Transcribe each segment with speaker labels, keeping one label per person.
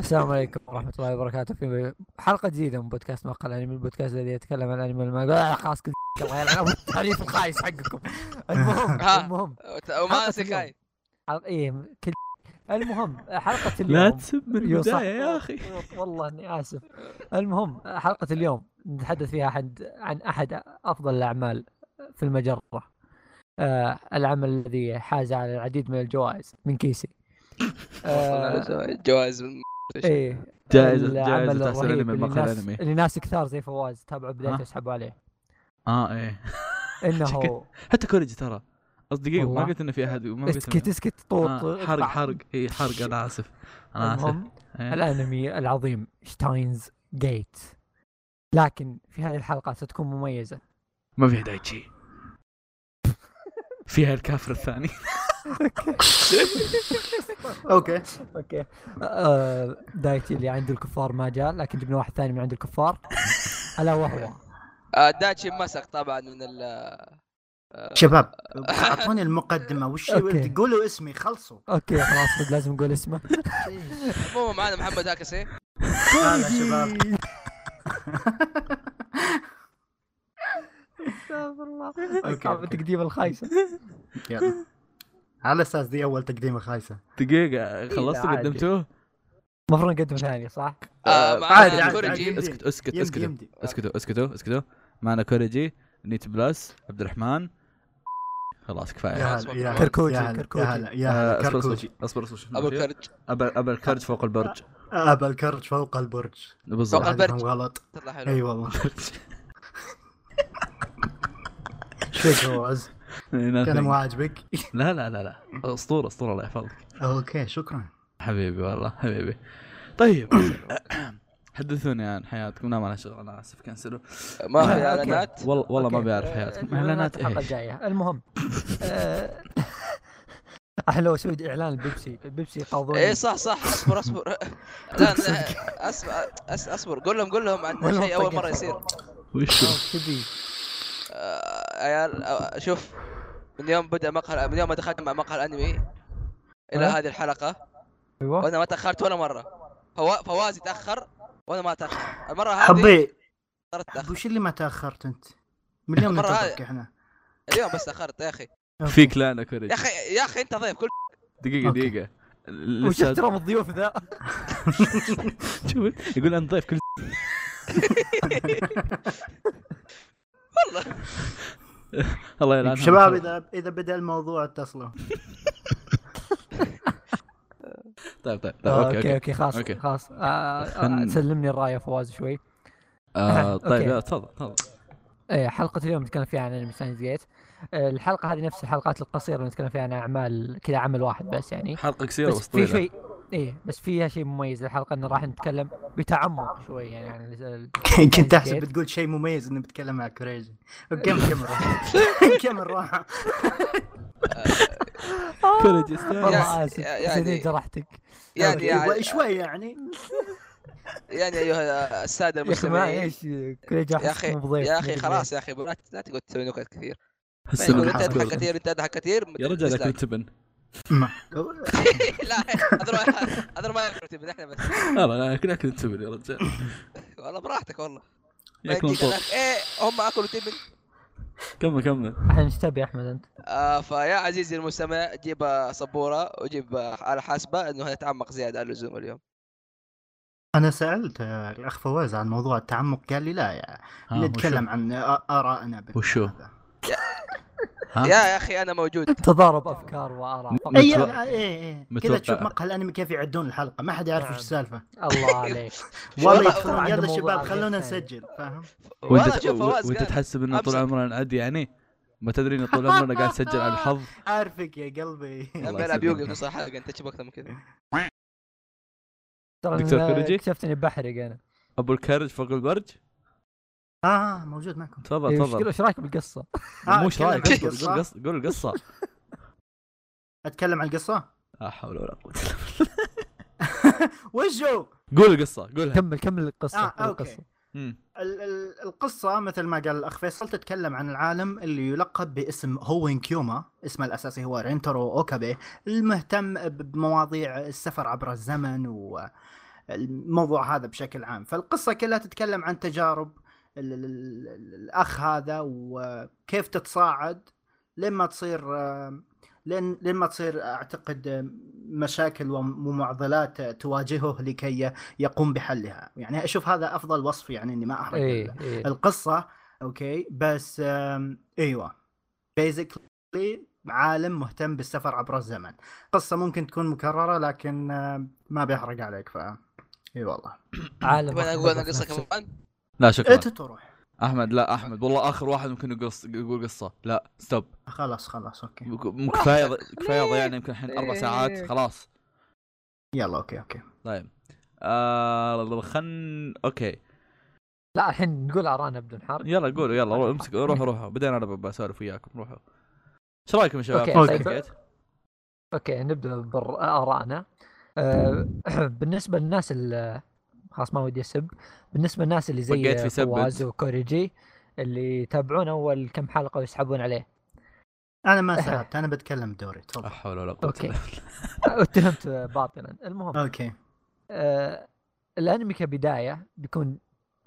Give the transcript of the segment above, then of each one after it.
Speaker 1: السلام عليكم ورحمة الله وبركاته في حلقة جديدة من بودكاست مقهى الأنمي البودكاست الذي يتكلم عن الأنمي المانجا آه، خلاص كل الله يلعن أبو التعريف الخايس حقكم المهم
Speaker 2: آه.
Speaker 3: ها.
Speaker 1: المهم
Speaker 3: وما سكاي
Speaker 1: حلقة- إيه كل المهم حلقة
Speaker 2: لا
Speaker 1: اليوم
Speaker 2: تسب من
Speaker 1: يو صح.
Speaker 2: البدايه يا اخي
Speaker 1: والله إني آسف المهم حلقة اليوم نتحدث فيها عن عن أحد أفضل الأعمال في المجرة آه العمل الذي حاز على العديد من الجوائز من كيسي آه
Speaker 3: جوائز
Speaker 1: ايه
Speaker 2: جائزة-
Speaker 1: العمل
Speaker 2: جائزة تحسين
Speaker 1: الرهيب
Speaker 2: أنمي
Speaker 1: اللي
Speaker 2: المقهى
Speaker 1: الناس-
Speaker 2: الأنمي.
Speaker 1: اللي ناس كثار زي فواز تابعوا بدايته
Speaker 2: ها؟
Speaker 1: يسحبوا عليه
Speaker 2: اه ايه
Speaker 1: انه
Speaker 2: شكل- حتى كوريجي ترى قصدي دقيقه ما
Speaker 1: والله.
Speaker 2: قلت انه في احد ما قلت إنه-
Speaker 1: اسكت اسكت طوط
Speaker 2: آه، حرق حرق اي حرق انا اسف انا اسف
Speaker 1: المهم
Speaker 2: إيه.
Speaker 1: الانمي العظيم شتاينز جيت لكن في هذه الحلقه ستكون مميزه
Speaker 2: ما فيها دايتشي فيها الكافر الثاني
Speaker 4: اوكي
Speaker 1: اوكي آه، دايتي اللي عند الكفار ما جاء لكن جبنا واحد ثاني من عند الكفار الا وهو
Speaker 3: داتشي مسك طبعا من ال آه.
Speaker 4: شباب اعطوني المقدمه وش
Speaker 1: أوكي.
Speaker 4: قولوا اسمي خلصوا
Speaker 1: اوكي خلاص بد لازم نقول اسمه
Speaker 3: مو معنا محمد إيه؟ هاكسي
Speaker 4: هلا شباب
Speaker 1: استغفر الله
Speaker 4: أوكي،
Speaker 1: صعب
Speaker 4: أوكي.
Speaker 1: التقديم الخايسه
Speaker 4: يلا على اساس دي اول تقديمه خايسه
Speaker 2: دقيقه خلصتوا
Speaker 1: عادي.
Speaker 2: قدمتوه
Speaker 1: المفروض نقدم ثاني صح؟
Speaker 3: آه،
Speaker 4: عادي،
Speaker 3: معنا
Speaker 4: عادي،
Speaker 3: كوريجي
Speaker 4: عادي.
Speaker 2: اسكت اسكت
Speaker 4: يمدي،
Speaker 2: اسكت
Speaker 4: يمدي.
Speaker 2: اسكتوا اسكتوا اسكتوا معنا كوريجي نيت بلس عبد الرحمن خلاص
Speaker 3: آه،
Speaker 4: يا
Speaker 2: كفايه
Speaker 4: هلا يا هلا،
Speaker 1: كركوجي،
Speaker 4: يا هلا،
Speaker 1: كركوجي.
Speaker 4: يا هلا يا
Speaker 2: آه،
Speaker 4: هلا
Speaker 2: اصبر
Speaker 4: كركوجي
Speaker 2: اصبر اصبر اصبر شوف
Speaker 3: ابو
Speaker 2: شيء.
Speaker 3: الكرج
Speaker 2: ابا ابا الكرج فوق البرج
Speaker 4: ابا الكرج فوق البرج
Speaker 3: فوق
Speaker 2: بالضبط
Speaker 3: البرج.
Speaker 4: هذا غلط
Speaker 3: تطلع
Speaker 4: اي
Speaker 3: حلو
Speaker 4: والله شو هو عز كان مو عاجبك
Speaker 2: لا لا لا لا اسطوره اسطوره الله يحفظك
Speaker 4: اوكي شكرا
Speaker 2: حبيبي والله حبيبي طيب حدثوني عن حياتكم لا ما لها شغل انا اسف كنسلوا
Speaker 3: ما في
Speaker 1: أوكي.
Speaker 3: اعلانات
Speaker 2: والله والله ما
Speaker 1: أوكي.
Speaker 2: بيعرف
Speaker 1: آه،
Speaker 2: حياتكم
Speaker 1: اعلانات
Speaker 2: اعلانات
Speaker 1: الحلقه
Speaker 2: ايش
Speaker 1: الجايه المهم آه، احنا لو سويت اعلان البيبسي البيبسي قاضوني
Speaker 2: إيه،
Speaker 3: اي إيه، صح صح اصبر اصبر لا لا، اصبر أص- اصبر قول لهم قول لهم عن
Speaker 1: والله
Speaker 3: شيء اول
Speaker 1: طقت.
Speaker 3: مره يصير
Speaker 2: وش هو؟
Speaker 1: إيش تبي
Speaker 3: آه، عيال آه، شوف من يوم بدا مقهى من يوم ما دخلت مع مقهى الانمي الى
Speaker 1: ها؟
Speaker 3: هذه الحلقه
Speaker 1: ايوه
Speaker 3: وانا ما تاخرت ولا مره فوا... فواز يتاخر وانا ما اتاخر المره هذه
Speaker 4: حبي
Speaker 3: صارت اتاخر
Speaker 4: وش اللي ما تاخرت انت؟ من اليوم
Speaker 3: مرة
Speaker 4: ننتظرك احنا
Speaker 3: اليوم بس تاخرت يا اخي
Speaker 4: أوكي.
Speaker 2: فيك لعنه
Speaker 3: يا
Speaker 2: كوريجي
Speaker 3: اخي يا اخي انت ضيف كل
Speaker 2: دقيقه
Speaker 4: أوكي.
Speaker 2: دقيقه
Speaker 1: وش
Speaker 2: لسه
Speaker 1: احترام الضيوف ذا
Speaker 2: شوف، يقول انا ضيف كل
Speaker 3: والله
Speaker 2: الله طيب، يلعنها
Speaker 4: شباب اذا اذا بدا الموضوع اتصلوا
Speaker 2: طيب طيب طيب،
Speaker 1: آه، اوكي
Speaker 2: اوكي اوكي
Speaker 1: اوكي خلاص
Speaker 2: أوكي.
Speaker 1: خلاص آه، آه،
Speaker 2: خن-
Speaker 1: سلمني الرايه فواز شوي
Speaker 2: آه، طيب
Speaker 1: أوكي.
Speaker 2: يلا، تفضل تفضل
Speaker 1: إيه، حلقة اليوم نتكلم فيها عن انمي ساينس جيت آه، الحلقة هذه نفس الحلقات القصيرة اللي نتكلم فيها عن أعمال كذا عمل واحد بس يعني
Speaker 2: حلقه قصيره
Speaker 1: بس
Speaker 2: بس
Speaker 1: في
Speaker 2: طويله
Speaker 1: شيء ايه بس فيها شيء مميز الحلقة انه راح نتكلم بتعمق شوي يعني عن ال-
Speaker 4: كنت احسب بتقول شيء مميز اني بتكلم مع كريجي كمل كمل روح كمل روح
Speaker 2: كوريجي
Speaker 1: والله اسف
Speaker 3: يا-
Speaker 1: يا
Speaker 3: يعني-
Speaker 1: جرحتك إيه،
Speaker 3: يعني
Speaker 4: أوكي.
Speaker 3: يعني
Speaker 4: شوي يعني
Speaker 3: يعني ايها الساده
Speaker 1: يا اخي ما
Speaker 3: المستمعين
Speaker 1: ايش كل جرح
Speaker 3: طيب، يا اخي يا اخي خلاص يا اخي لا ت- لا تقعد تسوي نكت كثير ما يقول انت
Speaker 4: بالحلقة.
Speaker 3: تضحك كثير انت تضحك كثير
Speaker 2: يا رجل
Speaker 3: dislike.
Speaker 2: ذاك التبن
Speaker 3: لا هذول هذول ما يعرفوا تبني احنا بس
Speaker 2: يلا اكل اكل التبن يا رجال
Speaker 3: والله براحتك والله ما
Speaker 2: ياكلون
Speaker 3: يجيك
Speaker 2: طوط
Speaker 3: هذاك. ايه هم اكلوا تبن
Speaker 2: كمل كمل
Speaker 1: احنا نشتبه يا احمد انت
Speaker 3: آه فيا عزيزي المستمع جيب آه، سبوره وجيب آه، على حاسبه انه نتعمق زياده عن اللزوم اليوم
Speaker 4: انا سالت آه، الاخ فواز عن موضوع التعمق قال لي لا يا
Speaker 2: ها، آه، وشو؟
Speaker 4: نتكلم عن آ- ارائنا بال-
Speaker 2: وشو؟
Speaker 4: هذا.
Speaker 2: ها؟
Speaker 3: يا يا اخي انا موجود
Speaker 1: تضارب افكار واراء فقط.
Speaker 4: اي
Speaker 2: متوقع-
Speaker 4: آه، اي اي
Speaker 2: متوقع. آه.
Speaker 4: كذا تشوف مقهى الانمي كيف يعدون الحلقه ما حد يعرف
Speaker 1: نعم.
Speaker 4: وش السالفه
Speaker 1: الله عليك
Speaker 4: والله
Speaker 3: والله
Speaker 4: يدخلون،
Speaker 1: عنده
Speaker 4: يلا
Speaker 1: موضوع
Speaker 4: شباب
Speaker 1: عظيم
Speaker 4: خلونا
Speaker 1: ثاني.
Speaker 4: نسجل فاهم
Speaker 3: والله
Speaker 2: وانت
Speaker 3: شوف فواز
Speaker 2: وانت
Speaker 3: قال-
Speaker 2: تحسب انه طول
Speaker 3: أمسك.
Speaker 2: عمرنا نعدي يعني ما تدري انه طول عمرنا قاعد نسجل على الحظ
Speaker 4: عارفك يا قلبي
Speaker 3: لما
Speaker 2: الله
Speaker 3: يلعب
Speaker 2: يسلمك.
Speaker 3: يوقف نص الحلقه انت شبك اكثر من كذا
Speaker 1: ترى
Speaker 2: دكتور
Speaker 1: أنا
Speaker 2: كوريجي؟
Speaker 1: اكتشفت اني بحرق انا
Speaker 2: ابو الكرج فوق البرج
Speaker 4: اه آه، موجود معكم
Speaker 2: تفضل
Speaker 1: إيه، وش
Speaker 2: تفضل
Speaker 1: وش رايك بالقصه؟
Speaker 4: آه،
Speaker 2: مو ايش
Speaker 4: أتكلم
Speaker 2: رايك
Speaker 4: عن
Speaker 2: قول
Speaker 4: القصة؟
Speaker 2: القصة- قول القصه
Speaker 4: اتكلم عن القصه
Speaker 2: لا حول ولا قوه إلا بالله.
Speaker 4: وشو
Speaker 2: قول القصه قولها
Speaker 1: كمل كمل القصه
Speaker 4: آه،
Speaker 1: كمل
Speaker 4: أوكي.
Speaker 1: القصة.
Speaker 2: مم.
Speaker 4: ال- ال- القصة مثل ما قال الأخ فيصل تتكلم عن العالم اللي يلقب باسم هوين كيوما اسمه الأساسي هو رينترو أوكابي المهتم ب- بمواضيع السفر عبر الزمن و الموضوع هذا بشكل عام فالقصة كلها تتكلم عن تجارب ال- ال- ال- ال- الأخ هذا وكيف تتصاعد لما تصير آه، لين لما تصير أعتقد آه، مشاكل وم- ومعضلات آه، تواجهه لكي يقوم بحلها يعني أشوف هذا أفضل وصف يعني إني ما أحرق
Speaker 1: اي
Speaker 4: ال-
Speaker 1: اي
Speaker 4: القصة أوكي بس آم، أيوه بيزكلي عالم مهتم بالسفر عبر الزمن قصة ممكن تكون مكررة لكن آم، ما بيحرق عليك ف اي والله
Speaker 1: عالم
Speaker 3: تبغى
Speaker 1: مختلف
Speaker 3: اقول انا
Speaker 1: في
Speaker 3: قصه
Speaker 1: نفسه.
Speaker 3: كمان
Speaker 2: لا شكرا
Speaker 4: انت تروح
Speaker 2: احمد لا احمد والله اخر واحد ممكن يقول قص- يقول قصه لا ستوب
Speaker 4: خلاص خلاص اوكي
Speaker 2: مك- مو كفايه كفايه ضيعنا يمكن الحين اربع
Speaker 4: إيه.
Speaker 2: ساعات خلاص
Speaker 4: يلا اوكي اوكي
Speaker 2: طيب آه خن اوكي
Speaker 1: لا الحين نقول ارانا بدون حرق
Speaker 2: يلا قولوا يلا روح امسك روحوا روحوا بعدين انا بسولف وياكم روحوا ايش رايكم يا شباب؟
Speaker 1: أوكي،
Speaker 4: أوكي.
Speaker 2: طيب.
Speaker 1: اوكي نبدا بارائنا آه، بالنسبه للناس ال- خلاص ما ودي اسب بالنسبه للناس اللي
Speaker 2: بقيت في
Speaker 1: زي
Speaker 2: سبت.
Speaker 1: فواز وكوريجي اللي يتابعون اول كم حلقه ويسحبون عليه
Speaker 4: انا ما سحبت انا بتكلم دوري
Speaker 2: لا
Speaker 4: تفضل
Speaker 2: حول ولا قوه
Speaker 1: اوكي
Speaker 2: الا
Speaker 1: اتهمت باطلا المهم
Speaker 4: اوكي
Speaker 1: آه، الانمي كبدايه بيكون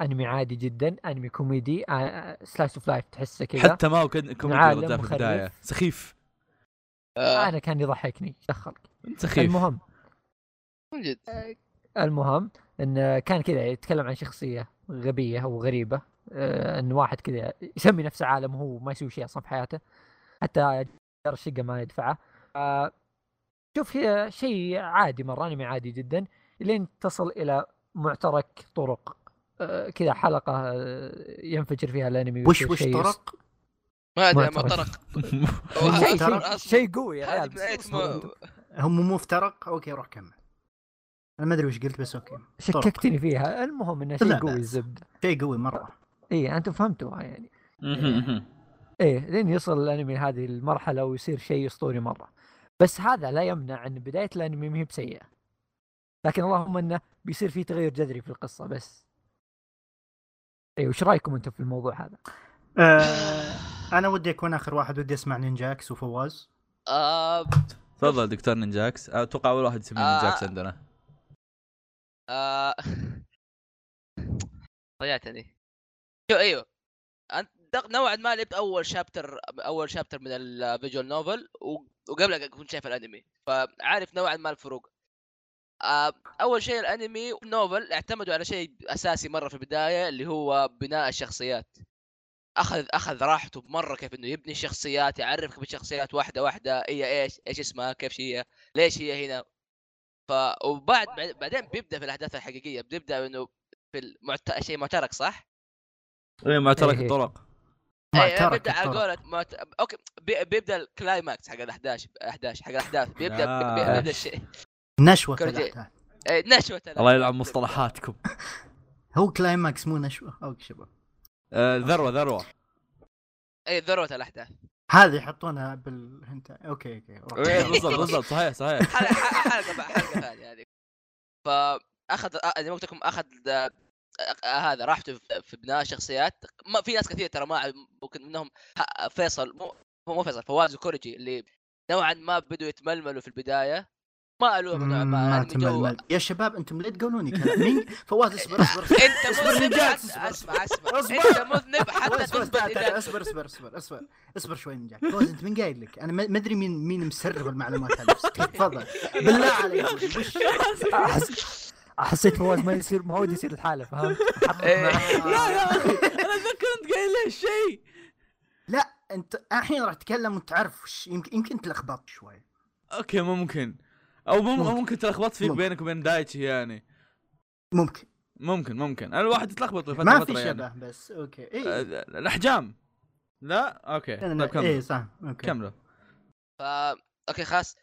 Speaker 1: انمي عادي جدا انمي كوميدي آه، سلايس اوف لايف تحسه
Speaker 2: بالله.
Speaker 1: كذا
Speaker 2: حتى ما كنت كنت
Speaker 1: عالم
Speaker 2: في
Speaker 1: مخرف.
Speaker 2: البدايه سخيف
Speaker 3: آه،
Speaker 1: انا كان يضحكني دخل
Speaker 2: انت سخيف
Speaker 1: المهم
Speaker 3: من جد
Speaker 1: المهم ان كان كذا يتكلم عن شخصيه غبيه وغريبه آه، ان واحد كذا يسمي نفسه عالم وهو ما يسوي شيء اصلا في حياته حتى جار الشقه ما يدفعه آه، شوف هي شيء عادي مره انمي عادي جدا لين تصل الى معترك طرق آه، كذا حلقه آه، ينفجر فيها الانمي
Speaker 4: وش
Speaker 1: ويصير
Speaker 4: وش
Speaker 1: شيء-
Speaker 4: طرق
Speaker 3: ما ادري
Speaker 1: معترك.
Speaker 3: معترك
Speaker 1: شيء-
Speaker 3: هو
Speaker 1: شيء
Speaker 3: أصلاً-
Speaker 1: شيء
Speaker 3: أصلاً
Speaker 1: شيء قوي يا
Speaker 3: هذه
Speaker 1: عيال
Speaker 3: بداية
Speaker 1: بس-
Speaker 3: ما-
Speaker 4: هم مو مفترق اوكي روح كمل انا ما ادري وش قلت بس اوكي طرق.
Speaker 1: شككتني فيها المهم انه
Speaker 4: لا
Speaker 1: شيء قوي
Speaker 4: بأس.
Speaker 1: الزبده
Speaker 4: شيء قوي مره
Speaker 1: اي انتم فهمتوها يعني
Speaker 2: مهم.
Speaker 1: ايه لين يصل الانمي هذه المرحله ويصير شيء اسطوري مره بس هذا لا يمنع ان بدايه الانمي ما هي بسيئه لكن اللهم انه بيصير في تغير جذري في القصه بس ايه وش رايكم انتم في الموضوع هذا
Speaker 4: آه، انا ودي اكون اخر واحد ودي اسمع نينجاكس وفواز
Speaker 3: آه،
Speaker 2: تفضل دكتور نينجاكس اتوقع اول واحد يسميه
Speaker 3: آه.
Speaker 2: نينجاكس عندنا
Speaker 3: آه، ضيعتني شو ايوه انت دق- نوعا ما لعبت اول شابتر اول شابتر من الفيجوال نوفل وقبلها كنت شايف الانمي فعارف نوعا ما الفروق آه، اول شيء الانمي والنوفل اعتمدوا على شيء اساسي مره في البدايه اللي هو بناء الشخصيات اخذ اخذ راحته مره كيف انه يبني الشخصيات يعرفك بالشخصيات واحده واحده هي ايش ايش اسمها كيف هي ليش هي هنا ف وبعد بعد- بعدين بيبدا في الاحداث الحقيقيه بيبدا انه في المعت... شيء معترك صح؟
Speaker 2: ايه معترك
Speaker 1: إيه.
Speaker 2: الطرق
Speaker 3: اي
Speaker 4: معترك
Speaker 3: بيبدا على
Speaker 4: الطرق.
Speaker 3: قولة معت... اوكي بي... بيبدا الكلايماكس حق الاحداث الاحداث حق الاحداث بيبدا بي- بي...
Speaker 2: آه.
Speaker 3: بيبدا الشيء
Speaker 4: نشوة
Speaker 3: كوريجي.
Speaker 4: الأحداث.
Speaker 3: إيه، نشوه
Speaker 2: الله يلعب مصطلحاتكم
Speaker 4: هو كلايماكس مو نشوة اوكي شباب
Speaker 2: آه، ذروه ذروه
Speaker 3: اي ذروه الاحداث
Speaker 4: هذه يحطونها بالهنت اوكي اوكي
Speaker 2: إيه،
Speaker 4: روح.
Speaker 2: بالضبط بالضبط صحيح صحيح
Speaker 3: حلقه حلقه بقى- يعني. حلقه ثانيه هذه فاخذ آه، زي ما قلت لكم اخذ آه، آه، هذا راحته في- في بناء الشخصيات ما في ناس كثير ترى ما أعرف، ممكن منهم ح- فيصل مو مو مو فيصل فواز وكوريجي اللي نوعا ما بدوا يتململوا في البدايه ما الومهم نوعا ما
Speaker 4: ما
Speaker 3: الأنمي جو-
Speaker 4: تململ يا شباب انتم ليه تقولوني كلام مين فواز اصبر اصبر اصبر
Speaker 3: انت
Speaker 4: اصبر
Speaker 3: مذنب
Speaker 4: نجاة،
Speaker 3: حتى-
Speaker 4: اصبر.
Speaker 3: اسمع اسمع
Speaker 4: اصبر.
Speaker 3: انت مذنب حتى
Speaker 4: فواز، فواز،
Speaker 3: تثبت
Speaker 4: تعال، تعال،
Speaker 3: إنك-
Speaker 4: اصبر اصبر اصبر اصبر اصبر شوي نجاك فواز انت من قايل لك انا ما ما ادري مين مين مسرب المعلومات هذه بس تفضل بالله عليك وش
Speaker 1: أحس- حسيت فواز ما يصير ما ودي يصير الحاله فهمت؟ حطك
Speaker 3: إيه.
Speaker 1: معاه.
Speaker 2: آه، يا اخي انا اتذكر انت قايل لي شيء
Speaker 4: لا انت الحين راح تتكلم وانت عارف وش يمكن يمكن تلخبطت شوي
Speaker 2: اوكي ممكن او مم-
Speaker 4: ممكن.
Speaker 2: ممكن تلخبط فيك
Speaker 4: ممكن.
Speaker 2: بينك وبين دايتشي يعني
Speaker 4: ممكن
Speaker 2: ممكن ممكن انا الواحد يتلخبط لفتره
Speaker 4: ما
Speaker 2: فترة
Speaker 4: في
Speaker 2: يعني.
Speaker 4: شبه بس إيه. اوكي
Speaker 2: آه،
Speaker 4: اي
Speaker 2: الاحجام لا اوكي طيب
Speaker 4: اي
Speaker 2: كملوا
Speaker 4: إيه، صح اوكي
Speaker 2: كملوا
Speaker 3: فا اوكي خلاص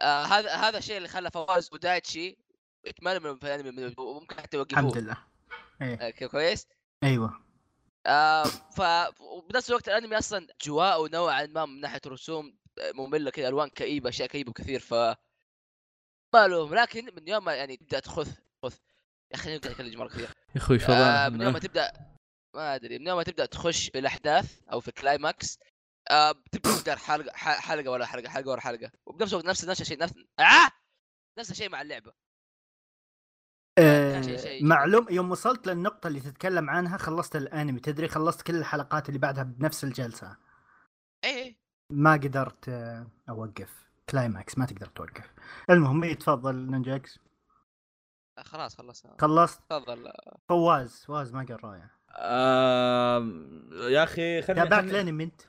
Speaker 3: آه هذا هذا الشيء اللي خلى فواز ودايتشي يتململوا في الانمي من- وممكن حتى
Speaker 4: الحمد
Speaker 3: يوقفوه
Speaker 4: لله إيه.
Speaker 3: آه، كي- كويس
Speaker 4: ايوه
Speaker 3: آه ف وبنفس الوقت الانمي اصلا جواءه نوعا ما من ناحيه رسوم آه، ممله كذا الوان كئيبه اشياء كئيبه كثير ف ما لهم لكن من يوم ما يعني تبدا تخث خث يا اخي نبدا نتكلم مره كثير
Speaker 2: يا اخوي شو
Speaker 3: آه من يوم ما تبدا ما ادري من يوم ما تبدا تخش في الاحداث او في الكلايماكس آه بتبدا تدار حلقه ح- حلقه ولا حلقه حلقه ورا حلقه وبنفس الوقت نفس نفس الشيء نفس آه! نفس الشيء مع اللعبه
Speaker 4: معلوم يوم وصلت للنقطة اللي تتكلم عنها خلصت الانمي تدري خلصت كل الحلقات اللي بعدها بنفس الجلسة
Speaker 3: ايه
Speaker 4: ما قدرت آه، اوقف كلايماكس ما تقدر توقف المهم إيه، تفضل نينجاكس
Speaker 3: خلاص خلصنا
Speaker 4: خلصت
Speaker 3: تفضل
Speaker 4: فواز فواز ما قال رايه
Speaker 2: آم، آه، يا اخي خلينا
Speaker 4: تابعت الانمي انت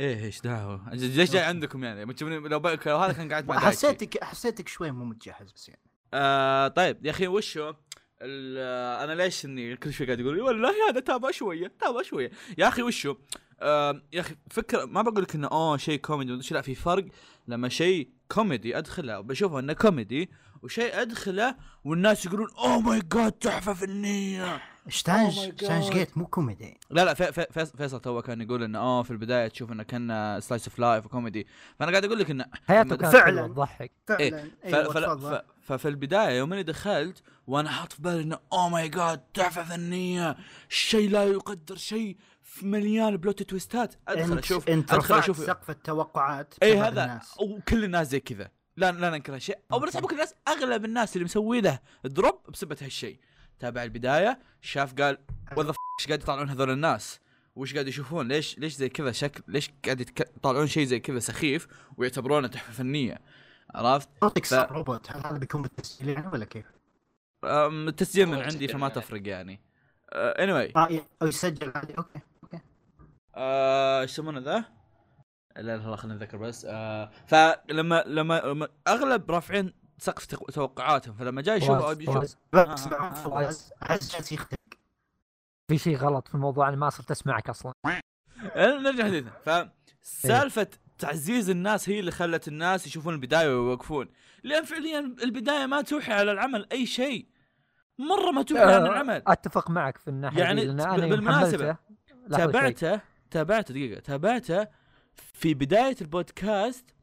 Speaker 2: ايه ايش دعوه؟ ليش جاي عندكم يعني؟ ما تشوفني لو بك لو هذا كان قاعد مع دايتشي.
Speaker 4: حسيتك حسيتك شوي مو متجهز بس يعني
Speaker 2: آه طيب يا اخي وش هو؟ ال- آه، انا ليش اني كل شوي قاعد يقول لي والله هذا تابع شويه تابع شويه يا اخي وش هو؟ آه يا اخي فكر ما بقول لك انه اوه شيء كوميدي ومدري إيش، لا في فرق لما شيء كوميدي ادخله وبشوفه انه كوميدي وشيء ادخله والناس يقولون "Oh اوه ماي جاد تحفه فنيه
Speaker 4: شتانج
Speaker 2: Oh my God.
Speaker 4: شتانج جيت مو كوميدي
Speaker 2: لا لا في- في- فيصل- فيصل تو كان يقول انه اه في البدايه تشوف انه كان سلايس اوف لايف وكوميدي فانا قاعد اقول لك انه
Speaker 1: حياته
Speaker 2: مد-
Speaker 1: كانت
Speaker 4: فعلاً.
Speaker 1: فعلا تضحك
Speaker 4: فعلا
Speaker 2: إيه، ف-
Speaker 4: ايوه
Speaker 2: فلا-
Speaker 4: تفضل
Speaker 2: ف- ففي البدايه يوم اني دخلت وانا حاط في بالي "Oh انه اوه ماي جاد تحفه فنيه شيء لا يقدر شيء في مليان بلوت تويستات ادخل
Speaker 4: انت
Speaker 2: اشوف
Speaker 4: انت
Speaker 2: ادخل
Speaker 4: رفعت
Speaker 2: اشوف
Speaker 4: سقف التوقعات
Speaker 2: اي
Speaker 4: تبع
Speaker 2: إيه، هذا
Speaker 4: الناس.
Speaker 2: وكل الناس زي كذا لا لا ننكر هالشيء او بس ابوك الناس اغلب الناس اللي مسوي له دروب بسبب هالشيء تابع البدايه شاف قال وذا ايش قاعد يطلعون هذول الناس وش قاعد يشوفون ليش ليش زي كذا شكل ليش قاعد يتك- يطلعون شيء زي كذا سخيف ويعتبرونه تحفه فنيه عرفت
Speaker 4: صوتك
Speaker 2: ف-
Speaker 4: صار روبوت هل هذا بيكون بالتسجيل يعني ولا كيف؟
Speaker 2: أم، التسجيل من
Speaker 3: أول
Speaker 2: عندي
Speaker 3: تسجيل
Speaker 2: فما
Speaker 3: من عندك.
Speaker 2: تفرق يعني اني واي
Speaker 4: اه ي- او يسجل عادي اوكي
Speaker 2: ايش أه، يسمونه ذا؟ لا لا لا، خلينا نتذكر بس آه، فلما لما لما اغلب رافعين سقف تق- توقعاتهم فلما جاي يشوف
Speaker 1: فواز-
Speaker 2: يشوف
Speaker 1: فواز،
Speaker 4: بس
Speaker 2: آه، آه،
Speaker 4: مع فواز احس جالس يختلف
Speaker 1: في شيء غلط في الموضوع انا ما صرت اسمعك اصلا
Speaker 2: آه، نرجع حديثنا فسالفه تعزيز الناس هي اللي خلت الناس يشوفون البدايه ويوقفون لان فعليا البدايه ما توحي على العمل اي شيء مره ما توحي على العمل
Speaker 1: اتفق معك في الناحيه
Speaker 2: يعني
Speaker 1: دي، لأن أنا يوم
Speaker 2: بالمناسبة،
Speaker 1: حملته- لحظة شوي.
Speaker 2: تابعته تابعته دقيقة تابعته في بداية البودكاست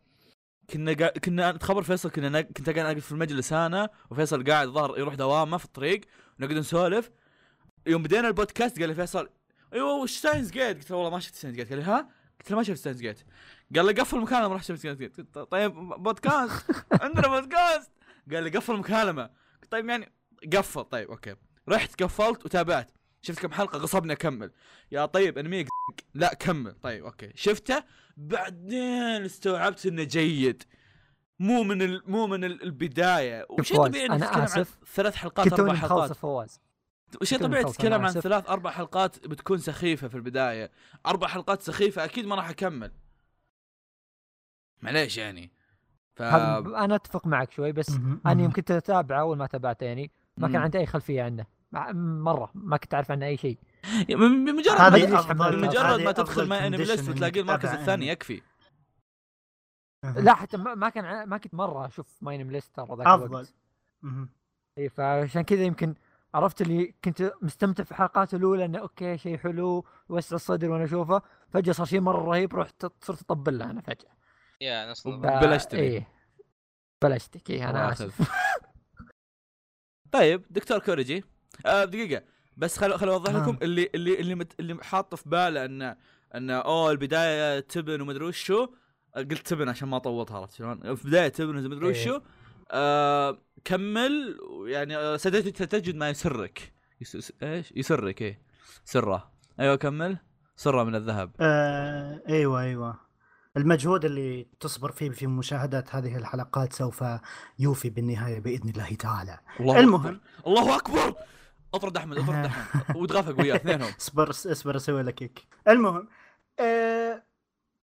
Speaker 2: كنا قا... كنا تخبر فيصل كنا نا... كنت قاعد أقف في المجلس أنا وفيصل قاعد ظهر يروح دوامه في الطريق نقعد نسولف يوم بدينا البودكاست قال لي فيصل ايوه وش ستاينز جيت؟ قلت له والله ما شفت ستاينز جيت قال لي ها؟ قلت له ما شفت ستاينز جيت قال لي قفل المكالمة راح شفت ستاينز جيت قلت له طيب بودكاست عندنا بودكاست قال لي قفل المكالمة قلت طيب يعني قفل طيب اوكي رحت قفلت وتابعت شفت كم حلقة غصبني اكمل يا طيب انمي لا كمل طيب اوكي شفته بعدين استوعبت انه جيد مو من ال... مو من ال- البدايه وشيء
Speaker 1: فواز،
Speaker 2: طبيعي انك
Speaker 1: أنا
Speaker 2: تتكلم عن
Speaker 1: آسف.
Speaker 2: ثلاث حلقات
Speaker 1: كنت
Speaker 2: اربع
Speaker 1: توني
Speaker 2: حلقات
Speaker 1: مخلصه فواز
Speaker 2: وشيء
Speaker 1: كلمة
Speaker 2: طبيعي
Speaker 1: خلص،
Speaker 2: تتكلم
Speaker 1: أنا
Speaker 2: عن
Speaker 1: آسف.
Speaker 2: ثلاث اربع حلقات بتكون سخيفه في البدايه اربع حلقات سخيفه اكيد ما راح اكمل معليش يعني ف
Speaker 1: هذا-
Speaker 2: آه.
Speaker 1: انا اتفق معك شوي بس
Speaker 4: مهم.
Speaker 1: انا يوم كنت اتابعه اول ما تابعته يعني ما كان
Speaker 2: مم.
Speaker 1: عندي اي خلفيه عنه مع- مره ما كنت اعرف عنه اي شيء
Speaker 2: من- بمجرد
Speaker 1: ما أدري
Speaker 4: هذه
Speaker 1: ليش
Speaker 4: أفضل-
Speaker 1: حملت.
Speaker 2: بمجرد
Speaker 4: هذه
Speaker 2: ما تدخل
Speaker 4: أفضل
Speaker 2: ماي انمي
Speaker 4: condition
Speaker 2: ليست
Speaker 4: إنك
Speaker 2: وتلاقي المركز
Speaker 4: تتابع
Speaker 2: الثاني
Speaker 4: أنمي.
Speaker 2: يكفي
Speaker 1: لا حتى ما ما كان ع- ما كنت مره اشوف ماين مليستر ذاك
Speaker 4: افضل
Speaker 1: الوقت
Speaker 4: مهم.
Speaker 1: اي فعشان كذا يمكن عرفت اللي كنت مستمتع في حلقاته الاولى انه اوكي شيء حلو وسع الصدر وانا اشوفه فجاه صار شيء مره رهيب رحت صرت اطبل له انا فجاه
Speaker 3: يا نص
Speaker 1: ف-
Speaker 3: نظام.
Speaker 2: بلشت لي.
Speaker 1: إيه. بلشتك اي
Speaker 2: الله
Speaker 1: انا
Speaker 2: ياخذ.
Speaker 1: اسف
Speaker 2: طيب دكتور كوريجي آه دقيقه بس خل خل اوضح
Speaker 4: نعم.
Speaker 2: لكم اللي اللي اللي مت اللي حاطه في باله انه انه اوه البدايه تبن ومدري وشو آه، قلت تبن عشان ما طولتها عرفت شلون؟ في بدايه تبن ومدري
Speaker 1: إيه.
Speaker 2: وشو آه كمل يعني آه، ستجد ستجد ما يسرك يس يس- ايش؟ يسرك ايه سره ايوه كمل سره من الذهب
Speaker 4: آه، ايوه ايوه المجهود اللي تصبر فيه في مشاهدة هذه الحلقات سوف يوفي بالنهاية بإذن الله تعالى
Speaker 2: الله
Speaker 4: المهم.
Speaker 2: أكبر. الله اكبر اطرد احمد
Speaker 4: آه.
Speaker 2: اطرد احمد وتغافق وياه اثنينهم
Speaker 4: اصبر اصبر اسوي لك هيك المهم آه،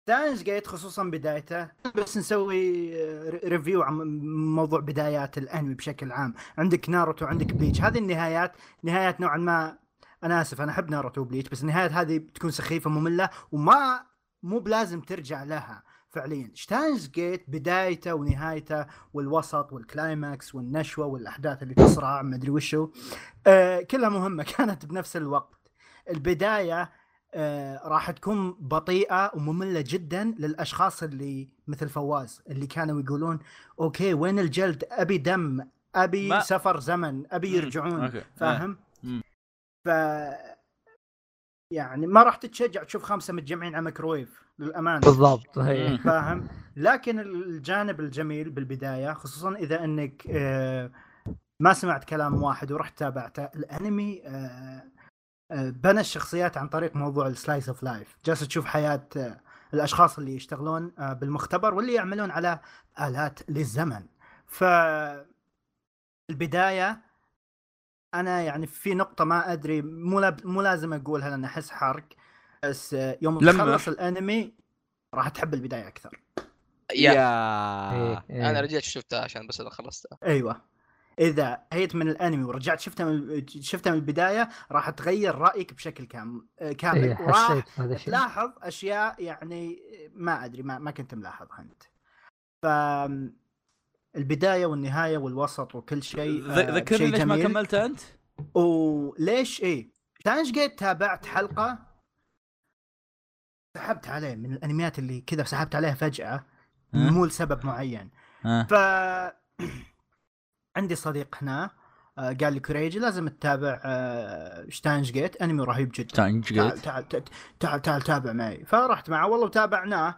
Speaker 4: دانج جيت خصوصا بدايته بس نسوي آه، ري- ريفيو عن موضوع بدايات الانمي بشكل عام عندك ناروتو عندك بليتش هذه النهايات نهايات نوعا ما انا اسف انا احب ناروتو وبليتش بس النهايات هذه بتكون سخيفه ممله وما مو بلازم ترجع لها فعليا شتانج جيت بدايته ونهايته والوسط والكلايماكس والنشوه والاحداث اللي تصرع مدري وشو آه، كلها مهمه كانت بنفس الوقت البدايه آه، راح تكون بطيئه وممله جدا للاشخاص اللي مثل فواز اللي كانوا يقولون اوكي وين الجلد ابي دم ابي
Speaker 2: ما-
Speaker 4: سفر زمن ابي يرجعون
Speaker 2: أوكي.
Speaker 4: فاهم
Speaker 2: آه. مم.
Speaker 4: ف يعني ما راح تتشجع تشوف خمسه متجمعين على ميكرويف للامانه
Speaker 1: بالضبط
Speaker 2: مم.
Speaker 1: هي
Speaker 4: فاهم لكن الجانب الجميل بالبدايه خصوصا اذا انك آه، ما سمعت كلام واحد ورحت تابعته الانمي آه، آه، بنى الشخصيات عن طريق موضوع السلايس اوف لايف جالس تشوف حياه آه، الاشخاص اللي يشتغلون آه، بالمختبر واللي يعملون على الات للزمن ف البدايه انا يعني في نقطه ما ادري مو لاب- مو لازم اقولها لان احس حرق بس آه، يوم
Speaker 2: لما-
Speaker 4: تخلص الانمي راح تحب البدايه اكثر
Speaker 3: يا
Speaker 2: آه.
Speaker 1: إيه، إيه.
Speaker 3: انا رجعت شفتها عشان بس انا خلصتها
Speaker 4: ايوه اذا هيت من الانمي ورجعت شفتها من شفتها من البدايه راح تغير رايك بشكل كام كامل
Speaker 1: إيه،
Speaker 4: وراح
Speaker 1: حسيت هذا الشيء
Speaker 4: تلاحظ اشياء يعني ما ادري ما, ما كنت ملاحظها انت ف البدايه والنهايه والوسط وكل شيء
Speaker 2: ذ-
Speaker 4: آه،
Speaker 2: ذكرني
Speaker 4: شيء
Speaker 2: ليش ما
Speaker 4: جميل.
Speaker 2: كملت انت؟
Speaker 4: وليش ايه تاينج جيت تابعت حلقه سحبت عليه من الانميات اللي كذا سحبت عليها فجاه
Speaker 2: ها؟
Speaker 4: مو لسبب معين
Speaker 2: ها.
Speaker 4: ف عندي صديق هنا آه، قال لي كوريجي لازم تتابع آه، شتاينز جيت انمي رهيب جدا
Speaker 2: تانج
Speaker 4: تعال
Speaker 2: جيت
Speaker 4: تعال تعال- تعال تعال تابع معي فرحت معه والله وتابعناه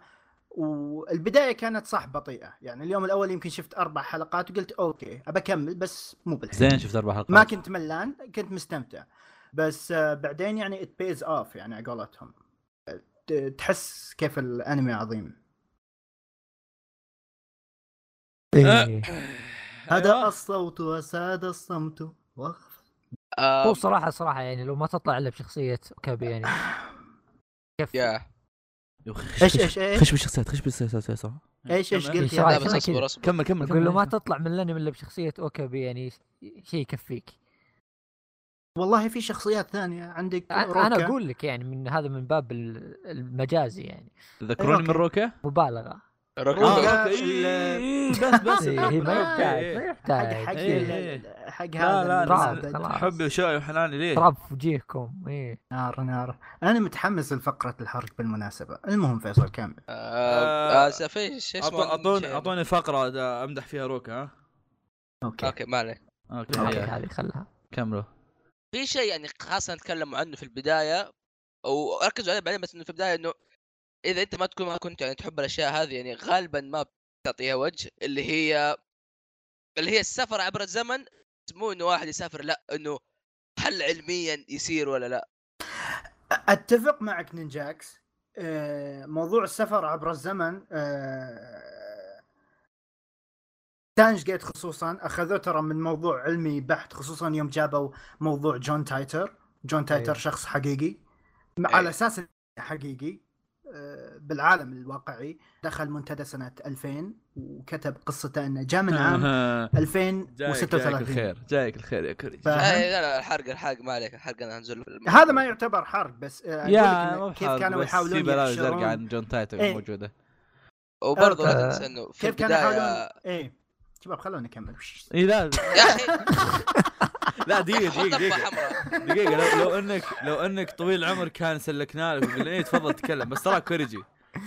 Speaker 4: والبدايه كانت صح بطيئه يعني اليوم الاول يمكن شفت اربع حلقات وقلت اوكي ابى اكمل بس مو بالحين
Speaker 2: زين شفت اربع حلقات
Speaker 4: ما كنت ملان كنت مستمتع بس آه، بعدين يعني ات بيز اوف يعني على قولتهم ت- تحس كيف الانمي عظيم
Speaker 1: أيوة.
Speaker 2: أه.
Speaker 1: إيه.
Speaker 4: هذا
Speaker 2: أيوة.
Speaker 4: الصوت وساد الصمت وغفر
Speaker 3: آه،
Speaker 1: هو صراحه صراحه يعني لو ما تطلع الا بشخصيه كابي يعني كيف
Speaker 3: يا
Speaker 4: طيب، ايش ايش ايش
Speaker 2: خش بالشخصيات خش بالشخصيات
Speaker 4: ايش ايش
Speaker 2: كمل.
Speaker 4: قلت
Speaker 1: إيه،
Speaker 3: لا
Speaker 4: يا
Speaker 1: شرايك؟
Speaker 3: بس
Speaker 1: أنا
Speaker 4: بس
Speaker 1: كذا.
Speaker 3: اصبر اصبر
Speaker 2: كمل كمل
Speaker 1: اقول له ما تطلع من الانمي الا بشخصيه اوكابي يعني شيء يكفيك
Speaker 4: والله في شخصيات ثانيه عندك
Speaker 1: انا أنا
Speaker 4: روكا.
Speaker 1: اقول لك يعني من هذا من باب ال- المجازي يعني
Speaker 2: تذكروني من روكا؟
Speaker 1: مبالغه
Speaker 3: روكي
Speaker 4: روكي.
Speaker 3: روكي.
Speaker 4: روكا.
Speaker 2: إيه، إيه، بس بس
Speaker 1: إيه، هي ما يحتاج
Speaker 4: إيه،
Speaker 1: ما
Speaker 4: حق حق
Speaker 1: يحتاج
Speaker 2: إيه،
Speaker 4: ال-
Speaker 2: إيه.
Speaker 4: حق
Speaker 2: لا
Speaker 4: هذا
Speaker 2: لا
Speaker 1: خلاص،
Speaker 4: المعبد.
Speaker 1: خلاص.
Speaker 2: حبي وشوي وحناني ليه؟
Speaker 1: تراب في وجيهكم ايه
Speaker 4: نار نار انا متحمس لفقره الحرق بالمناسبه المهم فيصل كامل
Speaker 3: آه، اسف ايش إيش
Speaker 2: أعطو-
Speaker 3: اسمه
Speaker 2: اعطوني
Speaker 3: شيء.
Speaker 2: اعطوني فقره دا- امدح فيها روكا ها
Speaker 4: اوكي
Speaker 3: اوكي ما عليه
Speaker 2: اوكي
Speaker 1: اوكي
Speaker 2: يلا،
Speaker 1: هذه خلها
Speaker 2: كملوا
Speaker 3: في شيء يعني خاصه نتكلم عنه في البدايه وركزوا عليه بعدين بس انه في البدايه انه اذا انت ما تكون ما كنت يعني تحب الاشياء هذه يعني غالبا ما بتعطيها وجه اللي هي اللي هي السفر عبر الزمن مو انه واحد يسافر لا انه هل علميا يصير ولا لا
Speaker 4: اتفق معك نينجاكس آه، موضوع السفر عبر الزمن آه، تانج جيت خصوصا اخذوه ترى من موضوع علمي بحت خصوصا يوم جابوا موضوع جون تايتر
Speaker 2: إيه.
Speaker 4: جون تايتر
Speaker 1: أيوه.
Speaker 4: شخص حقيقي م-
Speaker 3: أيوه.
Speaker 4: على اساس إنه حقيقي آه، بالعالم الواقعي دخل منتدى سنه 2000 وكتب قصته انه جاء من عام
Speaker 2: جايك جايك
Speaker 4: 2036
Speaker 2: الخير جايك الخير يا كوري
Speaker 4: ف- أهم.
Speaker 3: آه، لا لا الحرق الحرق ما عليك الحرق انا هنزل في الم-
Speaker 4: هذا ما يعتبر حرق بس آه، أقول لك
Speaker 2: يا
Speaker 4: إنه
Speaker 2: ما
Speaker 4: كيف كانوا
Speaker 2: في
Speaker 4: يحاولون
Speaker 2: بلاوي
Speaker 4: يقشرون
Speaker 2: زرقاء عن جون تايتن
Speaker 4: إيه.
Speaker 2: موجوده
Speaker 3: وبرضه لا
Speaker 1: آه،
Speaker 3: تنسى انه في
Speaker 4: كيف كانوا يحاولون
Speaker 3: البدايه
Speaker 4: ايه شباب خلونا نكمل
Speaker 2: اي إيه، لا
Speaker 3: يا اخي
Speaker 2: لا دقيقه
Speaker 3: حط
Speaker 2: دقيقه
Speaker 3: ضفه
Speaker 2: دقيقه
Speaker 3: حمراء
Speaker 2: دقيقه لو, لو انك لو انك طويل العمر كان سلكنا لك وقلنا ايه تفضل تكلم بس تراك كوريجي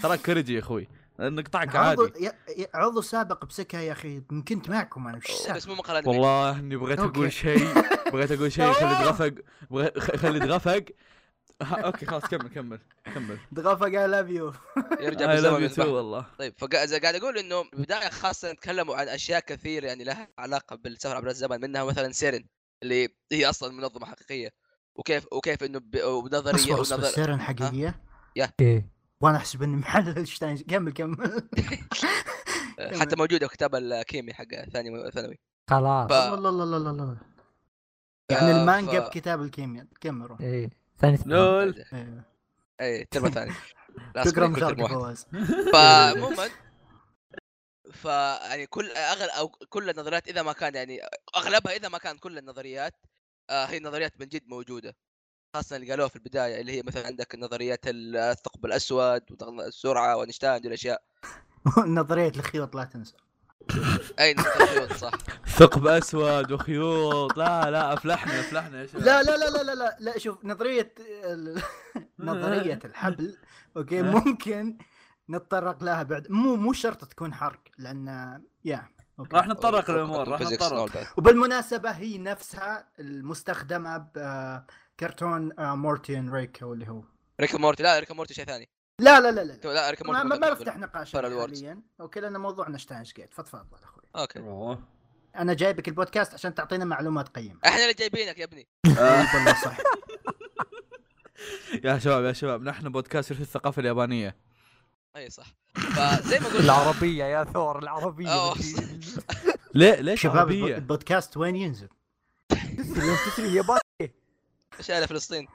Speaker 2: تراك كوريجي يا اخوي نقطعك
Speaker 4: عضو
Speaker 2: عادي
Speaker 4: يا- يا- عضو سابق بسكا يا اخي من كنت معكم انا وش السالفة؟
Speaker 3: بس مو مقال أنمي.
Speaker 2: والله اني بغيت
Speaker 4: أوكي.
Speaker 2: اقول شيء بغيت اقول شيء خلي تغفق بغي- خ- خلي تغفق ها، اوكي خلاص كمل كمل كمل
Speaker 4: دغافة قال لاف يو
Speaker 3: يرجع
Speaker 2: اي لاف
Speaker 3: بالزمن
Speaker 2: يو تو
Speaker 3: يذبحهم.
Speaker 2: والله
Speaker 3: طيب فقاعد قاعد اقول انه البدايه خاصه تكلموا عن اشياء كثير يعني لها علاقه بالسفر عبر الزمن منها مثلا سيرن اللي هي اصلا منظمه حقيقيه وكيف وكيف انه ب- بنظريه
Speaker 4: اصبر اصبر
Speaker 3: ونظر
Speaker 4: سيرن حقيقية
Speaker 1: ايه
Speaker 4: وانا احسب اني محلل شتاين كمل كمل
Speaker 3: حتى موجوده في كتاب الكيمي حق ثاني ثانوي
Speaker 1: خلاص
Speaker 3: ف-
Speaker 4: الله الله الله الله الله يعني
Speaker 3: آه،
Speaker 4: المانجا
Speaker 3: ف-
Speaker 4: بكتاب الكيمياء كملوا
Speaker 1: ايه ثاني
Speaker 2: لول
Speaker 4: إيه.
Speaker 3: اي تربى ثاني لا، أصبر،
Speaker 4: شكرا
Speaker 3: كنت
Speaker 4: مشاركة
Speaker 3: الموحد.
Speaker 4: فواز
Speaker 3: فعموما ف يعني كل اغل او كل النظريات اذا ما كان يعني اغلبها اذا ما كان كل النظريات آه هي نظريات من جد موجوده خاصه اللي قالوها في البدايه اللي هي مثلا عندك نظريات ال- الثقب الاسود وضغط السرعه ونشتاين دي الاشياء
Speaker 4: نظرية الخيوط لا تنسى
Speaker 3: اي نظريات صح
Speaker 2: ثقب اسود وخيوط لا لا افلحنا افلحنا يا شباب
Speaker 4: لا لا لا لا لا لا, لا شوف نظرية ال- نظرية الحبل اوكي ممكن نتطرق لها بعد مو مو شرط تكون حرق لان يا أوكي.
Speaker 2: راح نتطرق للامور راح
Speaker 3: Physics
Speaker 2: نتطرق
Speaker 3: and all that.
Speaker 4: وبالمناسبة هي نفسها المستخدمة آه، بكرتون مورتين ريكو اللي هو
Speaker 3: ريك مورتي لا ريك مورتي شيء ثاني
Speaker 4: لا لا لا لا
Speaker 3: لا ريك
Speaker 4: ما,
Speaker 3: مورتي
Speaker 4: ما ما نفتح نقاش
Speaker 3: Parallel Worlds.
Speaker 4: حاليا اوكي لان موضوعنا شتاينش جيت فتفضل اخوي
Speaker 3: اوكي
Speaker 4: انا جايبك البودكاست عشان تعطينا معلومات قيمه
Speaker 3: احنا اللي جايبينك يا ابني
Speaker 2: آه،
Speaker 4: والله صح
Speaker 2: يا شباب يا شباب نحن بودكاست يرث الثقافه اليابانيه
Speaker 3: اي صح فزي ما قلت آه،
Speaker 1: العربيه يا ثور العربيه
Speaker 3: أوه.
Speaker 1: مدري.
Speaker 2: ليه ليش
Speaker 4: شباب الب-
Speaker 2: عربيه
Speaker 4: البودكاست وين ينزل؟
Speaker 1: تسري يوم تسري ياباني
Speaker 3: شايله فلسطين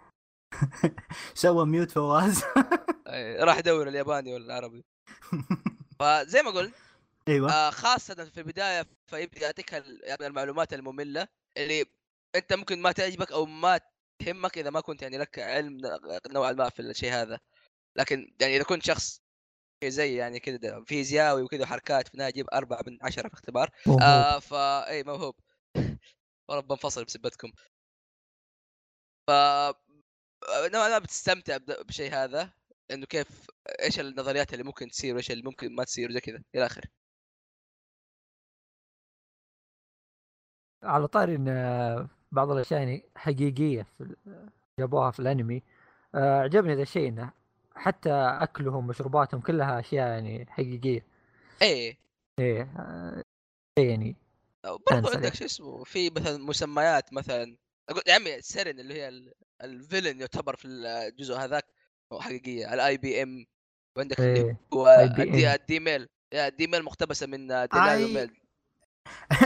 Speaker 4: سوى ميوت فواز
Speaker 3: أي، راح يدور الياباني ولا العربي فزي ما قلت
Speaker 4: ايوه
Speaker 3: آه، خاصه في البدايه فيبدا يعطيك ال- يعني المعلومات الممله اللي انت ممكن ما تعجبك او ما تهمك اذا ما كنت يعني لك علم نوعا ما في الشيء هذا لكن يعني اذا كنت شخص زي يعني كذا فيزياوي وكذا حركات في نهاية يجيب أربعة من عشرة في اختبار آه فا اي موهوب والله بنفصل بسبتكم ف نوعا ما بتستمتع بد- بشيء هذا انه كيف ايش النظريات اللي ممكن تصير وايش اللي ممكن ما تصير وزي كذا الى اخره
Speaker 1: على طاري ان آه، بعض الاشياء يعني حقيقيه في ال- جابوها في الانمي آه، عجبني ذا الشيء انه حتى اكلهم مشروباتهم كلها اشياء يعني حقيقيه
Speaker 3: ايه
Speaker 1: ايه آه، شيء يعني
Speaker 3: أو
Speaker 1: كان
Speaker 3: برضو عندك
Speaker 1: صريح.
Speaker 3: شو اسمه في مثلا مسميات مثلا اقول يا عمي سيرين اللي هي ال- الفيلن يعتبر في الجزء هذاك هو حقيقيه الاي بي ام وعندك اللي
Speaker 1: ايه
Speaker 3: هو الدي,
Speaker 1: IBM.
Speaker 3: الدي ميل يا الدي ميل مقتبسه من
Speaker 4: أي-
Speaker 3: ديلايو ميل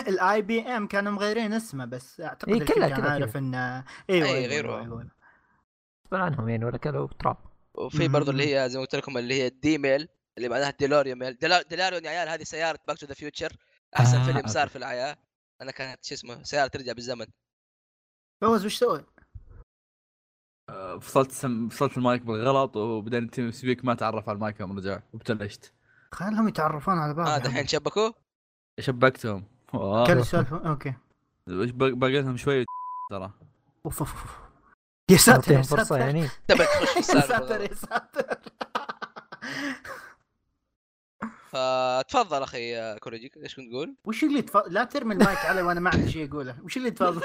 Speaker 4: الاي بي ام كانوا مغيرين اسمه بس اعتقد
Speaker 1: إيه، كلها-
Speaker 4: الكل كان
Speaker 1: كلها
Speaker 4: عارف انه ايوه
Speaker 3: أي،
Speaker 4: أيوة،
Speaker 3: غيره.
Speaker 4: أيوة، أيوة.
Speaker 1: غصبا عنهم يعني ولا كانوا تراب
Speaker 3: وفي برضو
Speaker 4: مم.
Speaker 3: اللي هي زي ما قلت لكم اللي هي الدي ميل اللي معناها ديلوريو ميل ديلا- ديلاريون يا عيال هذه سياره باك تو ذا فيوتشر احسن
Speaker 2: آه،
Speaker 3: فيلم
Speaker 2: أوكي.
Speaker 3: صار في الحياه انا كانت شو اسمه سياره ترجع بالزمن
Speaker 4: فوز وش سوى؟
Speaker 2: آه، فصلت سم... فصلت المايك بالغلط وبعدين تيم سبيك ما تعرف على المايك يوم رجع وبتلشت
Speaker 4: خلهم يتعرفون على بعض يعني.
Speaker 3: اه
Speaker 4: يا عمي.
Speaker 3: دحين شبكوه
Speaker 2: شبكتهم آه،
Speaker 4: كل سالفه اوكي
Speaker 2: وش بق- باقي لهم شوي ترى
Speaker 4: اوف اوف اوف يا ساتر يا
Speaker 1: نعطيهم
Speaker 4: ساتر
Speaker 1: فرصه يعني
Speaker 3: تبي تخش في
Speaker 4: يا ساتر
Speaker 3: السالفه
Speaker 4: يا ساتر
Speaker 3: فتفضل اخي كوريجي ايش كنت تقول؟
Speaker 4: وش اللي تفضل لا ترمي المايك علي وانا ما عندي شيء اقوله وش اللي تفضل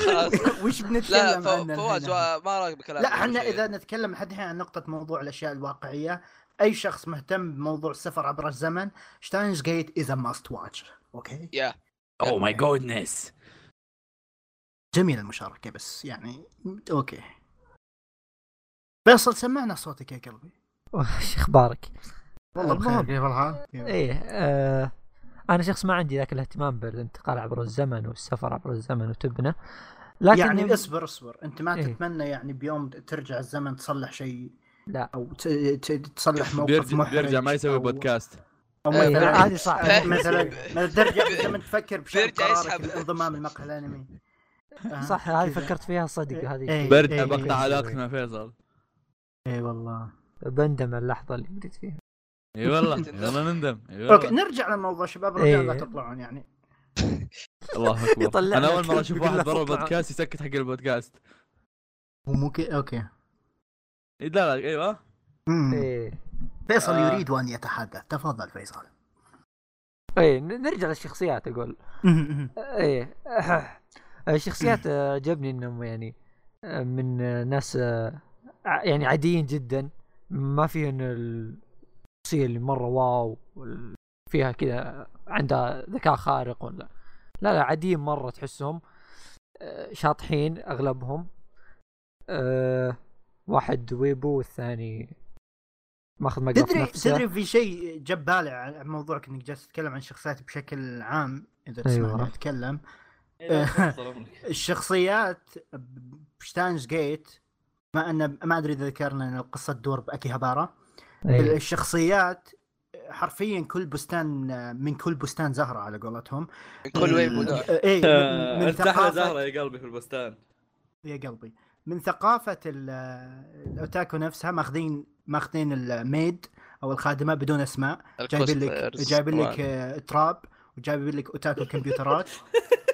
Speaker 3: خلاص.
Speaker 4: وش
Speaker 3: لا
Speaker 4: بنتكلم
Speaker 3: فو-
Speaker 4: عنه
Speaker 3: فواز
Speaker 4: الحين؟
Speaker 3: وا- ما راك بكلام
Speaker 4: لا احنا اذا نتكلم لحد الحين عن نقطه موضوع الاشياء الواقعيه اي شخص مهتم بموضوع السفر عبر الزمن شتاينز جيت از ماست واتش اوكي
Speaker 3: يا
Speaker 2: اوه ماي جودنس
Speaker 4: جميل المشاركه بس يعني اوكي فيصل سمعنا صوتك يا قلبي
Speaker 1: وش اخبارك؟
Speaker 4: والله بخير
Speaker 1: المهم.
Speaker 4: كيف الحال؟
Speaker 1: ايه آه انا شخص ما عندي ذاك الاهتمام بالانتقال عبر الزمن والسفر عبر الزمن وتبنى لكن
Speaker 4: يعني اصبر اصبر انت ما
Speaker 1: إيه.
Speaker 4: تتمنى يعني بيوم ترجع الزمن تصلح شيء
Speaker 1: لا.
Speaker 4: او ت- ت- تصلح موقف
Speaker 2: بيرجع,
Speaker 4: محرج
Speaker 2: بيرجع ما يسوي
Speaker 4: أو-
Speaker 2: بودكاست
Speaker 4: او
Speaker 3: إيه،
Speaker 4: مثلا
Speaker 1: هذه صعبة.
Speaker 4: آه، مثلا مثلا ترجع لما تفكر بشيء
Speaker 3: بيرجع
Speaker 4: قرارك
Speaker 3: يسحب.
Speaker 4: الانضمام لمقهى الانمي آه،
Speaker 1: صح هذه
Speaker 4: كذا.
Speaker 1: فكرت فيها صدق
Speaker 4: إيه،
Speaker 1: هذه
Speaker 4: إيه.
Speaker 2: برجع
Speaker 4: إيه،
Speaker 2: بقطع
Speaker 4: إيه.
Speaker 2: علاقتك مع فيصل
Speaker 4: اي إيه، والله
Speaker 1: بندم اللحظه اللي بديت فيها
Speaker 2: اي والله يلا نندم اي
Speaker 4: اوكي
Speaker 2: والله
Speaker 4: نرجع لموضوع شباب رجال لا
Speaker 1: إيه.
Speaker 4: تطلعون يعني
Speaker 2: الله اكبر
Speaker 1: يطلع
Speaker 2: انا
Speaker 1: لك
Speaker 2: اول مره اشوف
Speaker 1: يقول
Speaker 2: واحد
Speaker 1: لك
Speaker 2: برا
Speaker 1: اطلع.
Speaker 2: البودكاست يسكت حق البودكاست
Speaker 4: وممكن اوكي
Speaker 2: إيه، لا لا ايوه
Speaker 4: أمم.
Speaker 1: ايه
Speaker 4: فيصل
Speaker 2: آه.
Speaker 4: يريد ان يتحدث تفضل فيصل
Speaker 1: ايه ن- نرجع للشخصيات اقول ايه الشخصيات آه، عجبني انهم يعني آه، من آه، ناس آه، ع- يعني عاديين جدا ما فيهم الشخصيه اللي مره واو وال- فيها كذا عندها ذكاء خارق ولا لا لا عاديين مره تحسهم آه، شاطحين اغلبهم أه واحد ويبو والثاني ماخذ مقهى في
Speaker 4: تدري
Speaker 1: نفسه
Speaker 4: تدري في شيء جاب بالي على موضوعك انك جالس تتكلم عن الشخصيات بشكل عام اذا
Speaker 1: أيوة.
Speaker 4: تسمعني اتكلم الشخصيات بشتاينز جيت ما ان ما ادري اذا ذكرنا ان القصه تدور باكيهابارا
Speaker 1: إيه.
Speaker 4: الشخصيات حرفيا كل بستان من كل بستان زهره على قولتهم
Speaker 3: من كل ويب ودور
Speaker 4: اي من, من
Speaker 2: انت احلى
Speaker 4: ثقافه
Speaker 2: زهره يا قلبي في البستان
Speaker 4: يا قلبي من ثقافه ال- الاوتاكو نفسها ماخذين ماخذين الميد او الخادمه بدون اسماء جايبين لك
Speaker 3: الكوسترز
Speaker 4: جايبين لك
Speaker 3: طبعاً.
Speaker 4: آه، تراب وجايبين لك اوتاكو كمبيوترات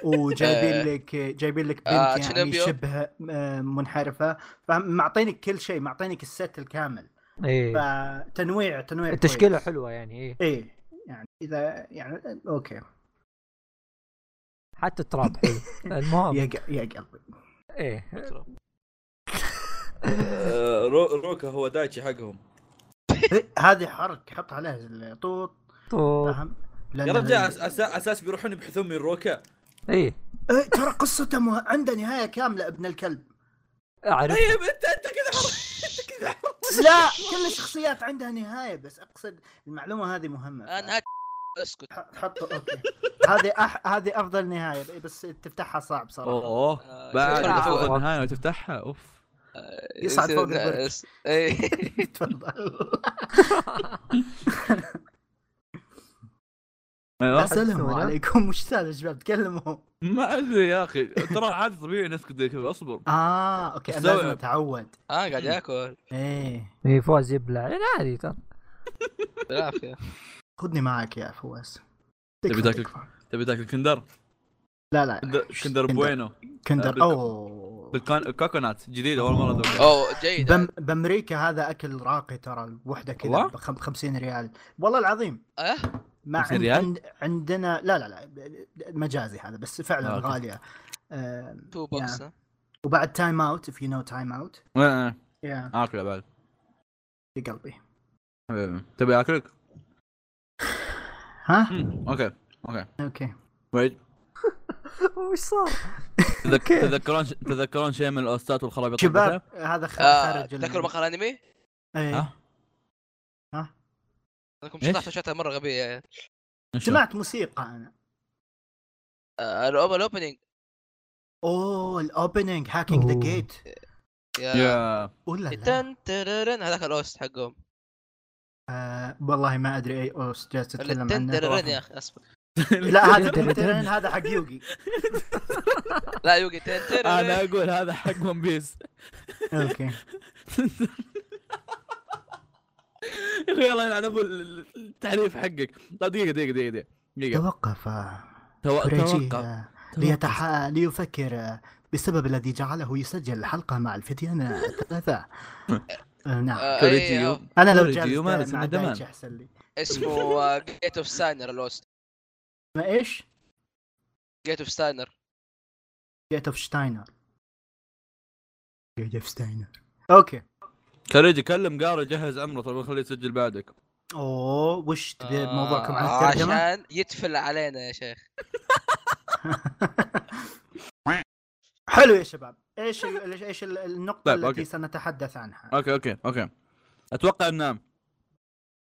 Speaker 4: وجايبين
Speaker 3: آه.
Speaker 4: لك جايبين لك
Speaker 3: آه،
Speaker 4: بنت يعني
Speaker 3: تشينوبيو.
Speaker 4: شبه آه، منحرفه فمعطينك كل شيء معطينك الست الكامل
Speaker 1: ايه
Speaker 4: فتنويع تنويع
Speaker 1: التشكيله حلوه يعني ايه
Speaker 4: اي يعني اذا يعني اوكي
Speaker 1: حتى التراب حلو المهم
Speaker 4: يا ق- يا قلبي
Speaker 1: ايه
Speaker 2: آه، روكا هو دايتشي حقهم
Speaker 4: هذه حرك حط عليها الطوط
Speaker 1: طوط
Speaker 4: فاهم لأن
Speaker 2: يا رجال
Speaker 4: ال-
Speaker 2: أس- اساس بيروحون يبحثون من روكا
Speaker 1: اي
Speaker 4: إيه، ترى قصته مه... عنده نهايه كامله ابن الكلب
Speaker 1: اعرف
Speaker 2: طيب انت انت كذا
Speaker 4: لا كل الشخصيات عندها نهايه بس اقصد المعلومه هذه مهمه
Speaker 3: انا اسكت
Speaker 4: ح- حط اوكي هذه أح... هذه افضل نهايه إيه، بس تفتحها صعب صراحه
Speaker 2: اوه
Speaker 3: آه،
Speaker 2: بعد
Speaker 3: يصعد
Speaker 1: أفوق.
Speaker 2: فوق النهايه وتفتحها اوف
Speaker 4: يصعد فوق البرج.
Speaker 3: يصير- إيه.
Speaker 4: تفضل
Speaker 2: ايوه
Speaker 4: السلام
Speaker 1: أحسن.
Speaker 4: عليكم وش سالفه يا شباب تكلموا
Speaker 2: ما ادري يا اخي ترى عادي طبيعي نسكت زي كذا اصبر
Speaker 4: اه اوكي أنا
Speaker 2: استوعب.
Speaker 4: لازم اتعود
Speaker 3: اه قاعد ياكل
Speaker 4: ايه
Speaker 1: اي فوز يبلع يعني عادي ترى
Speaker 3: بالعافيه
Speaker 4: خذني معك يا فواز
Speaker 2: تبي
Speaker 4: تكفى،
Speaker 2: تاكل؟
Speaker 4: تكفى.
Speaker 2: تبي تاكل كندر
Speaker 4: لا لا
Speaker 2: كندر بوينو
Speaker 4: كندر
Speaker 2: بالك-
Speaker 4: اوه
Speaker 2: بالكان- كوكونات جديد اول مره ادوقها
Speaker 3: اوه جيد
Speaker 4: بم... بامريكا هذا اكل راقي ترى الوحده كذا
Speaker 2: والله؟
Speaker 4: ب 50 ريال والله العظيم
Speaker 3: أه؟
Speaker 4: مع
Speaker 2: 50
Speaker 4: عند...
Speaker 2: ريال؟
Speaker 4: عند... عندنا لا لا لا مجازي هذا بس فعلا
Speaker 2: آه، أوكي.
Speaker 4: غاليه آه...
Speaker 3: تو بوكس ها؟
Speaker 4: وبعد تايم اوت if you know time out
Speaker 2: آه، آه،
Speaker 4: يا
Speaker 2: اكله بعد
Speaker 4: في قلبي
Speaker 2: حبيبي. تبي اكلك؟
Speaker 4: ها
Speaker 2: مم، اوكي
Speaker 4: اوكي
Speaker 2: ويت
Speaker 1: وش صار؟
Speaker 2: تذك-
Speaker 1: كيف؟
Speaker 2: تذكرون ش- تذكرون شيء من الاوستات والخرابيط
Speaker 4: شباب
Speaker 2: حقتها؟
Speaker 4: هذا خ-
Speaker 3: آه،
Speaker 4: خارج ال-
Speaker 3: تذكروا مقهى الانمي؟
Speaker 4: إيه.
Speaker 2: ها؟
Speaker 3: لكم
Speaker 2: إيش؟
Speaker 3: شطحتوا شطحه مره غبيه يعني.
Speaker 4: سمعت موسيقى انا
Speaker 3: آه، الأوب- الاوبننج
Speaker 4: اوه الاوبننج هاكينج ذا
Speaker 1: أوه.
Speaker 4: جيت
Speaker 3: يا
Speaker 2: يا
Speaker 4: ولا لا
Speaker 3: تن تررن هذاك الاوست حقهم
Speaker 4: آه، والله ما ادري اي اوس جالس
Speaker 3: اللي
Speaker 4: تتكلم
Speaker 3: تن تررن يا
Speaker 4: عنه
Speaker 3: اخي اصبر
Speaker 4: لا هذا
Speaker 1: تن- تن-
Speaker 4: تن- هذا حق يوغي
Speaker 3: لا يوجي تن
Speaker 4: آه،
Speaker 2: انا
Speaker 3: تررن
Speaker 2: اقول هذا حق ون بيس
Speaker 4: اوكي
Speaker 2: يا اخي الله يلعن ابو ال- ال- التعريف حقك لا دقيقه دقيقه دقيقه دقيقه دقيقه
Speaker 4: توقف
Speaker 2: تو-
Speaker 4: كوريجي
Speaker 2: توقف
Speaker 4: ليتح... ليفكر آه، بالسبب الذي جعله يسجل الحلقة مع الفتيان الثلاثة آه، نعم
Speaker 3: آه،
Speaker 2: كوريجي
Speaker 3: إيه،
Speaker 2: يو-
Speaker 3: آه.
Speaker 4: أنا لو
Speaker 2: كوريجي
Speaker 4: جالس
Speaker 2: يومان
Speaker 4: مع
Speaker 2: اسمه
Speaker 4: دايتش
Speaker 2: دمان
Speaker 4: أحسن لي
Speaker 3: اسمه آه، جيت اوف ساينر الاوست
Speaker 4: ما إيش؟
Speaker 3: جيت اوف ساينر
Speaker 4: جيت أوف شتاينر جيت أوف شتاينر أوكي
Speaker 2: كوريجي كلم قاري جهز عمره طب خليه يسجل بعدك
Speaker 4: أوه وش تبي
Speaker 3: آه،
Speaker 4: موضوعكم عن الترجمة؟
Speaker 3: عشان يتفل علينا يا شيخ
Speaker 4: حلو يا شباب ايش ال- ايش ال- النقطة
Speaker 2: طيب،
Speaker 4: التي
Speaker 2: أوكي.
Speaker 4: سنتحدث عنها؟
Speaker 2: اوكي اوكي اوكي اتوقع ان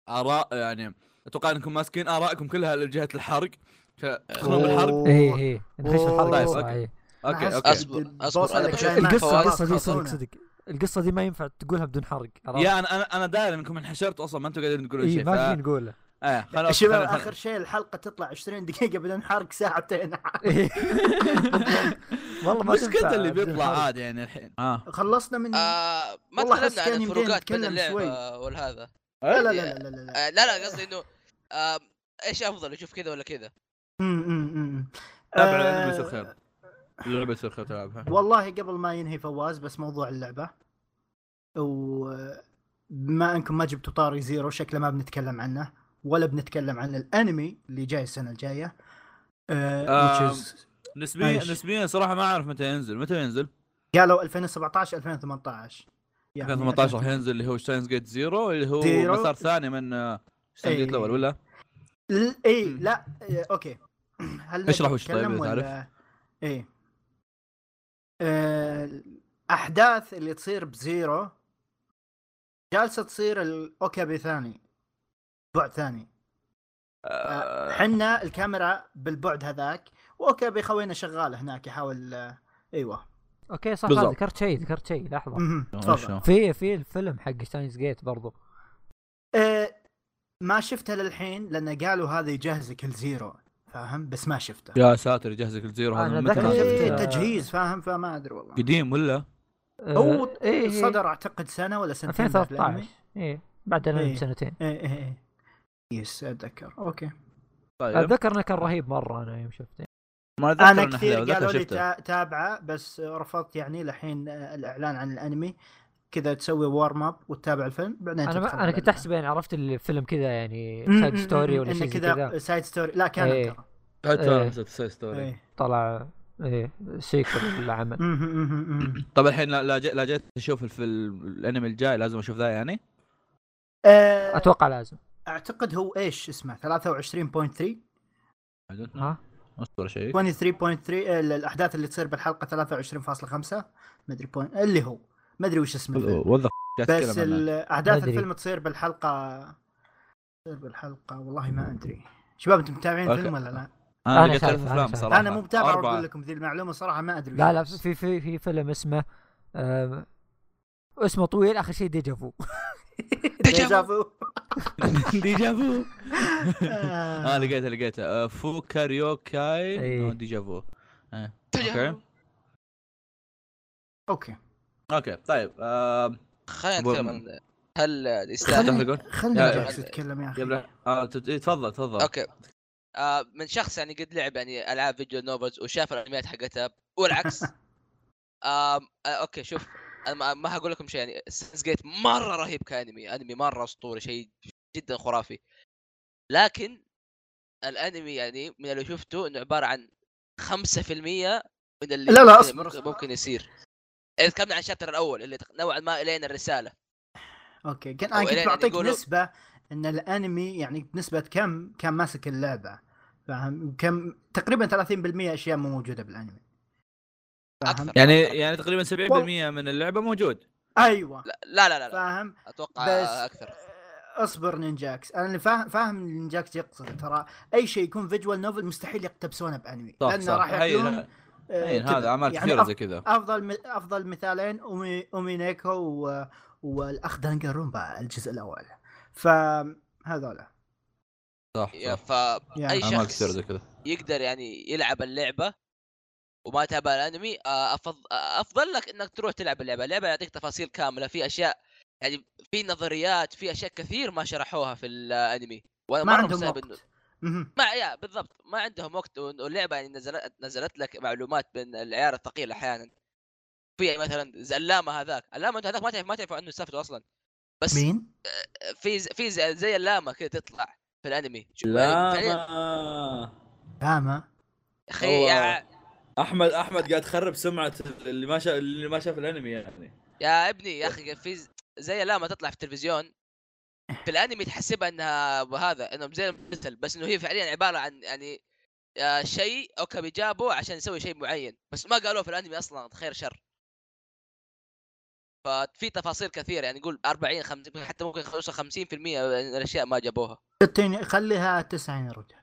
Speaker 2: اراء يعني اتوقع انكم ماسكين ارائكم كلها لجهه الحرق خلونا
Speaker 4: أوه.
Speaker 2: بالحرق
Speaker 1: اي اي إيه، نخش
Speaker 4: أوه.
Speaker 1: الحلقه
Speaker 2: طيب،
Speaker 1: بصراحة،
Speaker 2: أوكي.
Speaker 1: إيه.
Speaker 2: اوكي
Speaker 4: أحس-
Speaker 2: اوكي
Speaker 3: اصبر
Speaker 4: بد-
Speaker 3: اصبر انا
Speaker 4: بوصلك
Speaker 3: بشوف
Speaker 4: شيء ما-
Speaker 1: القصه
Speaker 4: خلاص،
Speaker 1: القصه دي صدق
Speaker 4: خلصونا.
Speaker 1: صدق القصه دي ما ينفع تقولها بدون حرق عرفت؟
Speaker 2: يا انا انا انا داير انكم انحشرتوا اصلا ما انتم قاعدين تقولون
Speaker 1: اي
Speaker 2: شيء
Speaker 1: ما في
Speaker 2: ف...
Speaker 1: نقوله
Speaker 2: ايه خلاص
Speaker 4: شباب
Speaker 2: خلاص-
Speaker 4: اخر شيء الحلقه تطلع 20 دقيقه بدون حرق ساعتين
Speaker 1: إيه. والله ما
Speaker 2: مش
Speaker 1: تنفع
Speaker 2: كذا اللي
Speaker 1: بدون
Speaker 2: بيطلع
Speaker 1: حرق.
Speaker 2: عادي يعني الحين اه
Speaker 4: خلصنا من لا
Speaker 3: آه، ما
Speaker 4: والله
Speaker 3: تكلمنا
Speaker 4: حس
Speaker 3: عن
Speaker 4: كان يمدينا
Speaker 3: الفروقات بين
Speaker 4: نتكلم
Speaker 3: اللعبه والهذا
Speaker 4: لا لا لا لا, لا.
Speaker 3: آه، لا لا قصدي انه آه، ايش افضل اشوف كذا ولا كذا
Speaker 4: أمم، أمم، أمم.
Speaker 2: تابع
Speaker 4: آه،
Speaker 2: الانمي يصير خير اللعبه يصير خير تلعبها
Speaker 4: والله قبل ما ينهي فواز بس موضوع اللعبه وبما انكم ما جبتوا طاري زيرو شكله ما بنتكلم عنه ولا بنتكلم عن الانمي اللي جاي السنه الجايه آه
Speaker 2: آم.
Speaker 4: which is-
Speaker 2: نسبيا
Speaker 4: أيش؟
Speaker 2: نسبيا صراحه ما اعرف متى ينزل متى ينزل
Speaker 4: قالوا 2017 2018 يعني
Speaker 2: 2018 راح ينزل اللي هو شتاينز جيت زيرو اللي هو
Speaker 4: زيرو.
Speaker 2: مسار ثاني من آه، شتاينز جيت
Speaker 4: إيه.
Speaker 2: الاول ولا
Speaker 4: ل- اي
Speaker 2: مم.
Speaker 4: لا إيه، اوكي هل
Speaker 2: اشرح وش طيب،
Speaker 4: نتكلم
Speaker 2: إذا
Speaker 4: ولا- اي آه، الاحداث اللي تصير بزيرو جالسه تصير الاوكابي ثاني بعد ثاني
Speaker 2: آه،
Speaker 4: حنا الكاميرا بالبعد هذاك واوكابي خوينا شغال هناك يحاول آه، ايوه
Speaker 1: اوكي صح
Speaker 2: بالضبط.
Speaker 1: هذا ذكرت شيء ذكرت شيء لحظه
Speaker 4: مهم، تفضل
Speaker 2: شو؟
Speaker 1: في في الفيلم حق شاينز جيت برضو
Speaker 4: آه، ما شفته للحين لان قالوا هذا يجهزك لزيرو فاهم بس ما شفته
Speaker 2: يا ساتر يجهزك الزيرو هذا
Speaker 1: أنا
Speaker 2: من متى
Speaker 1: ذكر-
Speaker 2: ما
Speaker 4: إيه،
Speaker 1: شفته.
Speaker 2: شفته
Speaker 4: تجهيز فاهم فما ادري والله
Speaker 2: قديم ولا؟
Speaker 4: هو
Speaker 1: آه، إيه، إيه.
Speaker 4: صدر اعتقد سنه ولا سنتين بعد الأنمي.
Speaker 1: 2013 اي بعد الانمي
Speaker 4: إيه.
Speaker 1: بسنتين
Speaker 4: ايه ايه ايه يس اتذكر اوكي
Speaker 2: طيب
Speaker 1: اتذكر انه كان رهيب مره انا يوم شفته
Speaker 2: ما
Speaker 4: انا
Speaker 2: أتذكر إنه حلو،
Speaker 4: كثير
Speaker 2: أتذكر
Speaker 4: قالوا لي
Speaker 2: شفته.
Speaker 4: تا- تابعه بس رفضت يعني لحين آه، الاعلان عن الانمي كذا تسوي وارم اب وتتابع الفيلم بعدين
Speaker 1: انا
Speaker 4: تدخل
Speaker 1: ما انا كنت
Speaker 4: بالأنمي.
Speaker 1: احسب يعني عرفت الفيلم كذا يعني
Speaker 4: م-
Speaker 1: سايد
Speaker 4: م-
Speaker 1: ستوري
Speaker 4: م-
Speaker 1: ولا
Speaker 4: إنه
Speaker 1: شيء زي كذا
Speaker 4: سايد ستوري لا كان
Speaker 1: إيه.
Speaker 4: ترى
Speaker 1: إيه.
Speaker 2: حتى سايد ستوري
Speaker 4: إيه.
Speaker 1: طلع ايه سيكول للعمل
Speaker 4: مم، مم، مم، مم.
Speaker 2: طب طيب، الحين لا- لا جي- لا جيت اشوف الف- الانمي الجاي لازم اشوف ذا يعني
Speaker 4: آه،
Speaker 1: اتوقع لازم
Speaker 4: اعتقد هو ايش اسمه 23.3
Speaker 1: ها
Speaker 2: اصبر شيء
Speaker 4: 23.3 آه، ال- الاحداث اللي تصير بالحلقه 23.5 مدري بوينت اللي هو مدري وش اسمه الفيلم.
Speaker 2: وذا
Speaker 4: بس ال- احداث
Speaker 1: مدري.
Speaker 4: الفيلم تصير بالحلقه تصير بالحلقه والله ما ادري شباب انتم متابعين
Speaker 2: أوكي.
Speaker 4: الفيلم ولا لا؟
Speaker 1: أنا
Speaker 2: انا قلت
Speaker 1: شايف-
Speaker 2: ألف
Speaker 1: أنا
Speaker 2: افلام
Speaker 1: شايف.
Speaker 2: صراحه
Speaker 4: انا مو متابع
Speaker 2: أربعة.
Speaker 4: اقول لكم ذي المعلومه صراحه ما ادري
Speaker 1: لا
Speaker 4: وش
Speaker 1: لا
Speaker 4: اسمه.
Speaker 1: في في في فيلم اسمه آم، اسمه طويل اخر شيء ديجافو
Speaker 4: ديجافو
Speaker 2: ديجافو
Speaker 4: آه.
Speaker 2: اه لقيته لقيته آه، فو كاريوكاي
Speaker 1: إيه.
Speaker 2: نو ديجافو
Speaker 3: تجاهل.
Speaker 4: اوكي
Speaker 2: اوكي طيب آه،
Speaker 3: خلينا
Speaker 2: بول-
Speaker 3: نتكلم عن هل
Speaker 2: تحت
Speaker 3: يستاهل
Speaker 4: خلينا-
Speaker 2: تقول
Speaker 4: خلني
Speaker 2: يا-
Speaker 4: جالس اتكلم يا
Speaker 2: يا
Speaker 4: اخي
Speaker 2: ابراهيم آه، تت- إيه، تفضل تفضل
Speaker 3: اوكي آه من شخص يعني قد لعب يعني العاب فيديو نوفلز وشاف الانميات حقتها والعكس آم، آه اوكي شوف انا ما- ما هقول لكم شيء يعني سنس جيت مره رهيب كانمي انمي مره اسطوري شيء جدا خرافي لكن الانمي يعني من اللي شفته انه عباره عن 5% من اللي
Speaker 4: لا، لا،
Speaker 3: ممكن-
Speaker 4: اصبر،
Speaker 3: ممكن,
Speaker 4: اصبر.
Speaker 3: ممكن يصير إذا تكلمنا عن الشابتر الاول اللي تق- نوعا ما الين الرساله
Speaker 4: اوكي كان
Speaker 3: أو
Speaker 4: انا
Speaker 3: إلين
Speaker 4: كنت بعطيك
Speaker 3: يقولوا-
Speaker 4: نسبه ان الانمي يعني بنسبه كم كان ماسك اللعبه فاهم كم تقريبا 30% اشياء مو موجوده بالانمي فاهم
Speaker 3: اكثر
Speaker 2: يعني يعني تقريبا 70% من اللعبه موجود
Speaker 4: ايوه
Speaker 3: لا لا لا, لا, لا.
Speaker 4: فاهم
Speaker 3: اتوقع
Speaker 4: بس-
Speaker 3: اكثر
Speaker 4: اصبر نينجاكس انا اللي فاهم فاهم اللي نينجاكس يقصد ترى اي شيء يكون فيجوال نوفل مستحيل يقتبسونه بانمي
Speaker 2: صح
Speaker 4: لانه
Speaker 2: صح
Speaker 4: راح
Speaker 2: هين
Speaker 4: يعطون آه،
Speaker 2: هين
Speaker 4: كذا.
Speaker 2: هذا اعمال
Speaker 4: يعني
Speaker 2: كثيره
Speaker 4: أف-
Speaker 2: زي كذا
Speaker 4: افضل م- افضل مثالين أومي اومينيكو و... والاخ دانجرومبا الجزء الاول فهذولا
Speaker 2: صح
Speaker 3: يا
Speaker 2: صح
Speaker 4: يا.
Speaker 3: فاي
Speaker 2: اعمال
Speaker 3: شخص
Speaker 2: كثيره زي كذا
Speaker 3: يقدر يعني يلعب اللعبه وما تابع الانمي آه، أفض... آه، افضل لك انك تروح تلعب اللعبه، اللعبه يعطيك تفاصيل كامله في اشياء يعني في نظريات في اشياء كثير ما شرحوها في الانمي وانا
Speaker 4: ما
Speaker 3: مرة
Speaker 4: عندهم
Speaker 3: مستغرب إنه-
Speaker 4: وقت مهم.
Speaker 3: ما يا بالضبط ما عندهم وقت وإن- واللعبه يعني نزلت نزلت لك معلومات من العيار الثقيل احيانا في مثلا زي اللامه هذاك اللامه هذاك ما تعرف ما تعرف عنه سالفته اصلا بس
Speaker 4: مين؟
Speaker 3: في ز- في زي, زي اللامه كذا تطلع في الانمي شو- يعني فعلياً-
Speaker 2: لا
Speaker 4: فاهمه
Speaker 3: اخي يا
Speaker 2: احمد احمد قاعد تخرب سمعه اللي ما شاف اللي ما شاف الانمي يعني
Speaker 3: يا ابني يا اخي في ز- زي لما تطلع في التلفزيون في الانمي تحسبها انها هذا انهم زي المثل بس انه هي فعليا عباره عن يعني آه، شيء اوكي بيجابه عشان يسوي شيء معين بس ما قالوه في الانمي اصلا خير شر ففي تفاصيل كثيره يعني نقول 40 50 حتى ممكن يوصل 50% من الاشياء ما جابوها
Speaker 4: 60 خليها 90 يا رجال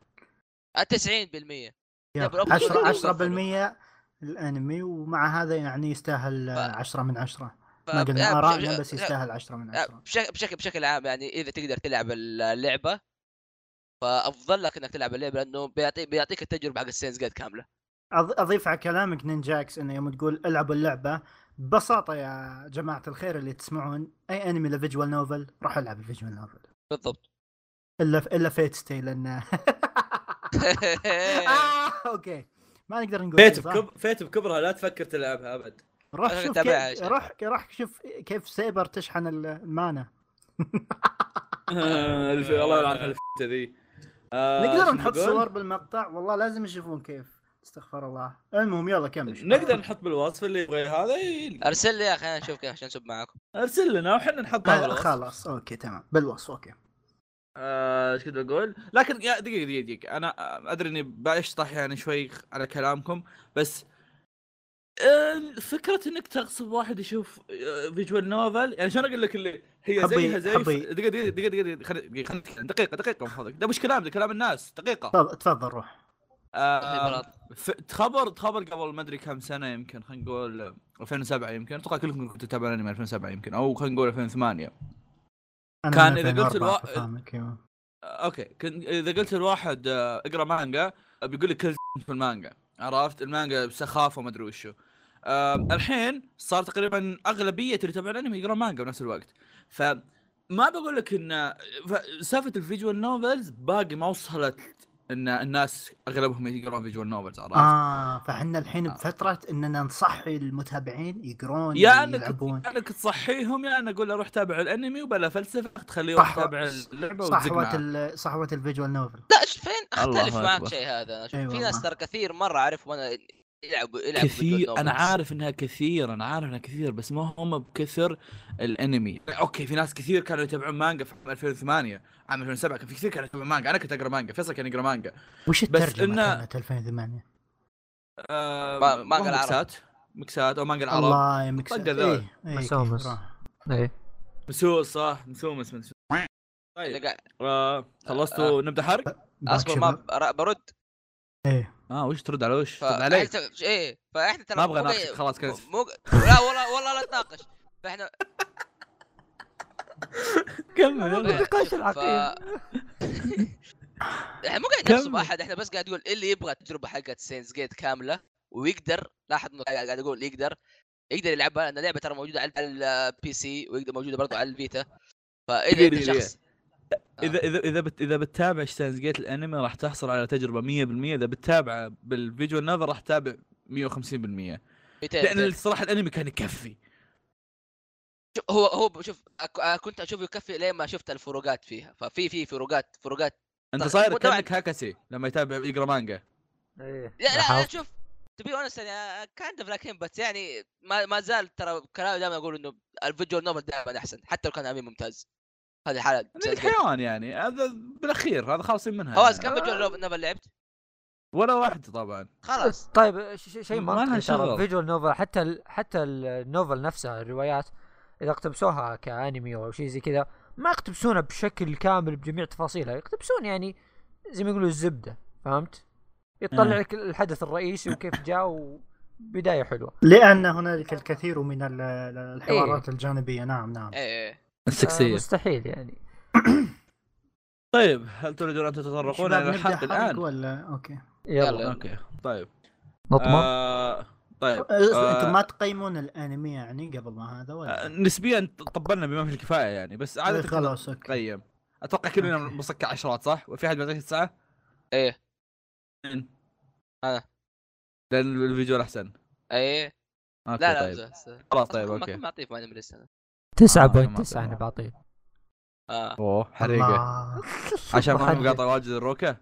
Speaker 3: آه، 90%
Speaker 4: يلا،
Speaker 3: طيب، رب-
Speaker 4: 10
Speaker 3: رب-
Speaker 4: 10% الانمي ومع هذا يعني يستاهل آه، 10 من 10
Speaker 3: ف...
Speaker 4: ما قلنا
Speaker 3: آه،
Speaker 4: ارائنا
Speaker 3: بش-
Speaker 4: بس
Speaker 3: لا،
Speaker 4: يستاهل 10 من
Speaker 3: آه،
Speaker 4: 10
Speaker 3: بشكل بشكل بشكل عام يعني اذا تقدر تلعب اللعبه فافضل لك انك تلعب اللعبه لانه بيعطي بيعطيك التجربه حق السينز جاد كامله
Speaker 4: أض- اضيف على كلامك نينجاكس انه يوم تقول العبوا اللعبه ببساطه يا جماعه الخير اللي تسمعون اي انمي لفيجوال نوفل روح العب الفيجوال نوفل
Speaker 3: بالضبط
Speaker 4: الا الا فيت ستي لان
Speaker 3: إيه.
Speaker 4: آه، اوكي ما نقدر نقول شيء،
Speaker 2: فيت
Speaker 4: صح؟
Speaker 2: بكب فيت بكبرها لا تفكر تلعبها ابد
Speaker 4: روح
Speaker 3: أنا
Speaker 4: شوف
Speaker 3: أتابعها يا
Speaker 4: كيف
Speaker 3: شيخ.
Speaker 4: روح روح شوف كيف سيبر تشحن ال- المانا
Speaker 2: الف- الله يلعن الفتة ذي آه،
Speaker 4: نقدر
Speaker 2: شو
Speaker 4: نحط
Speaker 2: بقول؟
Speaker 4: صور بالمقطع والله لازم يشوفون كيف استغفر الله المهم يلا كمل
Speaker 2: نقدر نحط بالوصف اللي يبغى هذا يلقى.
Speaker 3: ارسل لي يا اخي انا اشوف كيف عشان اسب معاكم
Speaker 2: ارسل لنا وحنا نحطها
Speaker 4: آه،
Speaker 2: بالوصف
Speaker 4: خلاص اوكي تمام بالوصف اوكي
Speaker 2: آه، ايش كنت بقول؟ لكن يا دقيقه دقيقه دقيقه انا آه، ادري اني بشطح يعني شوي على كلامكم بس آه، فكرة انك تغصب واحد يشوف فيجوال نوفل يعني شلون اقول لك اللي هي
Speaker 4: حبي-
Speaker 2: زيها زي ف-
Speaker 4: حبي.
Speaker 2: دقيقة دقيقة دقيقة دقيقة خلي- دقيقة خلي نتكلم. دقيقة دقيقة المفروض ده مش كلام ده كلام الناس دقيقة
Speaker 4: تفضل تفضل روح
Speaker 2: آه،
Speaker 3: طيب،
Speaker 2: ف- تخبر تخبر قبل ما ادري كم سنه يمكن خلينا نقول 2007 يمكن اتوقع كلكم كنتوا تتابعون انمي 2007 يمكن او خلينا نقول 2008
Speaker 4: أنا
Speaker 2: كان
Speaker 4: من
Speaker 2: إذا قلت
Speaker 4: 2004
Speaker 2: الوا-
Speaker 4: فاهمك، يلا.
Speaker 2: آه، اوكي كن اذا قلت لواحد آه، اقرا مانجا آه، بيقول لك كل في المانجا عرفت المانجا بسخافه وما ادري وشو آه، الحين صار تقريبا اغلبيه اللي يتابعون الانمي يقرا مانجا بنفس الوقت ف ما بقول لك ان ف- سالفه الفيجوال نوفلز باقي ما وصلت ان الناس اغلبهم يقرون فيجوال نوفلز عرفت؟
Speaker 4: اه فاحنا الحين
Speaker 2: آه.
Speaker 4: بفتره اننا نصحي المتابعين يقرون
Speaker 2: يا انك
Speaker 4: يلعبون
Speaker 2: يا انك تصحيهم يا انا اقول له روح تابع الانمي وبلا فلسفه تخليه
Speaker 4: صح-
Speaker 2: يروح يتابع اللعبه وتزق
Speaker 4: صحوه
Speaker 2: معاه.
Speaker 4: ال- صحوه الفيجوال نوفل
Speaker 3: لا شوف فين
Speaker 2: الله
Speaker 3: اختلف معك
Speaker 2: أكبر.
Speaker 3: شيء هذا أنا أشوف
Speaker 4: أي
Speaker 3: في ناس
Speaker 4: والله.
Speaker 3: ترى كثير مره اعرفهم انا يلعبوا يلعبوا
Speaker 2: كثير
Speaker 3: بالجود
Speaker 2: انا
Speaker 3: novels.
Speaker 2: عارف انها كثير انا عارف انها كثير بس ما هم بكثر الانمي اوكي في ناس كثير كانوا يتابعون مانجا في عام 2008 عام 2007 كان في كثير كانوا يتابعون مانجا انا كنت اقرا مانجا فيصل كان يقرا مانجا
Speaker 4: وش
Speaker 2: بس
Speaker 4: الترجمه
Speaker 2: إنه-
Speaker 4: كانت 2008
Speaker 2: آه
Speaker 3: ما-
Speaker 2: ما
Speaker 3: مانجا
Speaker 2: هو
Speaker 3: العرب.
Speaker 2: مكسات مكسات او مانجا العرب
Speaker 4: الله يا مكس
Speaker 2: طق ذول.
Speaker 4: إيه، إيه،
Speaker 1: مسومس.
Speaker 4: كثيرة.
Speaker 1: ايه
Speaker 2: مسوس صح مسومس مسوس
Speaker 3: اللي
Speaker 2: طيب
Speaker 3: قاعد-
Speaker 2: آه خلصتوا نبدا حرق؟
Speaker 3: اصبر ما ب- برد
Speaker 4: ايه
Speaker 2: اه وش ترد على وش؟
Speaker 3: ف...
Speaker 2: ترد عليك
Speaker 3: ايه فاحنا ترى
Speaker 2: ما ابغى
Speaker 3: مو جاي-
Speaker 2: اناقشك خلاص كذا
Speaker 3: مو لا والله والله لا تناقش فاحنا
Speaker 2: كمل
Speaker 1: النقاش
Speaker 3: ف...
Speaker 1: العقيم
Speaker 3: احنا مو قاعد نحسب
Speaker 2: كمل.
Speaker 3: احد احنا بس قاعد نقول إيه اللي يبغى التجربه حقت سينز جيت كامله ويقدر لاحظ إنه قاعد قاعد اقول يقدر يقدر يلعبها لان اللعبه ترى موجوده على البي سي ويقدر موجوده برضو على الفيتا فاذا انت
Speaker 2: دقيقة، دقيقة.
Speaker 3: شخص آه.
Speaker 2: اذا اذا اذا بت اذا بتتابع شتاينز جيت الانمي راح تحصل على تجربه 100% اذا بتتابعه بالفيجوال نوفل راح تتابع 150%
Speaker 3: 200
Speaker 2: لان
Speaker 3: 200.
Speaker 2: الصراحه الانمي كان يكفي
Speaker 3: شوف- هو هو شوف أك- آه، كنت اشوف يكفي لين ما شفت الفروقات فيها ففي في فروقات فروقات
Speaker 2: انت
Speaker 3: طيب،
Speaker 2: صاير
Speaker 3: مو
Speaker 2: كانك هاكسي لما يتابع يقرا مانجا
Speaker 1: ايه
Speaker 3: لا لا, لا
Speaker 1: لاحظت؟
Speaker 3: شوف تبي اونست يعني كان لكن بس يعني ما ما زال ترى كلامي دائما اقول انه الفيجوال نوفل دائما احسن حتى لو كان امين ممتاز هذه حاله
Speaker 2: مثل حيوان يعني هذا بالاخير هذا خالصين منها
Speaker 3: فواز
Speaker 2: يعني.
Speaker 3: كم فيجوال نوفل لعبت؟
Speaker 2: ولا واحد طبعا
Speaker 3: خلاص
Speaker 1: طيب ش- ش- شيء
Speaker 2: ما لها
Speaker 1: منطقي
Speaker 2: شغل.
Speaker 1: ترى فيجوال نوفل حتى ال... حتى النوفل نفسها الروايات اذا اقتبسوها كانمي او شيء زي كذا ما يقتبسونها بشكل كامل بجميع تفاصيلها يقتبسون يعني زي ما يقولوا الزبده فهمت؟ يطلع
Speaker 2: آه.
Speaker 1: لك الحدث الرئيسي وكيف جاء وبدايه حلوه
Speaker 4: لان هنالك الكثير من ال- ال- الحوارات الجانبيه نعم نعم
Speaker 3: ايه
Speaker 1: آه
Speaker 2: السكسيه
Speaker 1: مستحيل يعني
Speaker 2: طيب هل تريدون ان تتطرقون
Speaker 4: شباب،
Speaker 2: الى
Speaker 4: نبدأ
Speaker 2: الحرق
Speaker 4: حرق
Speaker 2: الان؟
Speaker 4: ولا اوكي
Speaker 1: يلا
Speaker 3: يلا.
Speaker 2: اوكي طيب
Speaker 1: نطمع
Speaker 2: آه، طيب
Speaker 4: أه،
Speaker 2: آه.
Speaker 4: انتم ما تقيمون الانمي يعني قبل ما هذا
Speaker 2: آه،
Speaker 4: ولا
Speaker 2: نسبيا طبلنا بما فيه الكفايه يعني بس
Speaker 4: إيه،
Speaker 2: عاده
Speaker 4: خلاص اوكي
Speaker 2: قيم اتوقع كلنا
Speaker 4: أوكي.
Speaker 2: مسكع عشرات صح؟ وفي احد بيعطيك تسعه؟ إيه.
Speaker 3: ايه
Speaker 2: مين؟
Speaker 3: أنا.
Speaker 2: لان الفيجوال احسن
Speaker 3: ايه
Speaker 2: اوكي
Speaker 3: لا لا
Speaker 2: طيب
Speaker 3: طيب.
Speaker 2: خلاص طيب اوكي
Speaker 3: ما اعطيه ما لسه انا
Speaker 1: تسعة
Speaker 2: آه،
Speaker 1: بوينت
Speaker 2: ما
Speaker 1: تسعة انا
Speaker 2: أدري.
Speaker 1: بعطيه
Speaker 3: اه
Speaker 2: اوه حريقه
Speaker 4: الله.
Speaker 2: عشان ما
Speaker 1: محدد.
Speaker 2: مقاطع واجد الروكه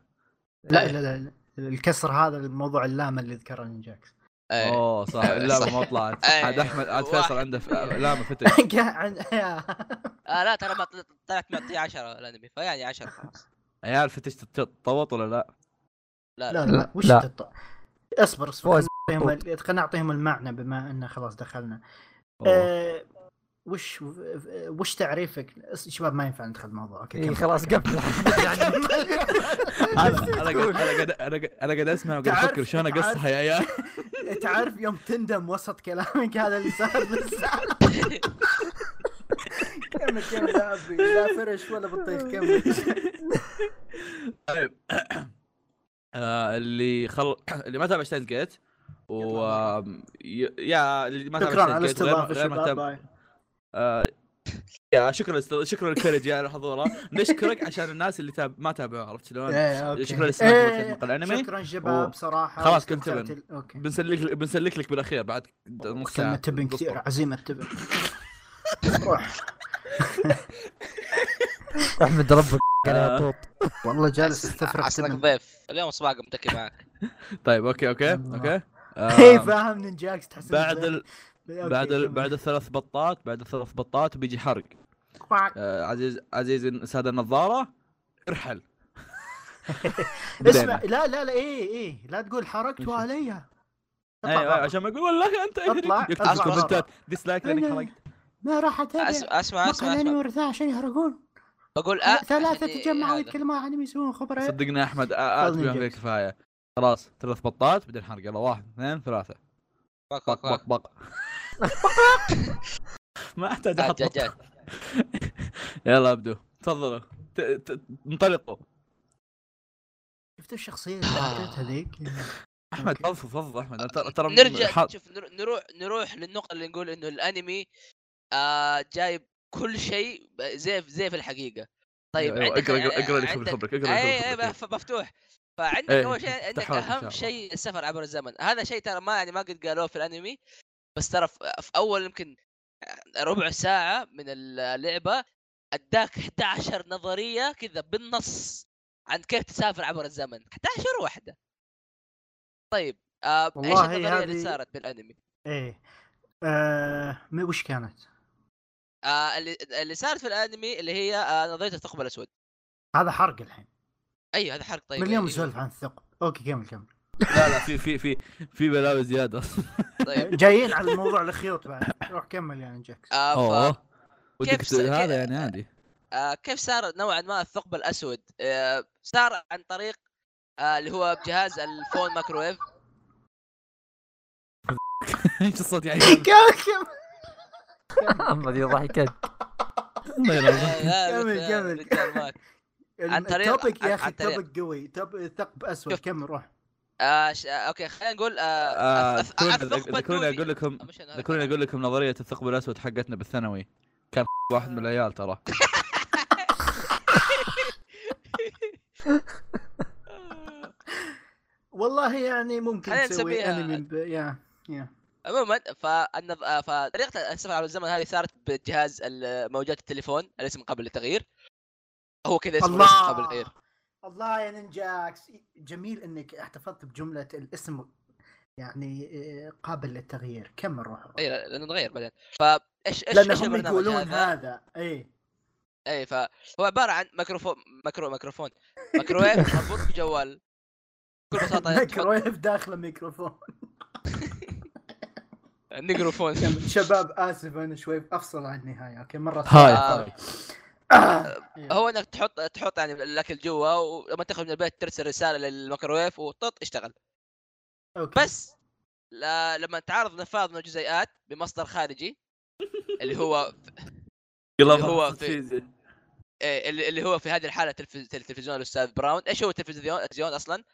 Speaker 4: لا لا لا لا. الكسر هذا الموضوع اللام اللي ذكره لين جاكس
Speaker 3: ايه
Speaker 2: اوه صح اللعبه
Speaker 3: صح.
Speaker 2: ما طلعت
Speaker 3: إيه.
Speaker 2: عاد احمد عاد فيصل
Speaker 3: واحد.
Speaker 2: عنده ف- لامه فتش
Speaker 4: يعني،
Speaker 3: آه، لا ترى ما طل- طلعت معطيه 10 الانمي فيعني 10 خلاص
Speaker 2: عيال فتش تطوط ولا لا؟
Speaker 3: لا
Speaker 4: لا
Speaker 3: لا
Speaker 4: لا وش
Speaker 1: لا.
Speaker 4: تط- اصبر اصبر
Speaker 1: فوز.
Speaker 4: خلنا نعطيهم ال- خلنا نعطيهم المعنى بما ان خلاص دخلنا
Speaker 2: أوه.
Speaker 4: أه، وش وش تعريفك أس- شباب ما ينفع ندخل الموضوع اوكي
Speaker 1: اي
Speaker 4: كمل.
Speaker 1: إيه، خلاص قبل يعني
Speaker 2: انا انا قاعد انا قاعد انا قاعد- انا قاعد اسمع وقاعد
Speaker 4: تعرف-
Speaker 2: افكر شلون
Speaker 4: تعرف.
Speaker 2: اقصها يا عيال
Speaker 4: تعرف يوم تندم وسط كلامك هذا اللي صار بالسالفة. كمل كمل لا أبي، لا فرش ولا بطيخ كمل
Speaker 2: طيب آه، اللي خل اللي ما تابع شتاينز جيت و
Speaker 4: يطلع
Speaker 2: ي- يا اللي ما تابع
Speaker 4: شكرا
Speaker 2: شتاينز
Speaker 4: على
Speaker 2: جيت غير
Speaker 4: الاستضافه
Speaker 2: غير ما
Speaker 4: شباب
Speaker 2: تابع
Speaker 4: باي.
Speaker 2: يا شكرا لست- شكرا الكوريج يا على حضوره نشكرك عشان الناس اللي تاب... ما تابعوا عرفت شلون؟
Speaker 4: إيه، أوكي.
Speaker 2: شكرا للاستضافه
Speaker 4: إيه،
Speaker 2: في حلقة الانمي
Speaker 4: شكرا شباب
Speaker 2: و-
Speaker 4: صراحه
Speaker 2: خلاص كنت
Speaker 4: واستمتعت
Speaker 2: بن.
Speaker 4: ال- اوكي
Speaker 2: بنسلك بنسلك لك بالاخير بعد نص ساعه
Speaker 4: كلمة تبن كثير
Speaker 2: اصبر.
Speaker 4: عزيمة تبن روح
Speaker 1: احمد ربك يا
Speaker 2: آه.
Speaker 1: طوط
Speaker 4: والله جالس استفرغ
Speaker 3: عسلك
Speaker 4: تبن
Speaker 3: ضيف اليوم صباح متكي معك
Speaker 2: طيب اوكي اوكي
Speaker 4: الله.
Speaker 2: اوكي
Speaker 4: اي
Speaker 2: آم،
Speaker 4: إيه، فاهم من جاكس تحس إنه
Speaker 2: بعد
Speaker 4: زين.
Speaker 2: ال...
Speaker 4: إيه، أوكي،
Speaker 2: بعد ال...
Speaker 4: كمل.
Speaker 2: بعد الثلاث بطات بعد الثلاث بطات بيجي حرق
Speaker 4: كواك.
Speaker 2: آه، عزيز عزيز ساده النظاره ارحل
Speaker 4: اسمع
Speaker 2: بدينا.
Speaker 4: لا لا لا اي اي لا تقول حركتوا علي
Speaker 2: ايوه أيوة، عشان ما اقول والله انت أدري.
Speaker 4: اطلع
Speaker 2: يكتب
Speaker 4: اطلع
Speaker 2: كومنتات
Speaker 4: برا.
Speaker 2: ديسلايك لانك
Speaker 4: أنا-
Speaker 2: حرقت
Speaker 4: ما راح اتابع
Speaker 3: اسمع اسمع
Speaker 4: مقهى
Speaker 3: اسمع,
Speaker 4: الانمي
Speaker 3: أسمع.
Speaker 4: والرثاء عشان يهرقون
Speaker 3: بقول آه
Speaker 4: ثلاثة
Speaker 3: يعني
Speaker 4: تجمعوا
Speaker 3: هذا.
Speaker 4: يتكلموا عن انمي يسوون خبراء
Speaker 2: صدقني احمد آ- آ-
Speaker 4: فضل
Speaker 2: بما فيه
Speaker 4: جيبس.
Speaker 2: الكفايه خلاص ثلاث بطات بعدين حرق يلا واحد اثنين ثلاثه
Speaker 3: باك- باك-
Speaker 2: بق بق
Speaker 3: باك.
Speaker 2: بق ما احتاج
Speaker 3: آه،
Speaker 2: احط بق.
Speaker 3: جات- جات.
Speaker 2: يلا ابدوا تفضلوا ت- ت- انطلقوا
Speaker 4: شفتوا الشخصية اللي حطيت هذيك
Speaker 2: احمد
Speaker 4: أوكي.
Speaker 2: تفضل تفضل احمد أنا ترى ترى
Speaker 3: نرجع
Speaker 2: حاط-
Speaker 3: شوف نرو- نروح نروح للنقطه اللي نقول انه الانمي آه جايب كل شيء زي زي في الحقيقه طيب
Speaker 2: أيوة،
Speaker 3: عندك
Speaker 2: اقرا اقرا اقرا لي
Speaker 3: عندك- آه،
Speaker 2: خبرك خبرك اقرا
Speaker 3: اي
Speaker 2: لي
Speaker 3: اي
Speaker 2: خبرك
Speaker 3: إيه، مف- مفتوح فعندك
Speaker 2: إيه،
Speaker 3: اول شيء عندك
Speaker 2: تحرك إن شاء
Speaker 3: اهم
Speaker 2: الله.
Speaker 3: شيء السفر عبر الزمن هذا شيء ترى ما يعني ما قد قالوه في الانمي بس ترى في في اول يمكن ربع ساعه من اللعبه اداك 11 نظريه كذا بالنص عن كيف تسافر عبر الزمن 11 واحده طيب آه ايش
Speaker 4: والله
Speaker 3: النظريه اللي
Speaker 4: هذه-
Speaker 3: صارت بالانمي؟
Speaker 4: ايه آه م- وش كانت؟
Speaker 3: آه اللي اللي صارت في الانمي اللي هي آه نظريه الثقب الاسود
Speaker 4: هذا حرق الحين
Speaker 3: ايوه هذا حرق طيب
Speaker 4: من اليوم
Speaker 3: أيوة.
Speaker 4: نسولف عن الثقب اوكي كمل كمل
Speaker 2: لا لا في في في في بلاوي زياده
Speaker 3: طيب
Speaker 4: جايين على الموضوع الخيوط بعد روح كمل يعني جاكس
Speaker 3: آه ف...
Speaker 2: اوه ودك
Speaker 3: كيف س-
Speaker 2: ت- هذا
Speaker 3: كيف-
Speaker 2: يعني عادي
Speaker 3: آه كيف صار نوعا ما الثقب الاسود آه صار عن طريق آه اللي هو بجهاز الفون مايكرويف
Speaker 2: ايش الصوت يعني
Speaker 4: كمل كمل
Speaker 1: اما ذي ضحكت
Speaker 2: الله
Speaker 3: آه،
Speaker 2: يلعبك.
Speaker 4: كمل، كمل.
Speaker 3: عن طريق-
Speaker 4: التوبيك
Speaker 3: عن-
Speaker 4: يا اخي
Speaker 3: عن طريق-
Speaker 4: توبيك قوي توب- ثقب اسود
Speaker 3: شوف.
Speaker 4: كمل روح
Speaker 3: آه ش... آه اوكي خلينا نقول آه
Speaker 2: آه،
Speaker 3: الث- الث-
Speaker 2: ذكروني-
Speaker 3: الثقب
Speaker 2: ذكروني
Speaker 3: الدودي.
Speaker 2: اقول لكم
Speaker 3: آه، مش أنا.
Speaker 2: ذكروني اقول لكم نظريه الثقب الاسود حقتنا بالثانوي كان واحد من العيال ترى
Speaker 4: والله يعني ممكن
Speaker 3: خلينا
Speaker 4: تسوي
Speaker 3: نسميها-
Speaker 4: انمي ب- يا يا
Speaker 3: عموما فالنظ... آه، فطريقه السفر عبر الزمن هذه صارت بجهاز ال- موجات التليفون الاسم قبل التغيير هو كذا اسمه
Speaker 4: الله.
Speaker 3: الاسم قبل إيه؟ التغيير
Speaker 4: الله يا نينجاكس جميل انك احتفظت بجمله الاسم يعني آه، قابل للتغيير كمل روح روح.
Speaker 3: اي لا- لانه تغير بعدين فايش ايش ايش
Speaker 4: لانهم
Speaker 3: إيه، البرنامج
Speaker 4: يقولون
Speaker 3: هذا؟
Speaker 4: هذا إيه. اي
Speaker 3: اي فهو عباره عن ميكروفون ميكرو ميكروفون ميكروويف مربوط بجوال بكل بساطه تحط
Speaker 4: ميكرويف داخله ميكروفون
Speaker 3: ميكروفون
Speaker 4: كمل. شباب اسف انا شوي افصل عن النهايه اوكي مره
Speaker 2: هاي.
Speaker 4: ثانية. آه.
Speaker 3: هو انك تحط تحط يعني الاكل جوا ولما تخرج من البيت ترسل رساله للميكروويف وطط اشتغل
Speaker 4: أوكي.
Speaker 3: بس لا لما تعارض نفاذ من الجزيئات بمصدر خارجي اللي هو
Speaker 2: يلا
Speaker 3: هو في- إيه، اللي اللي هو في هذه الحاله تلفز- تل- تلفزيون الاستاذ براون ايش هو التلفزيون التلفزيون اصلا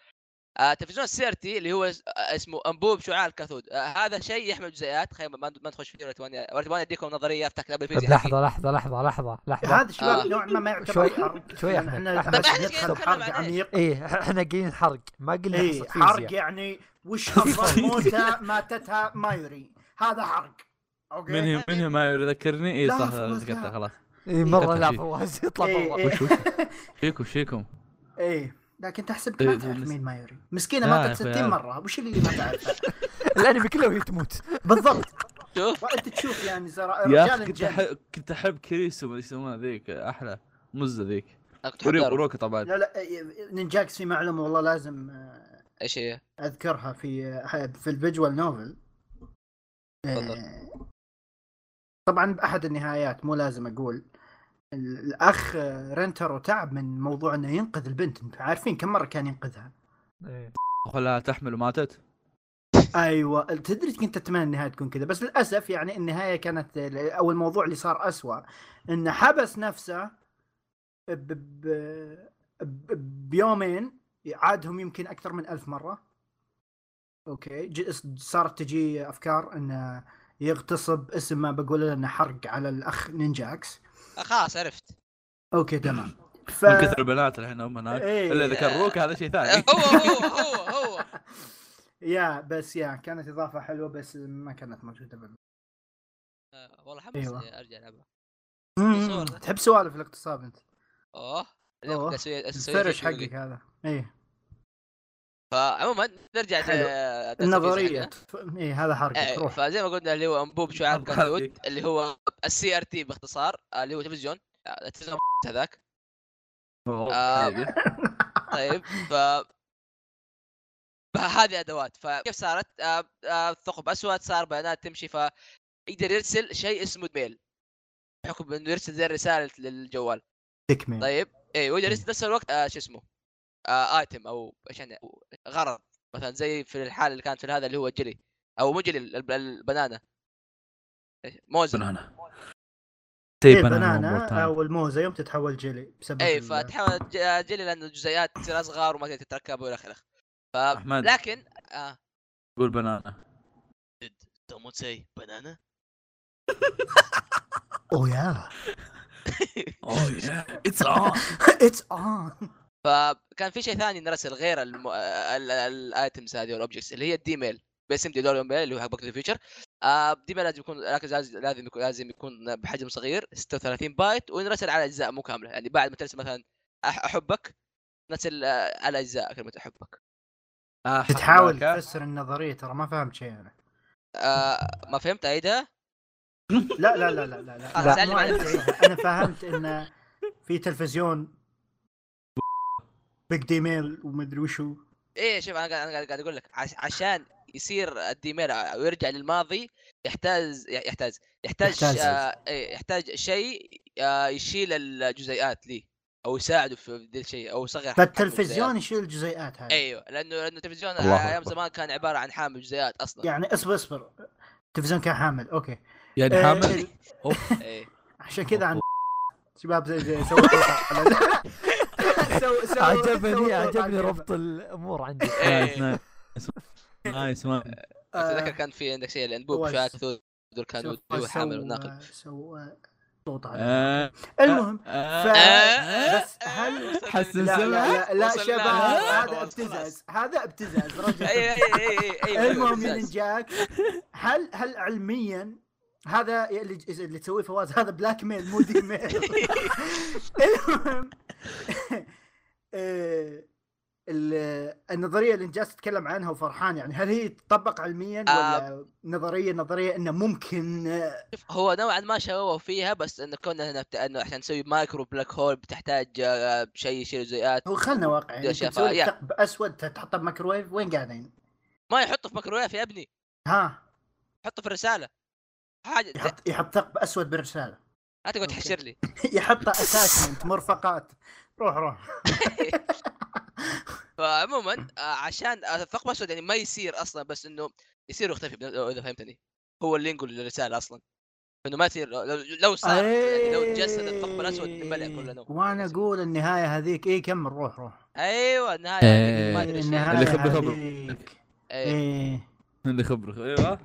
Speaker 3: آه تلفزيون سيرتي اللي هو اس- آه، اسمه انبوب شعاع الكاثود آه هذا شيء يحمل جزيئات خلينا ما ما نخش فيه ولا تبغاني ولا تبغاني اديكم نظريه افتح قبل
Speaker 1: طيب
Speaker 3: الفيزياء
Speaker 1: لحظه لحظه لحظه لحظه لحظه
Speaker 4: هذا شباب
Speaker 3: آه. طيب،
Speaker 4: نوعا ما ما يعتبر
Speaker 1: شوي-
Speaker 4: حرق
Speaker 1: شوي
Speaker 4: لأن
Speaker 1: أحمد.
Speaker 4: احنا
Speaker 1: أحمد.
Speaker 4: بس
Speaker 1: طب إحنا
Speaker 4: ندخل
Speaker 3: قاعدين نتكلم
Speaker 4: حرق
Speaker 3: عن إيه؟
Speaker 4: عميق
Speaker 1: ايه احنا قايلين حرق ما قلنا
Speaker 4: اي
Speaker 1: حصة
Speaker 4: إيه، حرق
Speaker 1: فيزياء.
Speaker 4: يعني وش افضل موته ماتتها مايوري هذا حرق اوكي
Speaker 2: من هي من هي ما يذكرني اي
Speaker 4: لا،
Speaker 2: صح
Speaker 4: خلاص،
Speaker 2: ذكرتها
Speaker 4: لا.
Speaker 2: خلاص
Speaker 1: ايه مره
Speaker 2: قطع
Speaker 1: لا
Speaker 2: فيه.
Speaker 1: فواز يطلع
Speaker 4: إيه،
Speaker 1: برا
Speaker 4: إيه.
Speaker 2: وش وش فيكم فيكم
Speaker 4: ايه لكن تحسب
Speaker 2: إيه،
Speaker 4: ما تعرف
Speaker 2: مس-
Speaker 4: مين مايوري مسكينه
Speaker 2: لا يا
Speaker 4: ماتت
Speaker 2: أخوي،
Speaker 4: 60
Speaker 2: هذا.
Speaker 4: مره وش اللي ما تعرفه
Speaker 1: الانمي كله وهي تموت
Speaker 4: بالضبط
Speaker 3: شوف
Speaker 4: وانت تشوف يعني زرا...
Speaker 2: يا اخي
Speaker 4: رجال
Speaker 2: كنت
Speaker 4: الجن
Speaker 2: احب كنت احب كريسو ما يسمونها ذيك احلى مزه ذيك
Speaker 3: أنا كنت
Speaker 2: وريو-
Speaker 3: أحب أعرف
Speaker 2: وروكا طبعا
Speaker 4: لا لا إيه، نينجاكس في معلومه والله لازم آه،
Speaker 3: ايش هي
Speaker 4: اذكرها في آه، في الفيجوال نوفل
Speaker 3: تفضل.
Speaker 4: آه، طبعا باحد النهايات مو لازم اقول ال- الاخ آه، رينترو تعب من موضوع انه ينقذ البنت انتم عارفين كم مره كان ينقذها
Speaker 1: إيه.
Speaker 2: خلاها تحمل وماتت
Speaker 4: ايوه تدري كنت اتمنى النهايه تكون كذا بس للاسف يعني النهايه كانت او الموضوع اللي صار اسوء انه حبس نفسه ب... ب... ب... بيومين عادهم يمكن اكثر من ألف مره اوكي ج... صارت تجي افكار انه يغتصب اسم ما بقول انه حرق على الاخ نينجاكس
Speaker 3: آه، خلاص عرفت
Speaker 4: اوكي تمام ف...
Speaker 2: من كثر البنات الحين هم هناك
Speaker 4: إيه.
Speaker 2: الا اذا كان روكا هذا شيء ثاني
Speaker 3: آه، هو هو هو هو
Speaker 4: يا بس يا كانت اضافه حلوه بس ما كانت موجوده بال...
Speaker 3: آه، والله حمس
Speaker 4: أيوة.
Speaker 3: ارجع العبها
Speaker 4: مم، تحب سوالف الاغتصاب انت
Speaker 3: اوه
Speaker 4: أوه.
Speaker 3: اليوم كنت أسوي- أسوي
Speaker 4: الفرش
Speaker 3: شيء يقول لي.
Speaker 4: حقك هذا ايه
Speaker 3: فعموما نرجع آه،
Speaker 4: حلو.
Speaker 3: ل- درس الفيزياء
Speaker 4: النظريه
Speaker 3: حقنا.
Speaker 4: اي هذا
Speaker 3: إيه،
Speaker 4: حركه روح
Speaker 3: فزي ما قلنا اللي هو انبوب شعاع
Speaker 2: أبغى
Speaker 3: الكاثود
Speaker 2: فيك.
Speaker 3: اللي هو السي ار تي باختصار آه، اللي هو تلفزيون آه، التلفزيون هذاك آه. طيب ف فهذه ادوات فكيف صارت؟ آه، آه، ثقب اسود صار بيانات تمشي فيقدر يرسل شيء اسمه ميل بحكم انه يرسل زي الرساله للجوال
Speaker 4: تكمل
Speaker 3: طيب اي ويقدر يرسل نفس الوقت آه، شو اسمه آه، ايتم او ايش يعني أو غرض مثلا زي في الحاله اللي كانت في هذا اللي هو جيلي او مو جيلي الب- البنانه إيش؟ موز
Speaker 2: بنانا طيب، تي
Speaker 4: إيه بنانا
Speaker 2: بنانا
Speaker 4: او الموزه يوم تتحول جيلي بسبب
Speaker 3: اي
Speaker 4: ال-
Speaker 3: فتحاول تج- جيلي لان الجزيئات تصير اصغر وما تقدر تتركب والى اخره
Speaker 2: احمد
Speaker 3: لكن اه
Speaker 2: قول بنانا
Speaker 3: دونت سي بنانا
Speaker 4: اوه يا إيه.
Speaker 2: اوه يا اتس اون
Speaker 4: اتس اون
Speaker 3: فكان في شيء ثاني نرسل غير الم... الايتمز هذه والاوبجكتس اللي هي الدي ميل باسم دي دولار ميل اللي هو حق باك تو ذا فيوتشر دي آه، ميل لازم يكون لكن لازم لازم يكون لازم يكون بحجم صغير 36 بايت وينرسل على اجزاء مو كامله يعني بعد ما ترسل مثلا أح- احبك نرسل آه، على اجزاء كلمه احبك
Speaker 2: آه، حق
Speaker 4: تحاول
Speaker 2: ذاك.
Speaker 4: تفسر النظريه ترى ما فهمت شيء انا
Speaker 3: آه ما فهمت عيدها
Speaker 4: لا لا لا لا لا, لا.
Speaker 3: خلاص، سألني
Speaker 4: مو
Speaker 3: بعد.
Speaker 4: عارف أعيدها. انا فهمت انه في تلفزيون بيج دي ميل ومدري وشو
Speaker 3: ايه شوف انا قاعد انا قاعد- قاعد اقول لك عش... عشان يصير الديمير او يرجع للماضي يحتاج يحتاج يحتاج
Speaker 4: يحتاج.
Speaker 3: يحتاج, آه... إيه، يحتاج شيء آه... يشيل الجزيئات ليه او يساعده في ذا الشيء او يصغر حجم
Speaker 4: فالتلفزيون
Speaker 3: الجزيئات.
Speaker 4: يشيل الجزيئات هذه
Speaker 3: ايوه لانه لانه التلفزيون
Speaker 2: الله
Speaker 3: ايام
Speaker 2: أكبر.
Speaker 3: زمان كان عباره عن حامل جزيئات اصلا
Speaker 4: يعني اصبر اصبر التلفزيون كان حامل اوكي
Speaker 2: يعني
Speaker 4: آه،
Speaker 2: حامل
Speaker 4: ال-
Speaker 2: اوف
Speaker 3: ايه
Speaker 4: عشان كذا عن شباب زي زي سووا توقع على- سووا- سووا- سووا
Speaker 1: عجبني
Speaker 4: توقع
Speaker 1: عجبني
Speaker 4: على
Speaker 1: ربط الامور عندي
Speaker 2: نايس،
Speaker 3: إيه.
Speaker 2: نايس. نايس مان
Speaker 4: آه،
Speaker 3: اتذكر كان في عندك شيء الانبوب
Speaker 4: هو
Speaker 3: شاك
Speaker 4: س-
Speaker 3: ذو ذو
Speaker 4: سووا-
Speaker 3: الكانود ذو حامل
Speaker 4: سووا-
Speaker 3: الناقل
Speaker 4: سووا ضغط على-
Speaker 2: آه،
Speaker 4: المهم
Speaker 2: آه،
Speaker 4: ف
Speaker 3: آه،
Speaker 4: بس هل
Speaker 2: حس
Speaker 4: لا لا لا, لا
Speaker 3: وصلنا.
Speaker 4: شباب
Speaker 3: آه،
Speaker 4: هذا
Speaker 3: خلاص،
Speaker 4: ابتزاز
Speaker 3: خلاص.
Speaker 4: هذا ابتزاز
Speaker 3: اي
Speaker 4: رجل
Speaker 3: اي اي اي اي
Speaker 4: المهم
Speaker 3: بالذات.
Speaker 4: ينجاك أيوة، هل هل علميا هذا اللي اللي تسويه فواز هذا بلاك ميل مو ديك ميل المهم آه، ال- النظريه اللي انجاز تتكلم عنها وفرحان يعني هل هي تطبق علميا
Speaker 3: آه،
Speaker 4: ولا نظريه نظريه انه ممكن آه،
Speaker 3: شوف هو نوعا ما شووا فيها بس انه كنا هنا بت- انه عشان نسوي مايكرو بلاك هول بتحتاج آه، شيء يشيل جزيئات
Speaker 4: هو خلنا واقعيين
Speaker 3: يا
Speaker 4: انت
Speaker 3: شفا-
Speaker 4: تسوي
Speaker 3: يا.
Speaker 4: ثقب اسود تحطه بميكروويف وين قاعدين؟
Speaker 3: ما يحطه في ميكروويف يا ابني
Speaker 4: ها
Speaker 3: حطه في الرساله حاجه لا
Speaker 4: يحط يحط ثقب اسود بالرساله
Speaker 3: تقعد
Speaker 4: أوكي.
Speaker 3: تحشر لي
Speaker 4: يحطه اتاتشمنت مرفقات روح روح
Speaker 3: فعموما آه، عشان آه، الثقب الاسود يعني ما يصير اصلا بس انه يصير ويختفي بن- لو- اذا فهمتني هو اللي ينقل الرساله اصلا انه ما يصير لو, لو صار يعني لو تجسد الثقب الاسود نبلع كلنا
Speaker 4: وانا اقول النهايه هذيك ايه كمل روح روح
Speaker 3: ايوه النهايه هذيك ما
Speaker 2: إيه،
Speaker 3: ادري إيش هي.
Speaker 4: النهايه
Speaker 2: اللي خبر خبر.
Speaker 4: هذيك
Speaker 3: إيه.
Speaker 4: ايه
Speaker 2: اللي خبره ايوه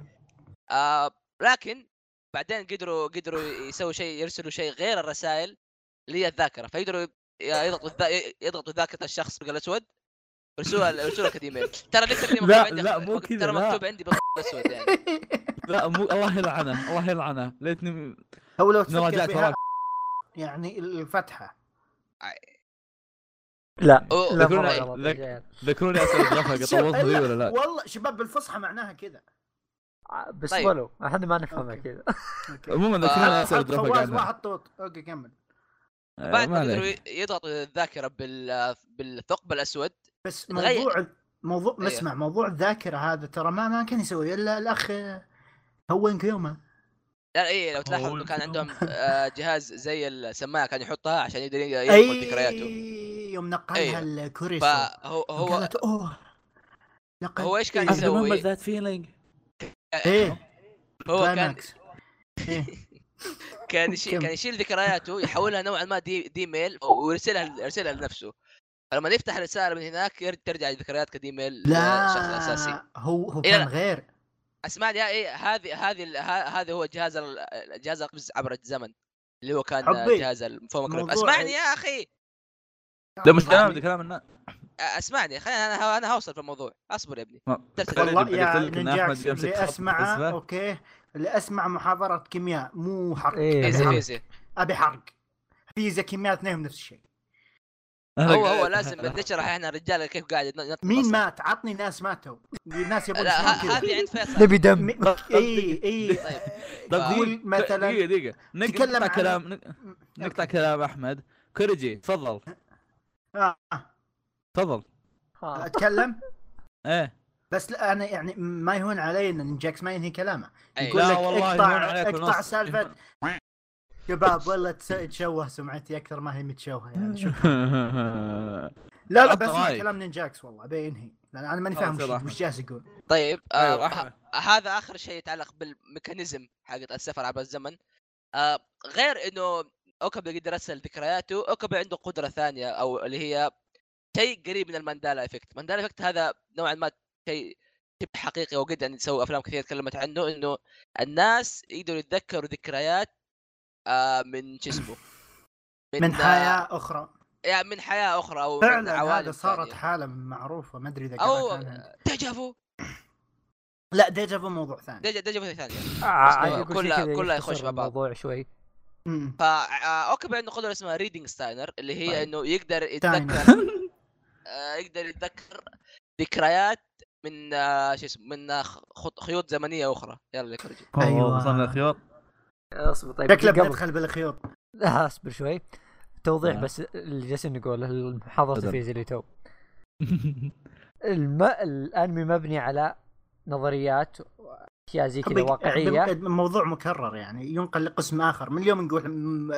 Speaker 3: آه لكن بعدين قدروا قدروا يسووا شيء يرسلوا شيء غير الرسائل اللي هي الذاكره فيقدروا ي- يضغطوا الذا... يضغطوا ذاكره الشخص بالقلم الاسود يرسلوها يرسلوها كايميل ترى ليش تقريبا
Speaker 2: لا،
Speaker 3: مكتوب عندي-
Speaker 2: لا، مو
Speaker 3: مك-
Speaker 2: كذا،
Speaker 3: ترى
Speaker 2: لا.
Speaker 3: مكتوب عندي بالقلم الاسود يعني
Speaker 2: لا مو الله يلعنه الله يلعنه ليتني
Speaker 4: هو لو
Speaker 2: نراجعك
Speaker 4: تفكر
Speaker 2: وراك
Speaker 4: فيها يعني الفتحه
Speaker 1: لا
Speaker 3: أو-
Speaker 1: لا
Speaker 2: يقولون-
Speaker 1: مرة غلط إيه، يا
Speaker 2: لك-
Speaker 1: جيل.
Speaker 2: ذكروني اسال غفقه
Speaker 4: شوف،
Speaker 2: طولت لي ولا لا
Speaker 4: والله شباب بالفصحى معناها كذا
Speaker 1: ع- بس
Speaker 3: طيب.
Speaker 1: ولو احنا ما نفهمها
Speaker 4: أوكي.
Speaker 1: كذا
Speaker 2: عموما ذكروني
Speaker 3: آه،
Speaker 2: اسال
Speaker 4: حط
Speaker 2: غفقه
Speaker 4: فواز
Speaker 2: عنها
Speaker 4: واحد طوط اوكي كمل
Speaker 2: آه،
Speaker 3: بعد
Speaker 2: ما
Speaker 3: ما
Speaker 2: عليك.
Speaker 3: قدروا ي- يضغطوا الذاكره بال... بالثقب الاسود
Speaker 4: بس
Speaker 3: تغير.
Speaker 4: موضوع موضوع
Speaker 3: أيوه.
Speaker 4: اسمع موضوع الذاكره هذا ترى ما ما كان يسوي الا الاخ هون كيوما
Speaker 3: لا اي لو تلاحظ
Speaker 2: أوه،
Speaker 3: انه كان
Speaker 2: يمكن
Speaker 3: عندهم آه، جهاز زي السماعه كان يحطها عشان يقدر ينقل
Speaker 2: إيه،
Speaker 3: ذكرياته
Speaker 4: اي يوم نقلها
Speaker 3: أيوه.
Speaker 4: الكرسي
Speaker 3: فهو هو
Speaker 4: قالت اوه لقد
Speaker 3: هو إيش كان
Speaker 2: I
Speaker 3: يسوي؟
Speaker 2: remember that feeling.
Speaker 4: ايه
Speaker 3: هو كان
Speaker 4: كلايماكس. إيه.
Speaker 3: كان يشيل
Speaker 4: كم؟
Speaker 3: كان يشيل ذكرياته يحولها نوعا ما دي, دي ميل ويرسلها يرسلها لنفسه فلما يفتح الرساله من هناك ير- ترجع الذكريات كدي ميل
Speaker 4: لا
Speaker 3: للشخص الاساسي
Speaker 4: هو هو
Speaker 3: إيه،
Speaker 4: كان
Speaker 3: لا.
Speaker 4: غير
Speaker 3: اسمعني يا ايه هذه هذه ال- ه- هذا هو جهاز ال- جهاز القفز عبر الزمن اللي هو كان
Speaker 4: حبي،
Speaker 3: جهاز الفوم
Speaker 4: موضوع
Speaker 3: اسمعني
Speaker 4: ال-
Speaker 3: يا اخي
Speaker 2: لا مش كلام ده كلام الناس
Speaker 3: اسمعني خلينا انا انا هوصل في الموضوع اصبر يا ابني
Speaker 2: ما-
Speaker 3: ترسل-
Speaker 2: خليني
Speaker 4: والله يا
Speaker 2: بقول لك إن أحمد
Speaker 4: نجاكس
Speaker 2: بيمسك
Speaker 4: اللي
Speaker 2: خط
Speaker 4: اسمعه
Speaker 2: بالنسبة.
Speaker 4: اوكي اللي اسمع محاضره كيمياء مو حرق
Speaker 1: إيه،
Speaker 3: ايزي
Speaker 1: إيه.
Speaker 4: حرق.
Speaker 3: ايزي
Speaker 4: ابي حرق فيزياء كيمياء اثنينهم نفس الشيء
Speaker 3: هو هو لازم نشرح احنا الرجال كيف قاعد يتن- يتنصر.
Speaker 4: مين مات عطني ناس ماتوا الناس يبون
Speaker 3: لا ه-
Speaker 4: يسمعون كذا
Speaker 3: هذه عند فيصل
Speaker 1: نبي دم
Speaker 4: م- اي اي
Speaker 3: طيب.
Speaker 2: طب
Speaker 3: آه.
Speaker 4: قول
Speaker 2: دقيقة-
Speaker 4: مثلاً-
Speaker 2: دقيقة دقيقة نك-
Speaker 4: تكلم
Speaker 2: نقطع
Speaker 4: عن-
Speaker 2: كلام نك- نقطع كلام أحمد كوريجي تفضل
Speaker 4: آه، آه.
Speaker 2: تفضل
Speaker 1: ها.
Speaker 4: اتكلم
Speaker 2: ايه
Speaker 4: بس لا انا يعني ما يهون علي ان جاكس ما ينهي كلامه
Speaker 3: أي.
Speaker 4: يقول
Speaker 2: لا
Speaker 4: لك
Speaker 2: والله يهون
Speaker 4: اقطع
Speaker 2: عليك
Speaker 4: اقطع
Speaker 2: ونص.
Speaker 4: سالفه شباب والله تس- تشوه سمعتي اكثر ما هي متشوهه يعني شوف لا لا
Speaker 2: عطنا
Speaker 4: بس
Speaker 2: رأيك.
Speaker 4: كلام نينجاكس والله ابي انهي لان انا ماني
Speaker 2: خلاص
Speaker 4: فاهم
Speaker 2: يلا
Speaker 4: وش-
Speaker 2: أحمد.
Speaker 4: وش جالس يقول
Speaker 3: طيب
Speaker 2: أيوة،
Speaker 3: آه
Speaker 2: أحمد.
Speaker 3: ه- هذا اخر شيء يتعلق بالميكانيزم حقت السفر عبر الزمن آه غير انه اوكابي يقدر يرسل ذكرياته اوكابي عنده قدره ثانيه او اللي هي شيء قريب من الماندالا افكت ماندالا افكت هذا نوعا ما شيء شبه حقيقي وقد يعني سووا افلام كثير تكلمت عنه انه الناس يقدروا يتذكروا ذكريات آه من شو اسمه
Speaker 4: من
Speaker 3: آه،
Speaker 4: حياه اخرى
Speaker 3: يعني من حياه اخرى او من
Speaker 4: فعلا
Speaker 3: عوالم
Speaker 4: هذا صارت
Speaker 3: ثانية.
Speaker 4: حاله معروفه ما ادري اذا
Speaker 3: أو-
Speaker 4: قرأت عنها.
Speaker 3: دجافو
Speaker 4: لا ديجافو موضوع ثاني
Speaker 3: دج- دجافو ثانية
Speaker 1: ع-
Speaker 3: اسمعوا،
Speaker 1: يقول شي
Speaker 3: كلها-
Speaker 1: كذا
Speaker 3: كلها
Speaker 1: يختصر
Speaker 3: يخش مع بعض.
Speaker 1: الموضوع شوي
Speaker 4: مم.
Speaker 3: فا اوكي عنده قدره اسمها ريدنج ستاينر اللي هي
Speaker 1: طيب.
Speaker 3: انه يقدر
Speaker 4: ستاينر.
Speaker 3: يتذكر آه، يقدر يتذكر ذكريات من آه، شو اسمه من آه، خط- خيوط زمنيه اخرى يلا لك رجل
Speaker 4: أيوة.
Speaker 5: أوه، وصلنا للخيوط
Speaker 1: اصبر طيب
Speaker 4: شكله
Speaker 1: قبل
Speaker 4: بندخل بالخيوط
Speaker 1: لا، اصبر شوي توضيح
Speaker 2: آه.
Speaker 1: بس اللي جالسين نقوله اللي حضرت
Speaker 2: تفضل.
Speaker 1: فيه اللي تو الم... الانمي مبني على نظريات واشياء زي كذا
Speaker 4: حبك-
Speaker 1: واقعيه
Speaker 4: حبك- موضوع مكرر يعني ينقل لقسم اخر من اليوم نقول م-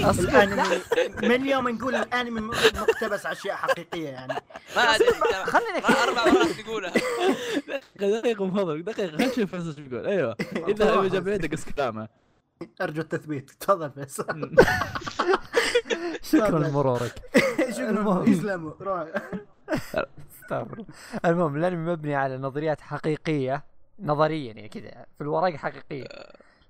Speaker 1: اصبر لا،
Speaker 4: الانمي من اليوم نقول الانمي م- مقتبس على اشياء حقيقيه يعني
Speaker 3: ما ادري
Speaker 1: خليني
Speaker 3: ما اربع مرات تقولها
Speaker 2: دقيقه دقيقه مفضل دقيقه خلينا نشوف فيصل شو بيقول ايوه اذا
Speaker 4: والله
Speaker 2: هو جاب يدك اس كلامه
Speaker 4: ارجو التثبيت تفضل فيصل
Speaker 1: شكرا لمرورك
Speaker 4: شكرا
Speaker 1: المهم.
Speaker 4: يسلموا روح
Speaker 1: استغفر الله. المهم الانمي مبني على نظريات حقيقيه نظريا يعني كذا في الورق حقيقيه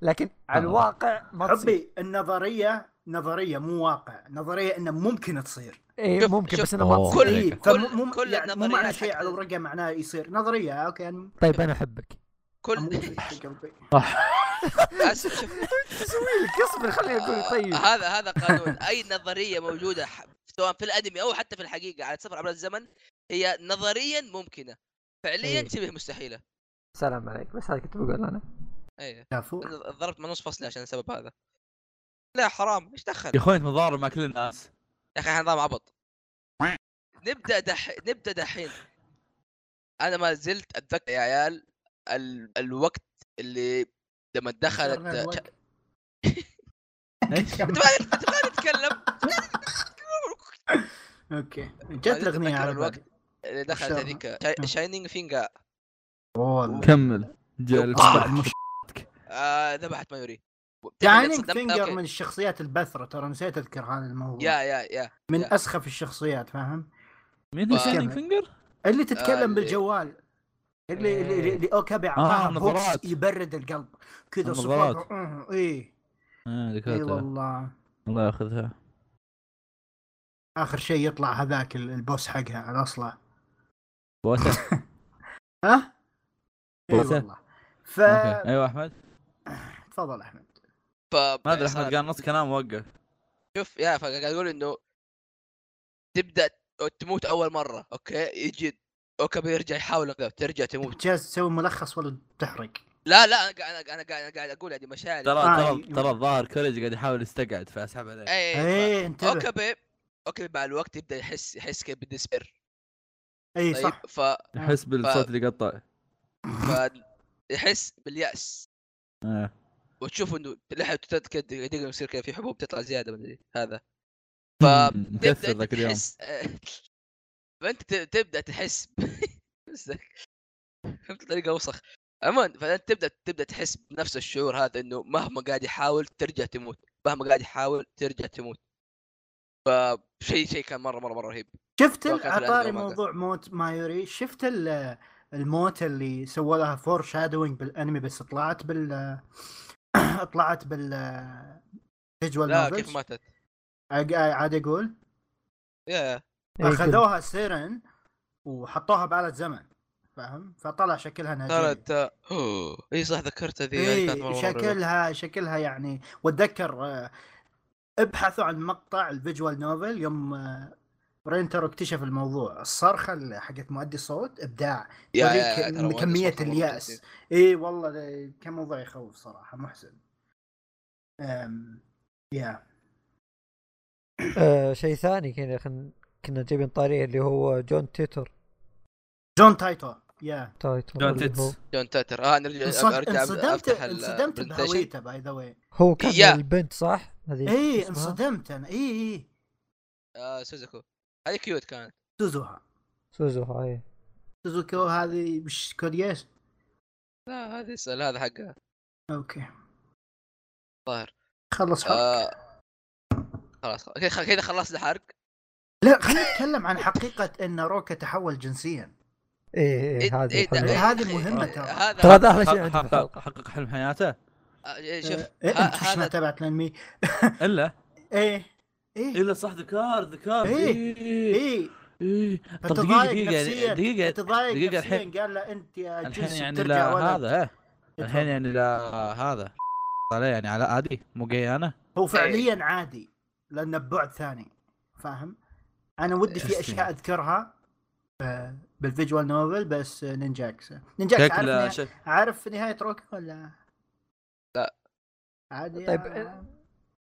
Speaker 1: لكن على
Speaker 2: آه.
Speaker 1: الواقع ما تصير
Speaker 4: حبي النظريه نظريه مو واقع نظريه انه ممكن تصير
Speaker 1: إيه
Speaker 3: شوف-
Speaker 1: ممكن
Speaker 3: شوف،
Speaker 1: بس انها ما
Speaker 5: أوه.
Speaker 1: تصير
Speaker 3: كل-
Speaker 4: إيه،
Speaker 3: كل-
Speaker 4: فمو- مو-
Speaker 3: كل
Speaker 4: يعني مو معنى
Speaker 3: النظريات
Speaker 4: شيء
Speaker 3: حق-
Speaker 4: على ورقه معناه يصير نظريه اوكي يعني
Speaker 1: طيب انا احبك
Speaker 3: كل أس- شوف،
Speaker 1: تسوي لك اصبر خليني اقول طيب
Speaker 3: آه، هذا هذا قانون اي نظريه موجوده ح- سواء في الانمي او حتى في الحقيقه على سفر عبر الزمن هي نظريا ممكنه فعليا
Speaker 1: إيه.
Speaker 3: شبه مستحيله
Speaker 1: سلام عليك بس هذا كنت بقول انا
Speaker 3: ايه
Speaker 4: كافور
Speaker 3: ضربت من نص فصلي عشان السبب هذا لا حرام ايش دخل
Speaker 2: يا اخوي انت متضارب مع كل الناس
Speaker 3: يا اخي نظام عبط نبدا دح... نبدا دحين انا ما زلت اتذكر يا عيال ال... الوقت اللي لما دخلت
Speaker 4: صرنا الوقت.
Speaker 3: انت ما انت ما تتكلم
Speaker 4: اوكي جت
Speaker 3: أتذكر
Speaker 4: الاغنيه على
Speaker 3: الوقت.
Speaker 4: بالي
Speaker 3: اللي دخلت
Speaker 4: الشر.
Speaker 3: هذيك شاي... شاينينج فينجا
Speaker 4: والله
Speaker 2: كمل جاء
Speaker 4: أصبح
Speaker 2: الفضل.
Speaker 4: المش-
Speaker 3: آه، ذبحت ما يوري
Speaker 4: داينينج
Speaker 3: صدمت-
Speaker 4: فينجر
Speaker 3: أوكي.
Speaker 4: من الشخصيات البثرة ترى نسيت اذكر هذا الموضوع
Speaker 3: يا يا يا
Speaker 4: من
Speaker 3: يا.
Speaker 4: اسخف الشخصيات فاهم
Speaker 2: مين هو
Speaker 3: آه.
Speaker 2: شاينينج فينجر؟
Speaker 4: اللي
Speaker 3: آه، اللي-
Speaker 4: تتكلم بالجوال اللي اللي- اللي
Speaker 1: إيه.
Speaker 4: اللي اوكابي اعطاها بوكس
Speaker 2: النظارات.
Speaker 4: يبرد القلب كذا
Speaker 2: النظارات.
Speaker 4: صفر أمم، ايه
Speaker 2: آه،
Speaker 4: اي
Speaker 2: ذكرتها
Speaker 4: والله
Speaker 2: الله ياخذها
Speaker 4: اخر شيء يطلع هذاك ال- البوس حقها الاصلع
Speaker 2: بوسه
Speaker 4: ها؟ اي
Speaker 2: بوسة.
Speaker 4: والله ف
Speaker 2: أوكي. ايوه احمد
Speaker 4: تفضل احمد
Speaker 3: ف
Speaker 2: ما ادري
Speaker 3: صار-
Speaker 2: احمد قال نص كلام وقف
Speaker 3: شوف يا فقاعد اقول انه تبدا تموت اول مره اوكي يجي اوكي يرجع يحاول كذا، ترجع تموت
Speaker 4: جالس تسوي ملخص ولا تحرق؟
Speaker 3: لا لا انا قاعد انا قاعد انا قاعد اقول هذه مشاعري
Speaker 2: ترى
Speaker 4: آه،
Speaker 2: ترى
Speaker 4: أيوة.
Speaker 2: ترى الظاهر كوريج قاعد يحاول يستقعد فاسحب عليه
Speaker 3: اي
Speaker 4: ايه انتبه
Speaker 3: اوكي اوكي مع الوقت يبدا يحس يحس كيف بالديسبير طيب
Speaker 4: اي إيه، صح
Speaker 3: ف...
Speaker 2: يحس بالصوت اللي قطع
Speaker 3: ف يحس بالياس
Speaker 2: آه.
Speaker 3: وتشوف انه لحيته كذا دقيقه يصير كذا في حبوب تطلع زياده ما ادري هذا
Speaker 2: مكسر ذاك
Speaker 3: تبدا انت
Speaker 2: اليوم
Speaker 3: تحس فانت ت- تبدا تحس ب- فهمت الطريقه اوسخ عموما فانت تبدا تبدا تحس بنفس الشعور هذا انه مهما قاعد يحاول ترجع تموت مهما قاعد يحاول ترجع تموت فشيء شيء كان مره مره مره رهيب
Speaker 4: شفت
Speaker 3: توقعت
Speaker 4: ال-
Speaker 3: الأنمي
Speaker 4: عطاري
Speaker 3: وما قال.
Speaker 4: موضوع موت مايوري شفت ال- الموت اللي سووا لها فور شادوينج بالانمي بس طلعت بال طلعت بال فيجوال
Speaker 3: لا كيف ماتت
Speaker 4: عاد اقول
Speaker 3: يا يا
Speaker 1: إيه، قول.
Speaker 4: اخذوها سيرن وحطوها بآلة زمن فاهم فطلع شكلها نهجري
Speaker 3: صارت اي آه، صح ذكرت هذه هذه كانت مرة-
Speaker 4: اي
Speaker 3: مرة رهيبة.
Speaker 4: إيه، شكلها شكلها يعني واتذكر آه، ابحثوا عن مقطع الفيجوال نوفل يوم آه، رينتر اكتشف الموضوع الصرخه اللي حقت مؤدي الصوت ابداع
Speaker 3: يا-
Speaker 4: توريك
Speaker 3: يا- يا، ترى
Speaker 4: إن
Speaker 3: مهندس
Speaker 4: كميه
Speaker 3: مرة- مرة
Speaker 4: الياس
Speaker 3: كويس.
Speaker 4: اي والله ده كان موضوع يخوف صراحه محزن أم يا
Speaker 1: آه، شيء ثاني كنا خن- كنا جايبين طاريه اللي هو جون تيتر طيب،
Speaker 4: جون تايتو يا
Speaker 1: تايتر
Speaker 2: جون
Speaker 1: اللي هو-
Speaker 2: تيتس
Speaker 3: جون تاتر اه نرجع
Speaker 4: انصد-
Speaker 3: ارجع
Speaker 4: انصدمت
Speaker 3: افتح ال-
Speaker 4: انصدمت
Speaker 3: presentation.
Speaker 4: بهويته باي ذا واي
Speaker 1: هو كان
Speaker 3: يا. إيه،
Speaker 1: البنت صح؟ هذه
Speaker 4: اي
Speaker 1: اسمها؟
Speaker 4: إيه، انصدمت إيه، انا اي اي
Speaker 3: آه، سوزوكو هذه كيوت كانت
Speaker 4: سوزوها
Speaker 1: سوزو هاي
Speaker 4: سوزوكو هذه مش كورياس
Speaker 3: لا هذه اسال هذا حقها
Speaker 4: اوكي
Speaker 3: ظاهر
Speaker 4: خلص حق
Speaker 3: آه، خلاص خلاص. كذا كذا خلصنا حرق
Speaker 4: لا خلينا نتكلم عن حقيقة ان روكا تحول جنسيا
Speaker 1: ايه ايه هذه
Speaker 3: إيه،
Speaker 1: الحلوة.
Speaker 3: إيه،
Speaker 4: هذه
Speaker 3: أخي،
Speaker 4: مهمة
Speaker 3: إيه،
Speaker 4: ترى.
Speaker 3: هذا
Speaker 1: ترى هذا احلى شيء عندي في
Speaker 2: حقق
Speaker 1: الحلقه
Speaker 2: حقق حلم حياته
Speaker 3: آه، إيه، شوف
Speaker 4: آه،
Speaker 3: ه-
Speaker 4: إيه انت مش ما
Speaker 3: هذا
Speaker 4: تابعت الانمي
Speaker 2: الا
Speaker 4: ايه ايه
Speaker 2: الا صح ذكار ذكار
Speaker 4: إيه.
Speaker 2: إيه.
Speaker 4: ايه
Speaker 2: إيه. طب دقيقه
Speaker 4: فتضايق
Speaker 2: دقيقه
Speaker 4: نفسيا
Speaker 2: دقيقه
Speaker 4: تضايق
Speaker 2: دقيقة
Speaker 4: نفسيا
Speaker 2: الحين.
Speaker 4: قال له انت يا
Speaker 2: الحين
Speaker 4: جنس
Speaker 2: يعني
Speaker 4: ترجع
Speaker 2: لا
Speaker 4: ولا
Speaker 2: هذا إيه. الحين
Speaker 4: الحين
Speaker 2: يعني لا هذا عليه يعني على عادي مو جاي انا
Speaker 4: هو فعليا عادي لانه ببعد ثاني فاهم؟ انا ودي في
Speaker 2: إيه.
Speaker 4: اشياء اذكرها ب- بالفيجوال نوفل بس نينجاكس نينجاكس عارف,
Speaker 2: شكله
Speaker 1: يعني.
Speaker 4: نها...
Speaker 2: شك...
Speaker 4: عارف نهايه روكي ولا
Speaker 3: لا.
Speaker 4: عادي
Speaker 1: طيب،
Speaker 4: يا-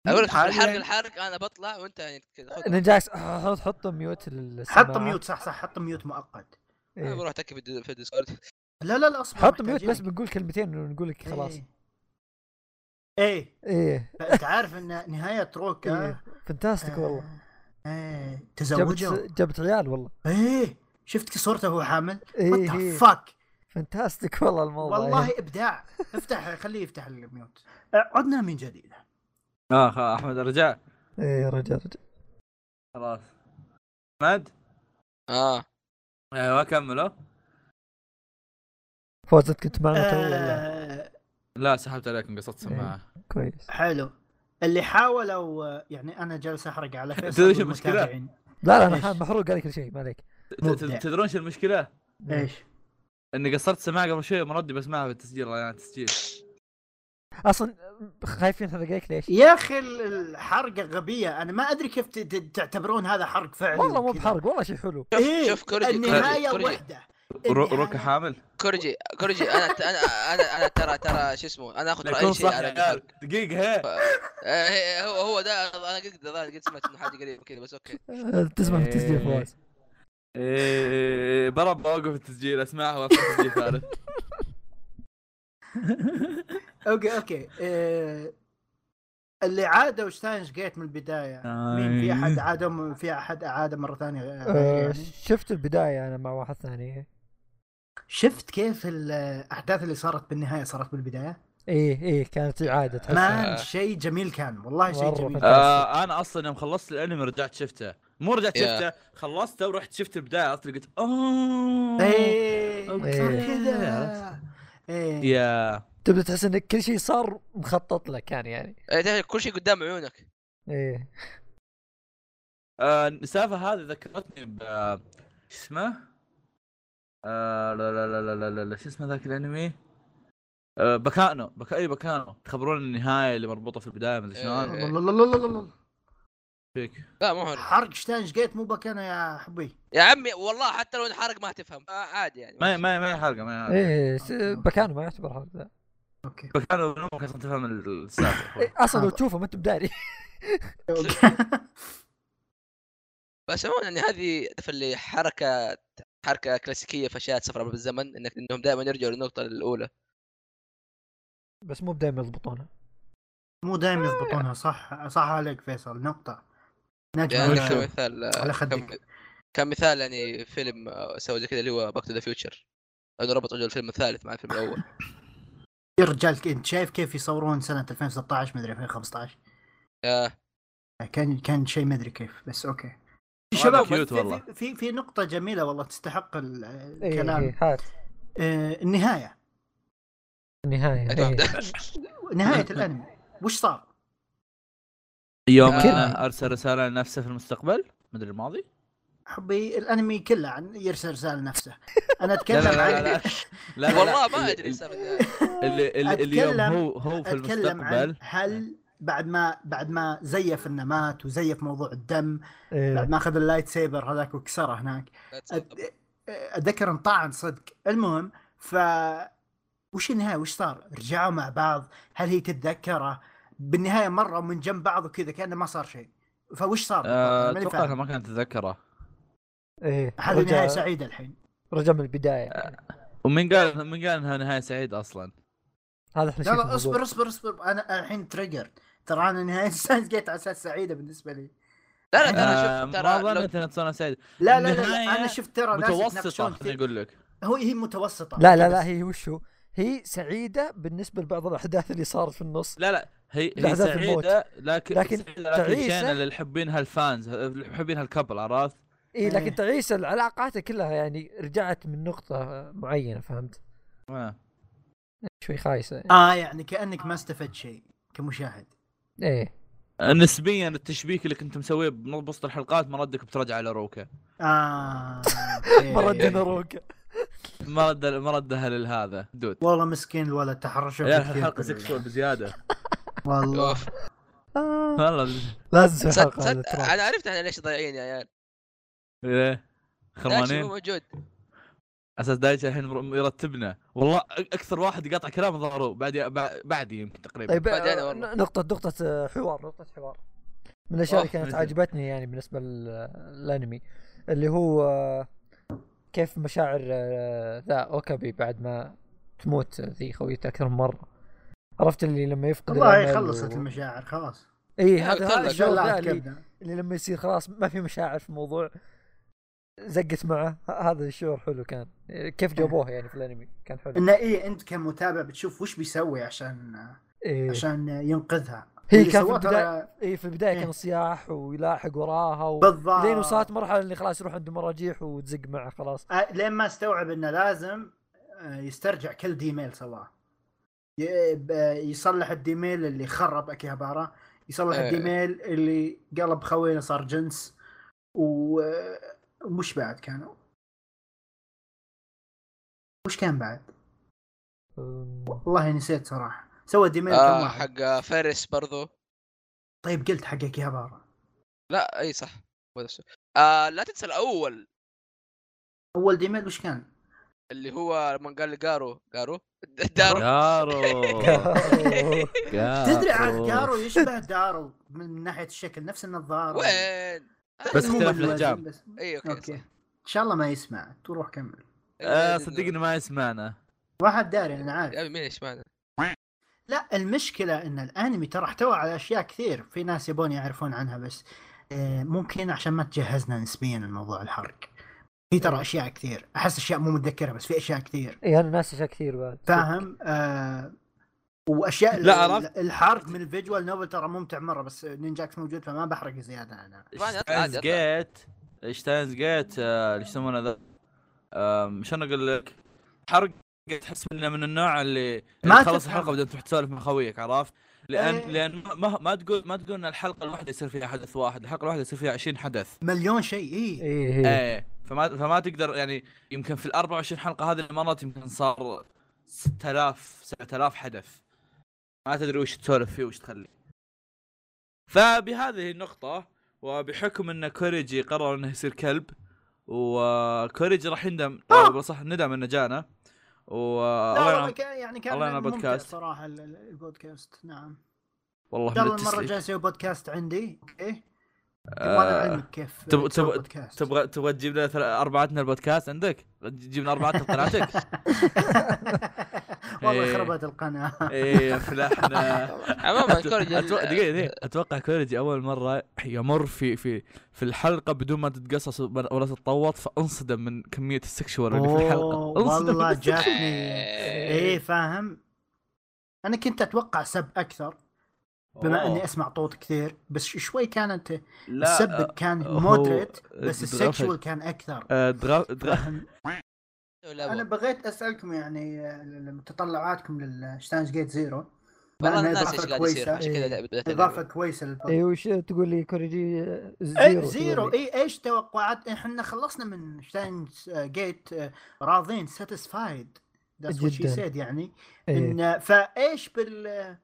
Speaker 3: اقول لك
Speaker 4: عادي
Speaker 3: الحرق
Speaker 4: يعني.
Speaker 3: الحرق انا بطلع وانت يعني كذا خذ
Speaker 1: نجاكس حط حط ميوت للسماعة.
Speaker 4: حط ميوت صح صح حط ميوت مؤقت
Speaker 3: انا
Speaker 1: إيه.
Speaker 3: بروح اتكي في الد- في الديسكورد
Speaker 4: لا لا لا اصبر
Speaker 1: حط ميوت بس
Speaker 4: محتاجينك.
Speaker 1: بنقول كلمتين ونقول لك خلاص
Speaker 4: إيه. ايه
Speaker 1: ايه
Speaker 4: انت عارف ان نهايه روكا
Speaker 1: إيه.
Speaker 4: آه،
Speaker 1: فانتاستيك والله
Speaker 4: ايه
Speaker 1: جابت
Speaker 4: تزوجوا
Speaker 1: جابت عيال والله
Speaker 4: ايه شفت صورته وهو حامل؟
Speaker 1: ايه
Speaker 4: وات
Speaker 1: إيه.
Speaker 4: فاك
Speaker 1: فانتاستيك والله الموضوع
Speaker 4: والله
Speaker 1: إيه.
Speaker 4: ابداع افتح خليه يفتح الميوت آه، عدنا من جديد
Speaker 2: اه خلاص، احمد رجع
Speaker 1: ايه يا رجال رجال
Speaker 2: خلاص احمد
Speaker 3: اه
Speaker 2: ايوه كملوا
Speaker 1: فوزت كنت معنا تو ولا
Speaker 4: آه
Speaker 2: لا سحبت عليكم
Speaker 1: إيه.
Speaker 2: قصدت سماعه
Speaker 1: كويس
Speaker 4: حلو اللي حاولوا يعني انا جالس احرق على
Speaker 2: تدري
Speaker 4: فيصل
Speaker 2: شو المشكلة؟
Speaker 4: والمتابعين
Speaker 1: لا لا انا
Speaker 4: إيش؟
Speaker 1: حا- محروق عليك كل شيء ما عليك
Speaker 2: ت- ت- تدرون شو المشكله؟
Speaker 1: إيه.
Speaker 4: ايش؟
Speaker 2: اني قصرت سماعه قبل شوي مردي بسمعها بالتسجيل يعني انا التسجيل
Speaker 1: اصلا خايفين حرقك ليش؟
Speaker 4: يا اخي ال- الحرقه غبيه انا ما ادري كيف ت- ت- تعتبرون هذا حرق فعلي
Speaker 1: والله مو
Speaker 4: وكذا.
Speaker 1: بحرق والله شيء حلو
Speaker 3: شوف
Speaker 4: إيه،
Speaker 3: شوف كورجي
Speaker 4: النهايه
Speaker 3: كورجي كورجي,
Speaker 4: وحده
Speaker 2: رو-
Speaker 4: النهاية-
Speaker 2: روكا حامل
Speaker 3: كورجي كورجي انا انا انا انا ترى ترى شو اسمه انا اخذ
Speaker 2: يكون
Speaker 3: راي شيء
Speaker 2: صح
Speaker 3: على
Speaker 2: يا
Speaker 3: الحرق.
Speaker 2: عيال. دقيقه هي
Speaker 3: آه، هي- هو هو ده انا قد الظاهر قد سمعت انه حاجه قريبه كذا بس اوكي
Speaker 1: آه، تسمع في التسجيل
Speaker 2: إيه.
Speaker 1: فواز
Speaker 2: ايه برا بوقف التسجيل اسمعها واقف التسجيل ثالث
Speaker 4: اوكي اوكي آه، اللي عادوا شتاينز جيت من البدايه مين في احد عادهم في احد اعاده مره ثانيه غير-
Speaker 1: آه،
Speaker 4: يعني؟
Speaker 1: شفت البدايه انا مع واحد ثاني
Speaker 4: شفت كيف الاحداث اللي صارت بالنهايه صارت بالبدايه؟
Speaker 1: ايه ايه كانت اعاده تحس
Speaker 3: آه.
Speaker 4: مان شيء جميل كان والله شيء
Speaker 1: مرة
Speaker 4: جميل
Speaker 1: فتاة.
Speaker 2: آه انا اصلا يوم خلصت الانمي رجعت شفته مو رجعت
Speaker 3: يا.
Speaker 2: شفته خلصته ورحت شفت البدايه عرفت قلت اوه
Speaker 4: ايه
Speaker 3: آه.
Speaker 2: أوكي.
Speaker 1: إيه.
Speaker 4: صار كذا
Speaker 2: عرفت.
Speaker 4: ايه
Speaker 2: إيه. يا
Speaker 1: تبدا تحس ان كل شيء صار مخطط له كان يعني
Speaker 3: إيه، تعرف كل شيء قدام عيونك
Speaker 4: إيه.
Speaker 1: ايه
Speaker 2: آه، السالفه هذه ذكرتني ب شو اسمه؟ آه لا لا لا لا لا لا, لا شو اسمه ذاك الانمي؟ آه بكانو بك... اي بكانو تخبرون النهايه اللي مربوطه في البدايه مدري شلون
Speaker 3: إيه.
Speaker 4: الله- الله- الله- الله- الله.
Speaker 2: فيك
Speaker 3: لا مو هو
Speaker 4: حرق شتاينز جيت مو بكنا يا حبي
Speaker 3: يا عمي والله حتى لو انحرق ما هتفهم آه، عادي يعني
Speaker 2: ما ما ما هي حلقه ما هي حلقه
Speaker 4: إيه.
Speaker 1: ايه س-
Speaker 4: آه.
Speaker 1: بكانه ما يعتبر هذا
Speaker 4: اوكي
Speaker 2: بكانو بنومك عشان تفهم السالفه
Speaker 4: آه.
Speaker 1: إيه، اصلا لو تشوفه ما انت بداري
Speaker 3: بس عموما يعني هذه تعرف اللي حركه حركه كلاسيكيه في اشياء سفر عبر الزمن انك انهم دائما يرجعوا للنقطه الاولى
Speaker 1: بس مو بدايما يضبطونه
Speaker 4: مو دايما يضبطونها صح صح عليك فيصل نقطة نجم
Speaker 3: يعني
Speaker 4: على-
Speaker 3: كمثال كم-
Speaker 4: على خدك
Speaker 3: كان مثال يعني فيلم آه، سوى زي كذا اللي هو باك تو ذا فيوتشر انه ربطوا الفيلم الثالث مع الفيلم الاول
Speaker 4: يا إيه، رجال انت شايف كيف يصورون سنة 2016 مدري 2015
Speaker 2: إيه.
Speaker 3: يا
Speaker 4: يعني كان كان شيء مدري كيف بس اوكي
Speaker 2: هذا
Speaker 4: شباب
Speaker 2: كيوت
Speaker 4: بس
Speaker 2: والله.
Speaker 4: في, في في نقطة جميلة والله تستحق ال-
Speaker 1: ايه
Speaker 4: الكلام
Speaker 1: ايه هات
Speaker 4: آه، النهاية
Speaker 1: النهايه إيه.
Speaker 4: نهاية الانمي وش صار؟
Speaker 2: يوم
Speaker 3: آه.
Speaker 2: إنه ارسل رساله لنفسه في المستقبل مدري الماضي
Speaker 4: حبي الانمي كله عن يرسل رسالة لنفسه انا
Speaker 2: لا
Speaker 4: اتكلم
Speaker 2: لا لا لا,
Speaker 4: عن
Speaker 2: لا, لا,
Speaker 3: والله ما
Speaker 2: اللي-
Speaker 3: ادري
Speaker 2: اللي-
Speaker 3: السالفة دي.
Speaker 2: اللي اللي-
Speaker 4: أتكلم-
Speaker 2: اليوم هو هو في
Speaker 4: اتكلم عن
Speaker 2: المستقبل
Speaker 4: هل بعد ما بعد ما زيف النمات وزيف موضوع الدم بعد
Speaker 1: إيه.
Speaker 4: ما اخذ اللايت سيبر هذاك وكسره هناك
Speaker 3: لا تصدق.
Speaker 4: أت- اتذكر انطعن صدق المهم ف وش النهايه وش صار؟ رجعوا مع بعض هل هي تتذكره؟ بالنهايه مره من جنب بعض وكذا كانه ما صار شيء فوش صار؟
Speaker 2: آه،
Speaker 4: ماني
Speaker 2: اتوقع
Speaker 4: فاهم.
Speaker 2: إنه ما كانت اتذكره
Speaker 1: ايه
Speaker 4: هذه آه. نهايه
Speaker 1: رجع
Speaker 4: سعيده الحين
Speaker 1: رجع من البدايه
Speaker 2: ومين قال من قال انها نهايه سعيده اصلا؟
Speaker 1: هذا احلى شيء
Speaker 4: لا
Speaker 1: في
Speaker 4: لا اصبر
Speaker 1: الموضوع.
Speaker 4: اصبر اصبر انا الحين تريجر ترى انا نهايه ساينس جيت على اساس سعيده بالنسبه لي
Speaker 2: آه،
Speaker 3: لا لا ترى شوف
Speaker 2: ما
Speaker 3: ترى لو
Speaker 2: ظنيت انها تصير سعيده
Speaker 4: لا لا لا, لا
Speaker 2: النهاية
Speaker 4: انا شفت ترى ناس
Speaker 2: متوسطه
Speaker 4: يتناقشون
Speaker 2: خليني
Speaker 4: كثير.
Speaker 2: اقول لك
Speaker 4: هو هي متوسطه
Speaker 1: لا لا لا هي وشو هي سعيده بالنسبه لبعض الاحداث اللي صارت في النص
Speaker 2: لا لا هي هي
Speaker 1: لحظات الموت.
Speaker 2: سعيده لكن
Speaker 1: لكن
Speaker 2: سعيدة لكن
Speaker 1: تعيسة.
Speaker 2: شينا اللي يحبينها الفانز اللي يحبينها الكبل عرفت؟
Speaker 1: اي
Speaker 4: إيه.
Speaker 1: لكن تعيس العلاقات كلها يعني رجعت من نقطه معينه فهمت
Speaker 2: آه.
Speaker 1: شوي خايسه يعني.
Speaker 4: اه يعني كانك ما استفدت شيء كمشاهد
Speaker 1: ايه
Speaker 2: نسبيا آه، التشبيك اللي كنت مسويه بوسط الحلقات ما ردك بترجع على روكا
Speaker 4: اه
Speaker 1: ما ردنا
Speaker 4: إيه.
Speaker 1: روكا
Speaker 2: ما رد ما ردها للهذا دود
Speaker 4: والله مسكين الولد تحرش
Speaker 2: يا أخي الحلقه سكسوال بزياده
Speaker 4: والله
Speaker 3: أوف.
Speaker 1: آه،
Speaker 2: والله
Speaker 1: لازم
Speaker 3: صد
Speaker 1: حلقه على
Speaker 3: صد
Speaker 1: التراب.
Speaker 3: انا عرفت احنا ليش ضايعين يا عيال
Speaker 2: إيه.
Speaker 3: دايتشي مو
Speaker 2: خرمانين
Speaker 3: موجود
Speaker 2: اساس دايتشي الحين مر- يرتبنا والله أ- اكثر واحد يقاطع كلام ظهره بعد بع- بعدي يمكن تقريبا
Speaker 1: طيب
Speaker 3: بعدين
Speaker 1: آه،
Speaker 3: والله.
Speaker 1: نقطة نقطة آه، حوار نقطة حوار من الأشياء اللي
Speaker 2: أوه،
Speaker 1: كانت
Speaker 2: مثل.
Speaker 1: عجبتني يعني بالنسبة للأنمي اللي هو آه، كيف مشاعر آه، ذا أوكابي بعد ما تموت ذي خويته أكثر من مرة عرفت اللي لما يفقد
Speaker 4: والله
Speaker 1: الأمل
Speaker 4: خلصت
Speaker 1: و...
Speaker 4: المشاعر خلاص
Speaker 1: اي
Speaker 3: إيه،
Speaker 1: هذا
Speaker 3: قلت
Speaker 1: هذا
Speaker 3: لك،
Speaker 1: الشعور ذا
Speaker 4: شلعت
Speaker 1: اللي,
Speaker 4: كبده
Speaker 1: اللي لما يصير خلاص ما في مشاعر في الموضوع زقت معه ه- هذا الشعور حلو كان إيه، كيف جابوه يعني في الانمي كان حلو
Speaker 4: انه ايه انت كمتابع بتشوف وش بيسوي عشان
Speaker 1: إيه.
Speaker 4: عشان ينقذها
Speaker 1: هي
Speaker 4: واللي
Speaker 1: كان في
Speaker 4: سواه ترى
Speaker 1: البداية- اي في البدايه
Speaker 4: إيه.
Speaker 1: كان صياح ويلاحق وراها و...
Speaker 4: بالضبط
Speaker 1: لين وصلت مرحله اللي خلاص يروح عند مراجيح وتزق معه خلاص
Speaker 4: آه، لين ما استوعب انه لازم آه، يسترجع كل ديميل سواه ي- ب- يصلح الديميل اللي خرب اكيهابارا يصلح
Speaker 3: إيه.
Speaker 4: الديميل اللي قلب خوينا صار جنس و- آه، وش بعد كانوا وش كان بعد
Speaker 1: أم،
Speaker 4: والله نسيت صراحه سوى ديميل كم
Speaker 3: آه
Speaker 4: واحد
Speaker 3: حق فيرس برضو
Speaker 4: طيب قلت حق اكيهابارا
Speaker 3: لا اي صح هو نفسه. آه لا تنسى الاول
Speaker 4: اول ديميل وش كان
Speaker 3: اللي هو من قال جارو جارو دارو
Speaker 2: دارو
Speaker 1: إيه،
Speaker 3: آه،
Speaker 4: تدري عاد دارو يشبه دارو من ناحيه الشكل نفس النظاره
Speaker 3: وين
Speaker 2: بس
Speaker 4: المهم
Speaker 2: اختلاف
Speaker 4: الوزن
Speaker 2: الحجاب.
Speaker 4: بس.
Speaker 3: اي اوكي,
Speaker 4: اوكي
Speaker 3: صح. إيه،
Speaker 4: ان شاء الله ما يسمع تروح كمل
Speaker 2: آه، صدقني ما يسمعنا
Speaker 4: واحد داري انا عارف
Speaker 3: يا أبي مين ايش معنى
Speaker 4: لا المشكله ان الانمي ترى احتوى على اشياء كثير في ناس يبون يعرفون عنها بس آه، ممكن عشان ما تجهزنا نسبيا الموضوع الحرق في
Speaker 2: إيه.
Speaker 4: ترى اشياء كثير احس اشياء مو متذكرها بس في اشياء كثير
Speaker 1: اي انا ناسي اشياء كثير بعد
Speaker 4: فاهم آه واشياء
Speaker 2: لا، عرفت.
Speaker 4: الحرق من الفيجوال نوبل ترى ممتع مره بس نينجاكس موجود فما بحرق زياده انا
Speaker 3: عادي، أطلع،
Speaker 2: شتاينز
Speaker 3: عادي، أطلع.
Speaker 2: جيت شتاينز جيت آه، ايش يسمونه ذا آم، شلون اقول لك حرق تحس انه من النوع اللي
Speaker 4: ما
Speaker 2: اللي تخلص
Speaker 4: تفهم.
Speaker 2: الحلقه بعدين تروح تسولف مع خويك عرفت؟ لان
Speaker 4: إيه.
Speaker 2: لان ما- ما ما تقول ما تقول ان الحلقه الواحده يصير فيها حدث واحد، الحلقه الواحده يصير فيها 20 حدث.
Speaker 4: مليون شيء إيه. اي
Speaker 1: اي اي
Speaker 2: ايه فما فما تقدر يعني يمكن في ال 24 حلقه هذه المرات يمكن صار 6000 7000 حدث ما تدري وش تسولف فيه وش تخلي فبهذه النقطة وبحكم ان كوريجي قرر انه يصير كلب وكوريجي راح يندم
Speaker 4: آه.
Speaker 2: أو بالاصح ندم انه جانا و
Speaker 4: لا
Speaker 2: الله
Speaker 4: والله
Speaker 2: يرحم-
Speaker 4: كان يعني كان
Speaker 2: الله ينعم
Speaker 4: ممتع
Speaker 2: البودكاست.
Speaker 4: صراحه ال- ال- البودكاست نعم
Speaker 2: والله
Speaker 4: ان شاء
Speaker 2: من
Speaker 4: الله المره
Speaker 2: التسليك.
Speaker 4: الجايه اسوي بودكاست عندي اوكي وانا
Speaker 2: آه،
Speaker 4: اعلمك كيف
Speaker 2: تب-
Speaker 4: تسوي
Speaker 2: تب-
Speaker 4: بودكاست.
Speaker 2: تبغى تبغى تجيب لنا ثل- اربعتنا البودكاست عندك؟ تجيب لنا اربعتنا بقناتك؟
Speaker 4: والله
Speaker 2: إيه.
Speaker 4: خربت القناه
Speaker 2: ايه فلحنا
Speaker 3: عموما كوريجي
Speaker 2: أتوقع دقيقة دقيقة أتوقع كوريجي أول مرة يمر في في في الحلقة بدون ما تتقصص ولا تتطوط فانصدم من كمية السكشوال اللي في الحلقة
Speaker 4: أوه،
Speaker 2: انصدم
Speaker 4: والله
Speaker 2: من السكشوال.
Speaker 4: جاتني ايه فاهم انا كنت اتوقع سب اكثر بما
Speaker 2: أوه.
Speaker 4: اني اسمع طوط كثير بس شوي كانت
Speaker 2: لا آه،
Speaker 4: السب كان
Speaker 2: هو
Speaker 4: مودريت بس
Speaker 2: درافج.
Speaker 4: السكشوال كان اكثر
Speaker 2: آه، درا- درا-
Speaker 4: فاهم؟ انا بغيت اسالكم يعني آه، تطلعاتكم للشتانج جيت زيرو
Speaker 3: والله أنا
Speaker 4: لأنها
Speaker 3: ناسي
Speaker 4: إضافة
Speaker 3: ايش قاعد يصير
Speaker 4: كويسة. إيه،
Speaker 3: عشان
Speaker 2: إيه.
Speaker 3: كذا بدأت
Speaker 4: اضافه
Speaker 3: ألعب.
Speaker 4: كويسه للبودكاست
Speaker 1: اي إيه، وش تقول لي كوريجي آه،
Speaker 4: إيه،
Speaker 1: زيرو
Speaker 4: زيرو
Speaker 1: تقول لي.
Speaker 4: اي ايش توقعات احنا خلصنا من شتاينز آه، جيت آه، راضين ساتيسفايد ذاتس وات شي
Speaker 1: جداً.
Speaker 4: سيد يعني
Speaker 1: إيه.
Speaker 4: ان فايش بال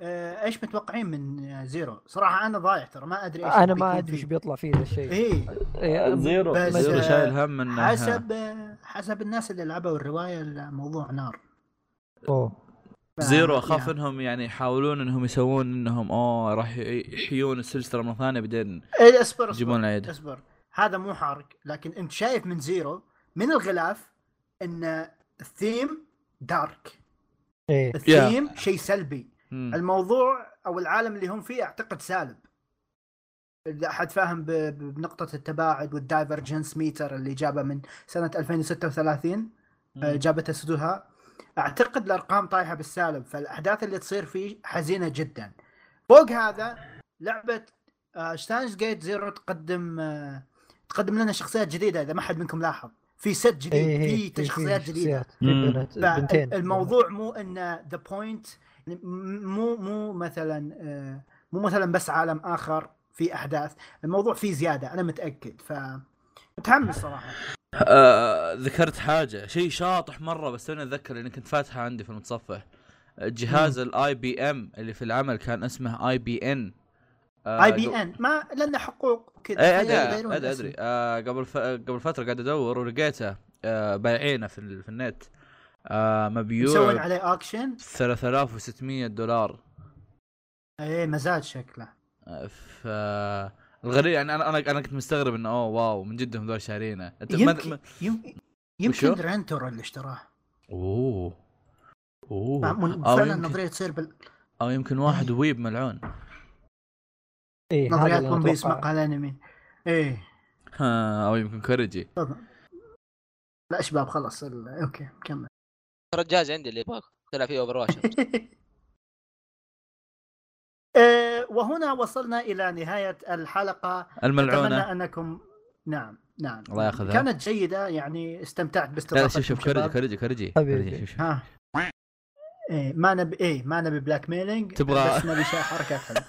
Speaker 4: آه، ايش متوقعين من آه، زيرو؟ صراحه انا ضايع ترى ما ادري ايش
Speaker 1: انا
Speaker 4: بيكون
Speaker 1: ما ادري ايش
Speaker 4: فيه.
Speaker 1: بيطلع فيه ذا الشيء
Speaker 4: ايه
Speaker 1: إيه،
Speaker 2: زيرو
Speaker 4: بس،
Speaker 2: زيرو
Speaker 4: آه،
Speaker 2: شايل هم انه
Speaker 4: حسب آه، حسب الناس اللي لعبوا الروايه الموضوع نار
Speaker 1: أوه.
Speaker 4: ف-
Speaker 2: زيرو اخاف
Speaker 4: يعني.
Speaker 2: انهم يعني يحاولون انهم يسوون انهم اوه راح ي- يحيون السلسله مره ثانيه بعدين
Speaker 4: إيه، اصبر
Speaker 2: يجيبون
Speaker 4: اصبر
Speaker 2: العيد
Speaker 4: اصبر هذا مو حرق لكن انت شايف من زيرو من الغلاف ان الثيم دارك
Speaker 1: ايه
Speaker 4: الثيم شيء سلبي
Speaker 2: مم.
Speaker 4: الموضوع او العالم اللي هم فيه اعتقد سالب اذا احد فاهم ب- ب- بنقطه التباعد والدايفرجنس ميتر اللي جابه من سنه 2036 آه، جابته سدوها اعتقد الارقام طايحه بالسالب فالاحداث اللي تصير فيه حزينه جدا فوق هذا آه، لعبه شتاينز جيت زيرو تقدم آه، تقدم لنا شخصيات جديده اذا ما حد منكم لاحظ في ست
Speaker 1: إيه،
Speaker 4: جديد
Speaker 1: إيه،
Speaker 4: في شخصيات جديده
Speaker 1: شخصيات، في
Speaker 2: مم.
Speaker 1: بنات- بنتين
Speaker 4: فالموضوع مو ان ذا بوينت مو مو مثلا آه، مو مثلا بس عالم اخر في احداث الموضوع فيه زياده انا متاكد ف متحمس صراحه
Speaker 2: آه، ذكرت حاجه شيء شاطح مره بس انا اتذكر لاني كنت فاتحه عندي في آه، المتصفح جهاز الاي بي ام اللي في العمل كان اسمه اي بي ان آه،
Speaker 4: اي بي
Speaker 2: قبل-
Speaker 4: ان ما لنا حقوق كذا
Speaker 2: ايه
Speaker 4: خليهم
Speaker 2: ادري
Speaker 4: يغيرون
Speaker 2: ادري
Speaker 4: الاسم.
Speaker 2: ادري آه قبل ف... قبل فتره قاعد ادور ولقيته آه بايعينه في, ال... في النت آه
Speaker 4: يسوون
Speaker 2: مبيوع
Speaker 4: عليه اكشن
Speaker 2: 3600 دولار
Speaker 4: اي إيه، مزاج شكله
Speaker 2: آه، ف الغريب يعني انا انا انا كنت مستغرب انه اوه واو من جدهم ذول شارينه انت ما-
Speaker 4: يمكن
Speaker 2: ما-
Speaker 4: يم-
Speaker 2: وشو؟
Speaker 4: يمكن رنتور اللي اشتراه
Speaker 2: اوه اوه
Speaker 4: معمول-
Speaker 2: أو
Speaker 4: فعلا
Speaker 2: آه، يمكن-
Speaker 4: النظريه تصير بال...
Speaker 2: او يمكن واحد ويب ملعون
Speaker 1: ايه هذا
Speaker 4: نظريات
Speaker 1: اللي
Speaker 4: ون بيس
Speaker 1: أتوقعه.
Speaker 4: مقهى الانمي ايه
Speaker 2: ها، او يمكن كوريجي
Speaker 4: لا شباب خلاص ال... اوكي كمل
Speaker 3: ترى الجهاز عندي اللي يبغاك طلع فيه اوفر واتش
Speaker 4: آه، وهنا وصلنا الى نهايه الحلقه
Speaker 2: الملعونه
Speaker 4: اتمنى انكم نعم نعم
Speaker 2: الله ياخذها.
Speaker 4: كانت جيده يعني استمتعت
Speaker 2: لا لا
Speaker 4: باستضافتكم
Speaker 2: شوف شوف كوريجي
Speaker 4: شباب.
Speaker 2: كوريجي كوريجي
Speaker 1: حبيبي.
Speaker 2: كوريجي، شوف شوف
Speaker 4: ها ايه ما نبي ايه ما نبي بلاك ميلينج
Speaker 2: تبغى-
Speaker 4: بس نبي شيء حركات حلوه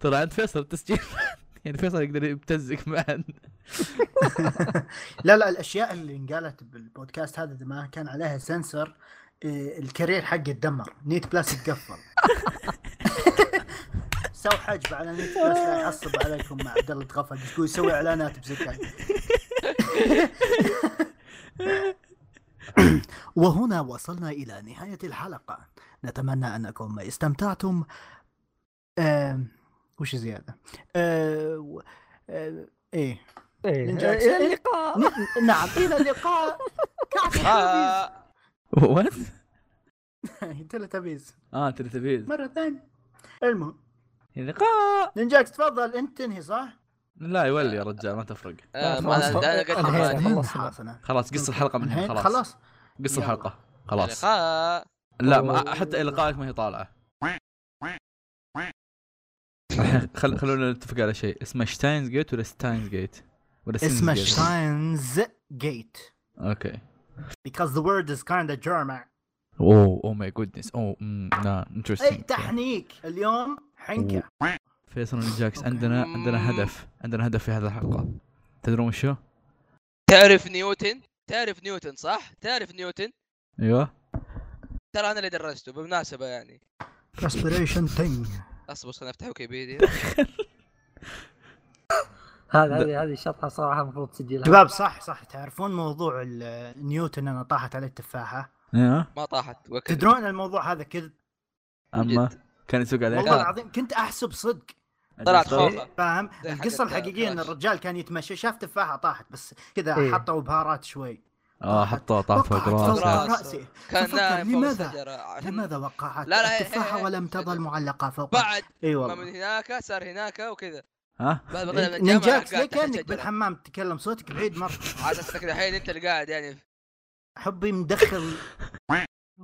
Speaker 2: ترى انت فيصل التسجيل يعني فيصل يقدر يبتزك معا
Speaker 4: لا لا الاشياء اللي انقالت بالبودكاست هذا إذا ما كان عليها سنسر إيه، الكارير حقي اتدمر نيت بلاس تقفل سووا حجب على نيت بلاس لا يعصب عليكم مع عبد الله تغفل ايش يقول يسوي اعلانات بزكاي وهنا وصلنا الى نهايه الحلقه نتمنى انكم استمتعتم آم، وش زياده آه، و- آه، ايه
Speaker 1: إيه،
Speaker 4: نينجا
Speaker 1: الى اللقاء
Speaker 4: ن- نعم الى اللقاء كعك التلفزيون
Speaker 3: آه،
Speaker 2: وات؟
Speaker 4: تلفزيون
Speaker 2: اه تلتفيز
Speaker 4: مره ثانيه المهم
Speaker 2: لقاء
Speaker 4: نينجاكس تفضل انت تنهي صح؟
Speaker 2: يعني لا يولي يا رجال ما تفرق
Speaker 3: آه، ما
Speaker 1: خلاص،
Speaker 3: انا أنا قلت
Speaker 1: انهينا،
Speaker 3: لك.
Speaker 1: خلصنا.
Speaker 4: خلصنا
Speaker 2: خلاص قص الحلقه من هنا
Speaker 4: انهينا،
Speaker 2: خلاص
Speaker 4: خلاص
Speaker 2: قص
Speaker 4: يلا.
Speaker 2: الحلقه خلاص
Speaker 3: لقاء.
Speaker 2: لا ما حتى القائك ما هي طالعه الحين خل... خلونا نتفق على شيء اسمه شتاينز جيت ولا ستاينز جيت ولا سينز
Speaker 4: اسمه
Speaker 2: جيت؟
Speaker 4: شتاينز جيت
Speaker 2: اوكي
Speaker 4: because the word is kind of German
Speaker 2: اوه اوه ماي جودنس اوه أمم، لا
Speaker 4: اي
Speaker 2: انترستنج
Speaker 4: تحنيك اليوم حنكه
Speaker 2: فيصل ونجاكس
Speaker 4: أوكي.
Speaker 2: عندنا عندنا هدف عندنا هدف في هذه الحلقه تدرون شو؟
Speaker 3: تعرف نيوتن تعرف نيوتن صح تعرف نيوتن
Speaker 2: ايوه
Speaker 3: ترى انا اللي درسته بالمناسبه يعني
Speaker 4: respiration thing
Speaker 3: اصبر خليني افتح ويكيبيديا
Speaker 1: هذا هذه هذه شطحه صراحه المفروض تسجلها
Speaker 4: شباب صح صح تعرفون موضوع ال- نيوتن انا طاحت عليه التفاحه
Speaker 2: ايوه
Speaker 3: ما طاحت وكل
Speaker 4: تدرون الموضوع هذا كذب
Speaker 2: إيه. اما كان يسوق عليك
Speaker 4: والله العظيم كنت احسب صدق
Speaker 3: طلعت
Speaker 2: أجل،
Speaker 3: خوخه
Speaker 4: فاهم
Speaker 3: زي حق
Speaker 4: القصه
Speaker 3: الت-
Speaker 4: الحقيقيه ان
Speaker 3: الفراش.
Speaker 4: الرجال كان يتمشى شاف تفاحه طاحت بس كذا
Speaker 1: إيه.
Speaker 4: حطوا بهارات شوي
Speaker 2: اه حطوها طاح فوق
Speaker 4: وقعت فوق
Speaker 2: راسه
Speaker 3: راسه.
Speaker 4: راسي
Speaker 3: كان
Speaker 4: تفكر
Speaker 3: نايم فوق
Speaker 4: لماذا؟
Speaker 3: الشجره
Speaker 4: لماذا وقعت
Speaker 3: لا، لا،
Speaker 4: التفاحه
Speaker 3: إيه،
Speaker 4: ولم
Speaker 3: إيه،
Speaker 4: تظل معلقه فوق
Speaker 3: بعد
Speaker 4: اي
Speaker 3: ما من
Speaker 4: والله
Speaker 3: هناك صار هناك وكذا
Speaker 2: ها
Speaker 3: بعد ما طلع من الجامعه
Speaker 4: نينجاكس ليه
Speaker 3: قاعد تحت
Speaker 4: كانك
Speaker 3: الشجرة.
Speaker 4: بالحمام تتكلم صوتك بعيد مره
Speaker 3: على اساس انك الحين انت اللي قاعد يعني
Speaker 4: حبي مدخل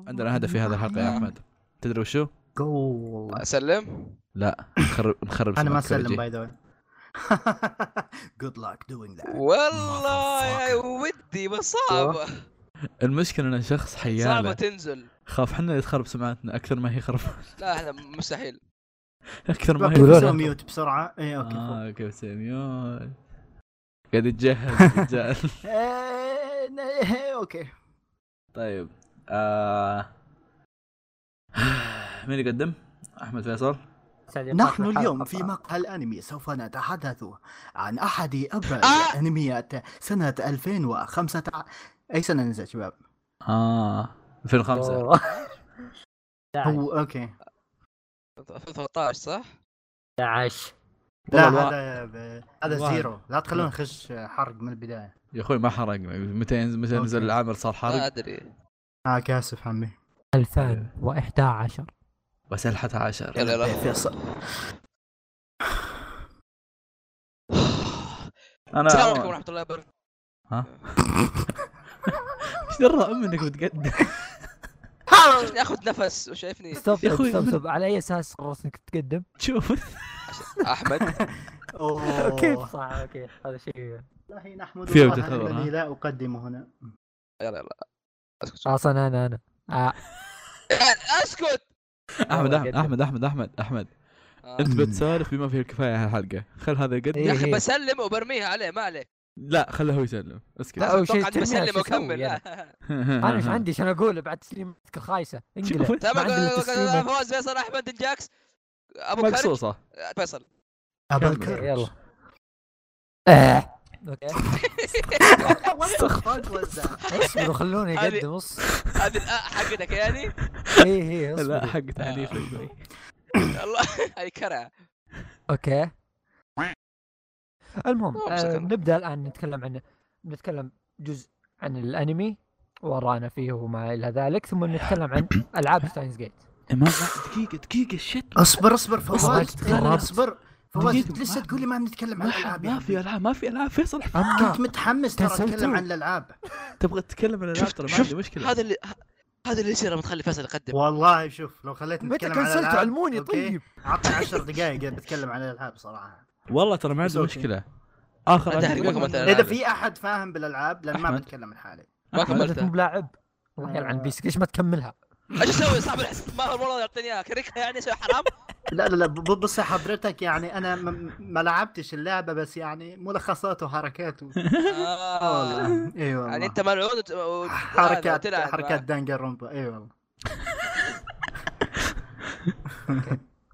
Speaker 2: عندنا هدف في هذه الحلقه
Speaker 4: أمم.
Speaker 2: يا احمد تدري وشو؟
Speaker 4: جول
Speaker 3: اسلم
Speaker 2: لا نخرب نخرب
Speaker 4: انا ما
Speaker 2: سمعة
Speaker 4: اسلم
Speaker 2: كوريجي.
Speaker 4: باي ذا واي جود لك دوينج ذات
Speaker 3: والله يا ودي بس صعبه
Speaker 2: المشكله انه شخص
Speaker 3: صعبه
Speaker 2: حياله
Speaker 3: تنزل
Speaker 2: خاف احنا اللي تخرب سمعتنا اكثر ما هي خرب
Speaker 3: لا احنا مستحيل
Speaker 2: اكثر ما هي
Speaker 1: يقولون-
Speaker 4: سوي
Speaker 2: خرب.
Speaker 4: ميوت بسرعه اي اوكي فوق.
Speaker 2: اه كيف سيميون قاعد يتجهز الرجال
Speaker 4: إيه، إيه، اوكي
Speaker 2: طيب آه. مين يقدم؟ احمد فيصل
Speaker 1: تعليقات
Speaker 4: نحن
Speaker 1: الحلقة.
Speaker 4: اليوم في مقهى الأنمي سوف نتحدث عن أحد أبرز
Speaker 3: آه!
Speaker 4: أنميات سنة 2005 أي سنة نزل يا شباب؟
Speaker 2: اه 2005
Speaker 1: أوه.
Speaker 4: هو أوكي
Speaker 3: 2013 صح؟
Speaker 1: 11
Speaker 4: لا
Speaker 2: والله
Speaker 4: هذا ب- هذا
Speaker 2: الواحد.
Speaker 4: زيرو لا تخلونا نخش حرق من البداية
Speaker 2: يا اخوي ما حرق متى ينزل متى ينزل
Speaker 4: أوكي.
Speaker 2: العامل صار حرق
Speaker 3: ما ادري
Speaker 4: آه كاسف عمي
Speaker 1: 2011
Speaker 2: بس الحتى عشر
Speaker 3: يلا يلا.
Speaker 4: إيه، فيصل
Speaker 2: انا
Speaker 3: السلام عليكم ورحمه الله وبركاته
Speaker 2: ايش درى ام انك بتقدم
Speaker 3: شفتني اخذ نفس وشايفني
Speaker 1: ستوب
Speaker 2: يا أخوي،
Speaker 1: ستوب ستوب على اي اساس قررت انك تقدم؟
Speaker 2: شوف
Speaker 3: احمد
Speaker 4: أوه.
Speaker 1: كيف صح اوكي هذا شيء
Speaker 4: والله نحمد
Speaker 2: في
Speaker 4: الله
Speaker 2: وجهة نظر،
Speaker 4: الذي
Speaker 2: ها؟
Speaker 4: لا أقدمه هنا
Speaker 3: يلا يلا اسكت
Speaker 1: خلاص انا انا انا آه،
Speaker 3: اسكت
Speaker 2: احمد احمد احمد احمد احمد احمد
Speaker 3: آه.
Speaker 2: انت بتسولف بما فيه الكفايه هالحلقه خل هذا يقدم
Speaker 3: يا
Speaker 1: إيه.
Speaker 3: اخي بسلم وبرميها عليه ما عليك
Speaker 2: لا خله هو يسلم اسكت
Speaker 1: لا، أول شيء
Speaker 3: اتوقع اني
Speaker 1: ترميها،
Speaker 3: بسلم
Speaker 1: شو أسوي
Speaker 3: واكمل
Speaker 1: أنا؟
Speaker 3: لا
Speaker 1: انا ايش عندي عشان اقول بعد تسليمتك الخايسه انقلع
Speaker 2: شوف.
Speaker 1: ما عندنا
Speaker 3: سامع
Speaker 1: تسليمك.
Speaker 3: فواز فيصل احمد الجاكس ابو كارج
Speaker 2: مقصوصه
Speaker 3: فيصل
Speaker 4: ابل
Speaker 2: كمل.
Speaker 1: يلا آه. اوكي اصبروا خلوني
Speaker 3: هذه-
Speaker 1: اقدم اص
Speaker 3: هذه الآ حقتك يعني
Speaker 1: اي هي اصبر
Speaker 2: لا حق تعنيفك شوي
Speaker 3: الله هاي كرع
Speaker 1: اوكي المهم
Speaker 3: مو
Speaker 1: آه
Speaker 3: بشكل-
Speaker 1: نبدا الان نتكلم عن نتكلم جزء عن الانمي ورانا فيه وما الى ذلك ثم نتكلم عن العاب ستاينز جيت
Speaker 2: ما دقيقه دقيقه شت
Speaker 4: اصبر اصبر فواز
Speaker 1: أصبر،
Speaker 4: لا، لا،
Speaker 1: تغربت.
Speaker 4: اصبر فواز
Speaker 2: دقيقة،
Speaker 4: أنت لسه
Speaker 2: ما-
Speaker 4: تقول لي ما بنتكلم عن الالعاب يا حبيبي.
Speaker 2: العاب ما في العاب فيصل
Speaker 1: اما
Speaker 4: كنت متحمس ترى
Speaker 1: كنسلتوا.
Speaker 4: اتكلم عن الالعاب
Speaker 2: تبغى تتكلم عن العاب
Speaker 3: شفت-
Speaker 2: ترى ما
Speaker 3: شفت
Speaker 2: عندي مشكله
Speaker 3: هذا اللي ه- هذا اللي يصير لما تخلي فيصل يقدم
Speaker 4: والله شوف لو خليتني
Speaker 1: متى
Speaker 4: اتكلم عن
Speaker 1: كنسلت
Speaker 4: الالعاب
Speaker 1: علموني
Speaker 4: أوكي؟
Speaker 1: طيب
Speaker 4: عطني 10 دقائق بتكلم عن الالعاب صراحه
Speaker 2: والله ترى ما عندي
Speaker 4: أوكي.
Speaker 2: مشكله اخر
Speaker 3: أنت
Speaker 2: عشر
Speaker 3: حقكم
Speaker 2: دقايق
Speaker 3: أنت.
Speaker 4: اذا
Speaker 3: الألعاب.
Speaker 4: في احد فاهم بالالعاب لان ما
Speaker 2: أحمد.
Speaker 4: بتكلم من حالي
Speaker 3: ما
Speaker 1: انت
Speaker 2: أحمد.
Speaker 3: كملتها
Speaker 1: مو بلاعب الله يلعن بيسك ليش ما تكملها؟
Speaker 3: ايش اسوي يا صاحب الحس- ما والله يعطيني اياها كركها يعني اسوي حرام
Speaker 4: لا لا لا ب- بصي حضرتك يعني انا م- ما لعبتش اللعبه بس يعني ملخصات وحركات و... آه
Speaker 3: آه.
Speaker 4: والله اي والله
Speaker 3: يعني آه، انت ملعون وت- و- هذا،
Speaker 4: حركات
Speaker 3: وتلعب.
Speaker 4: حركات دانجر رومبا اي والله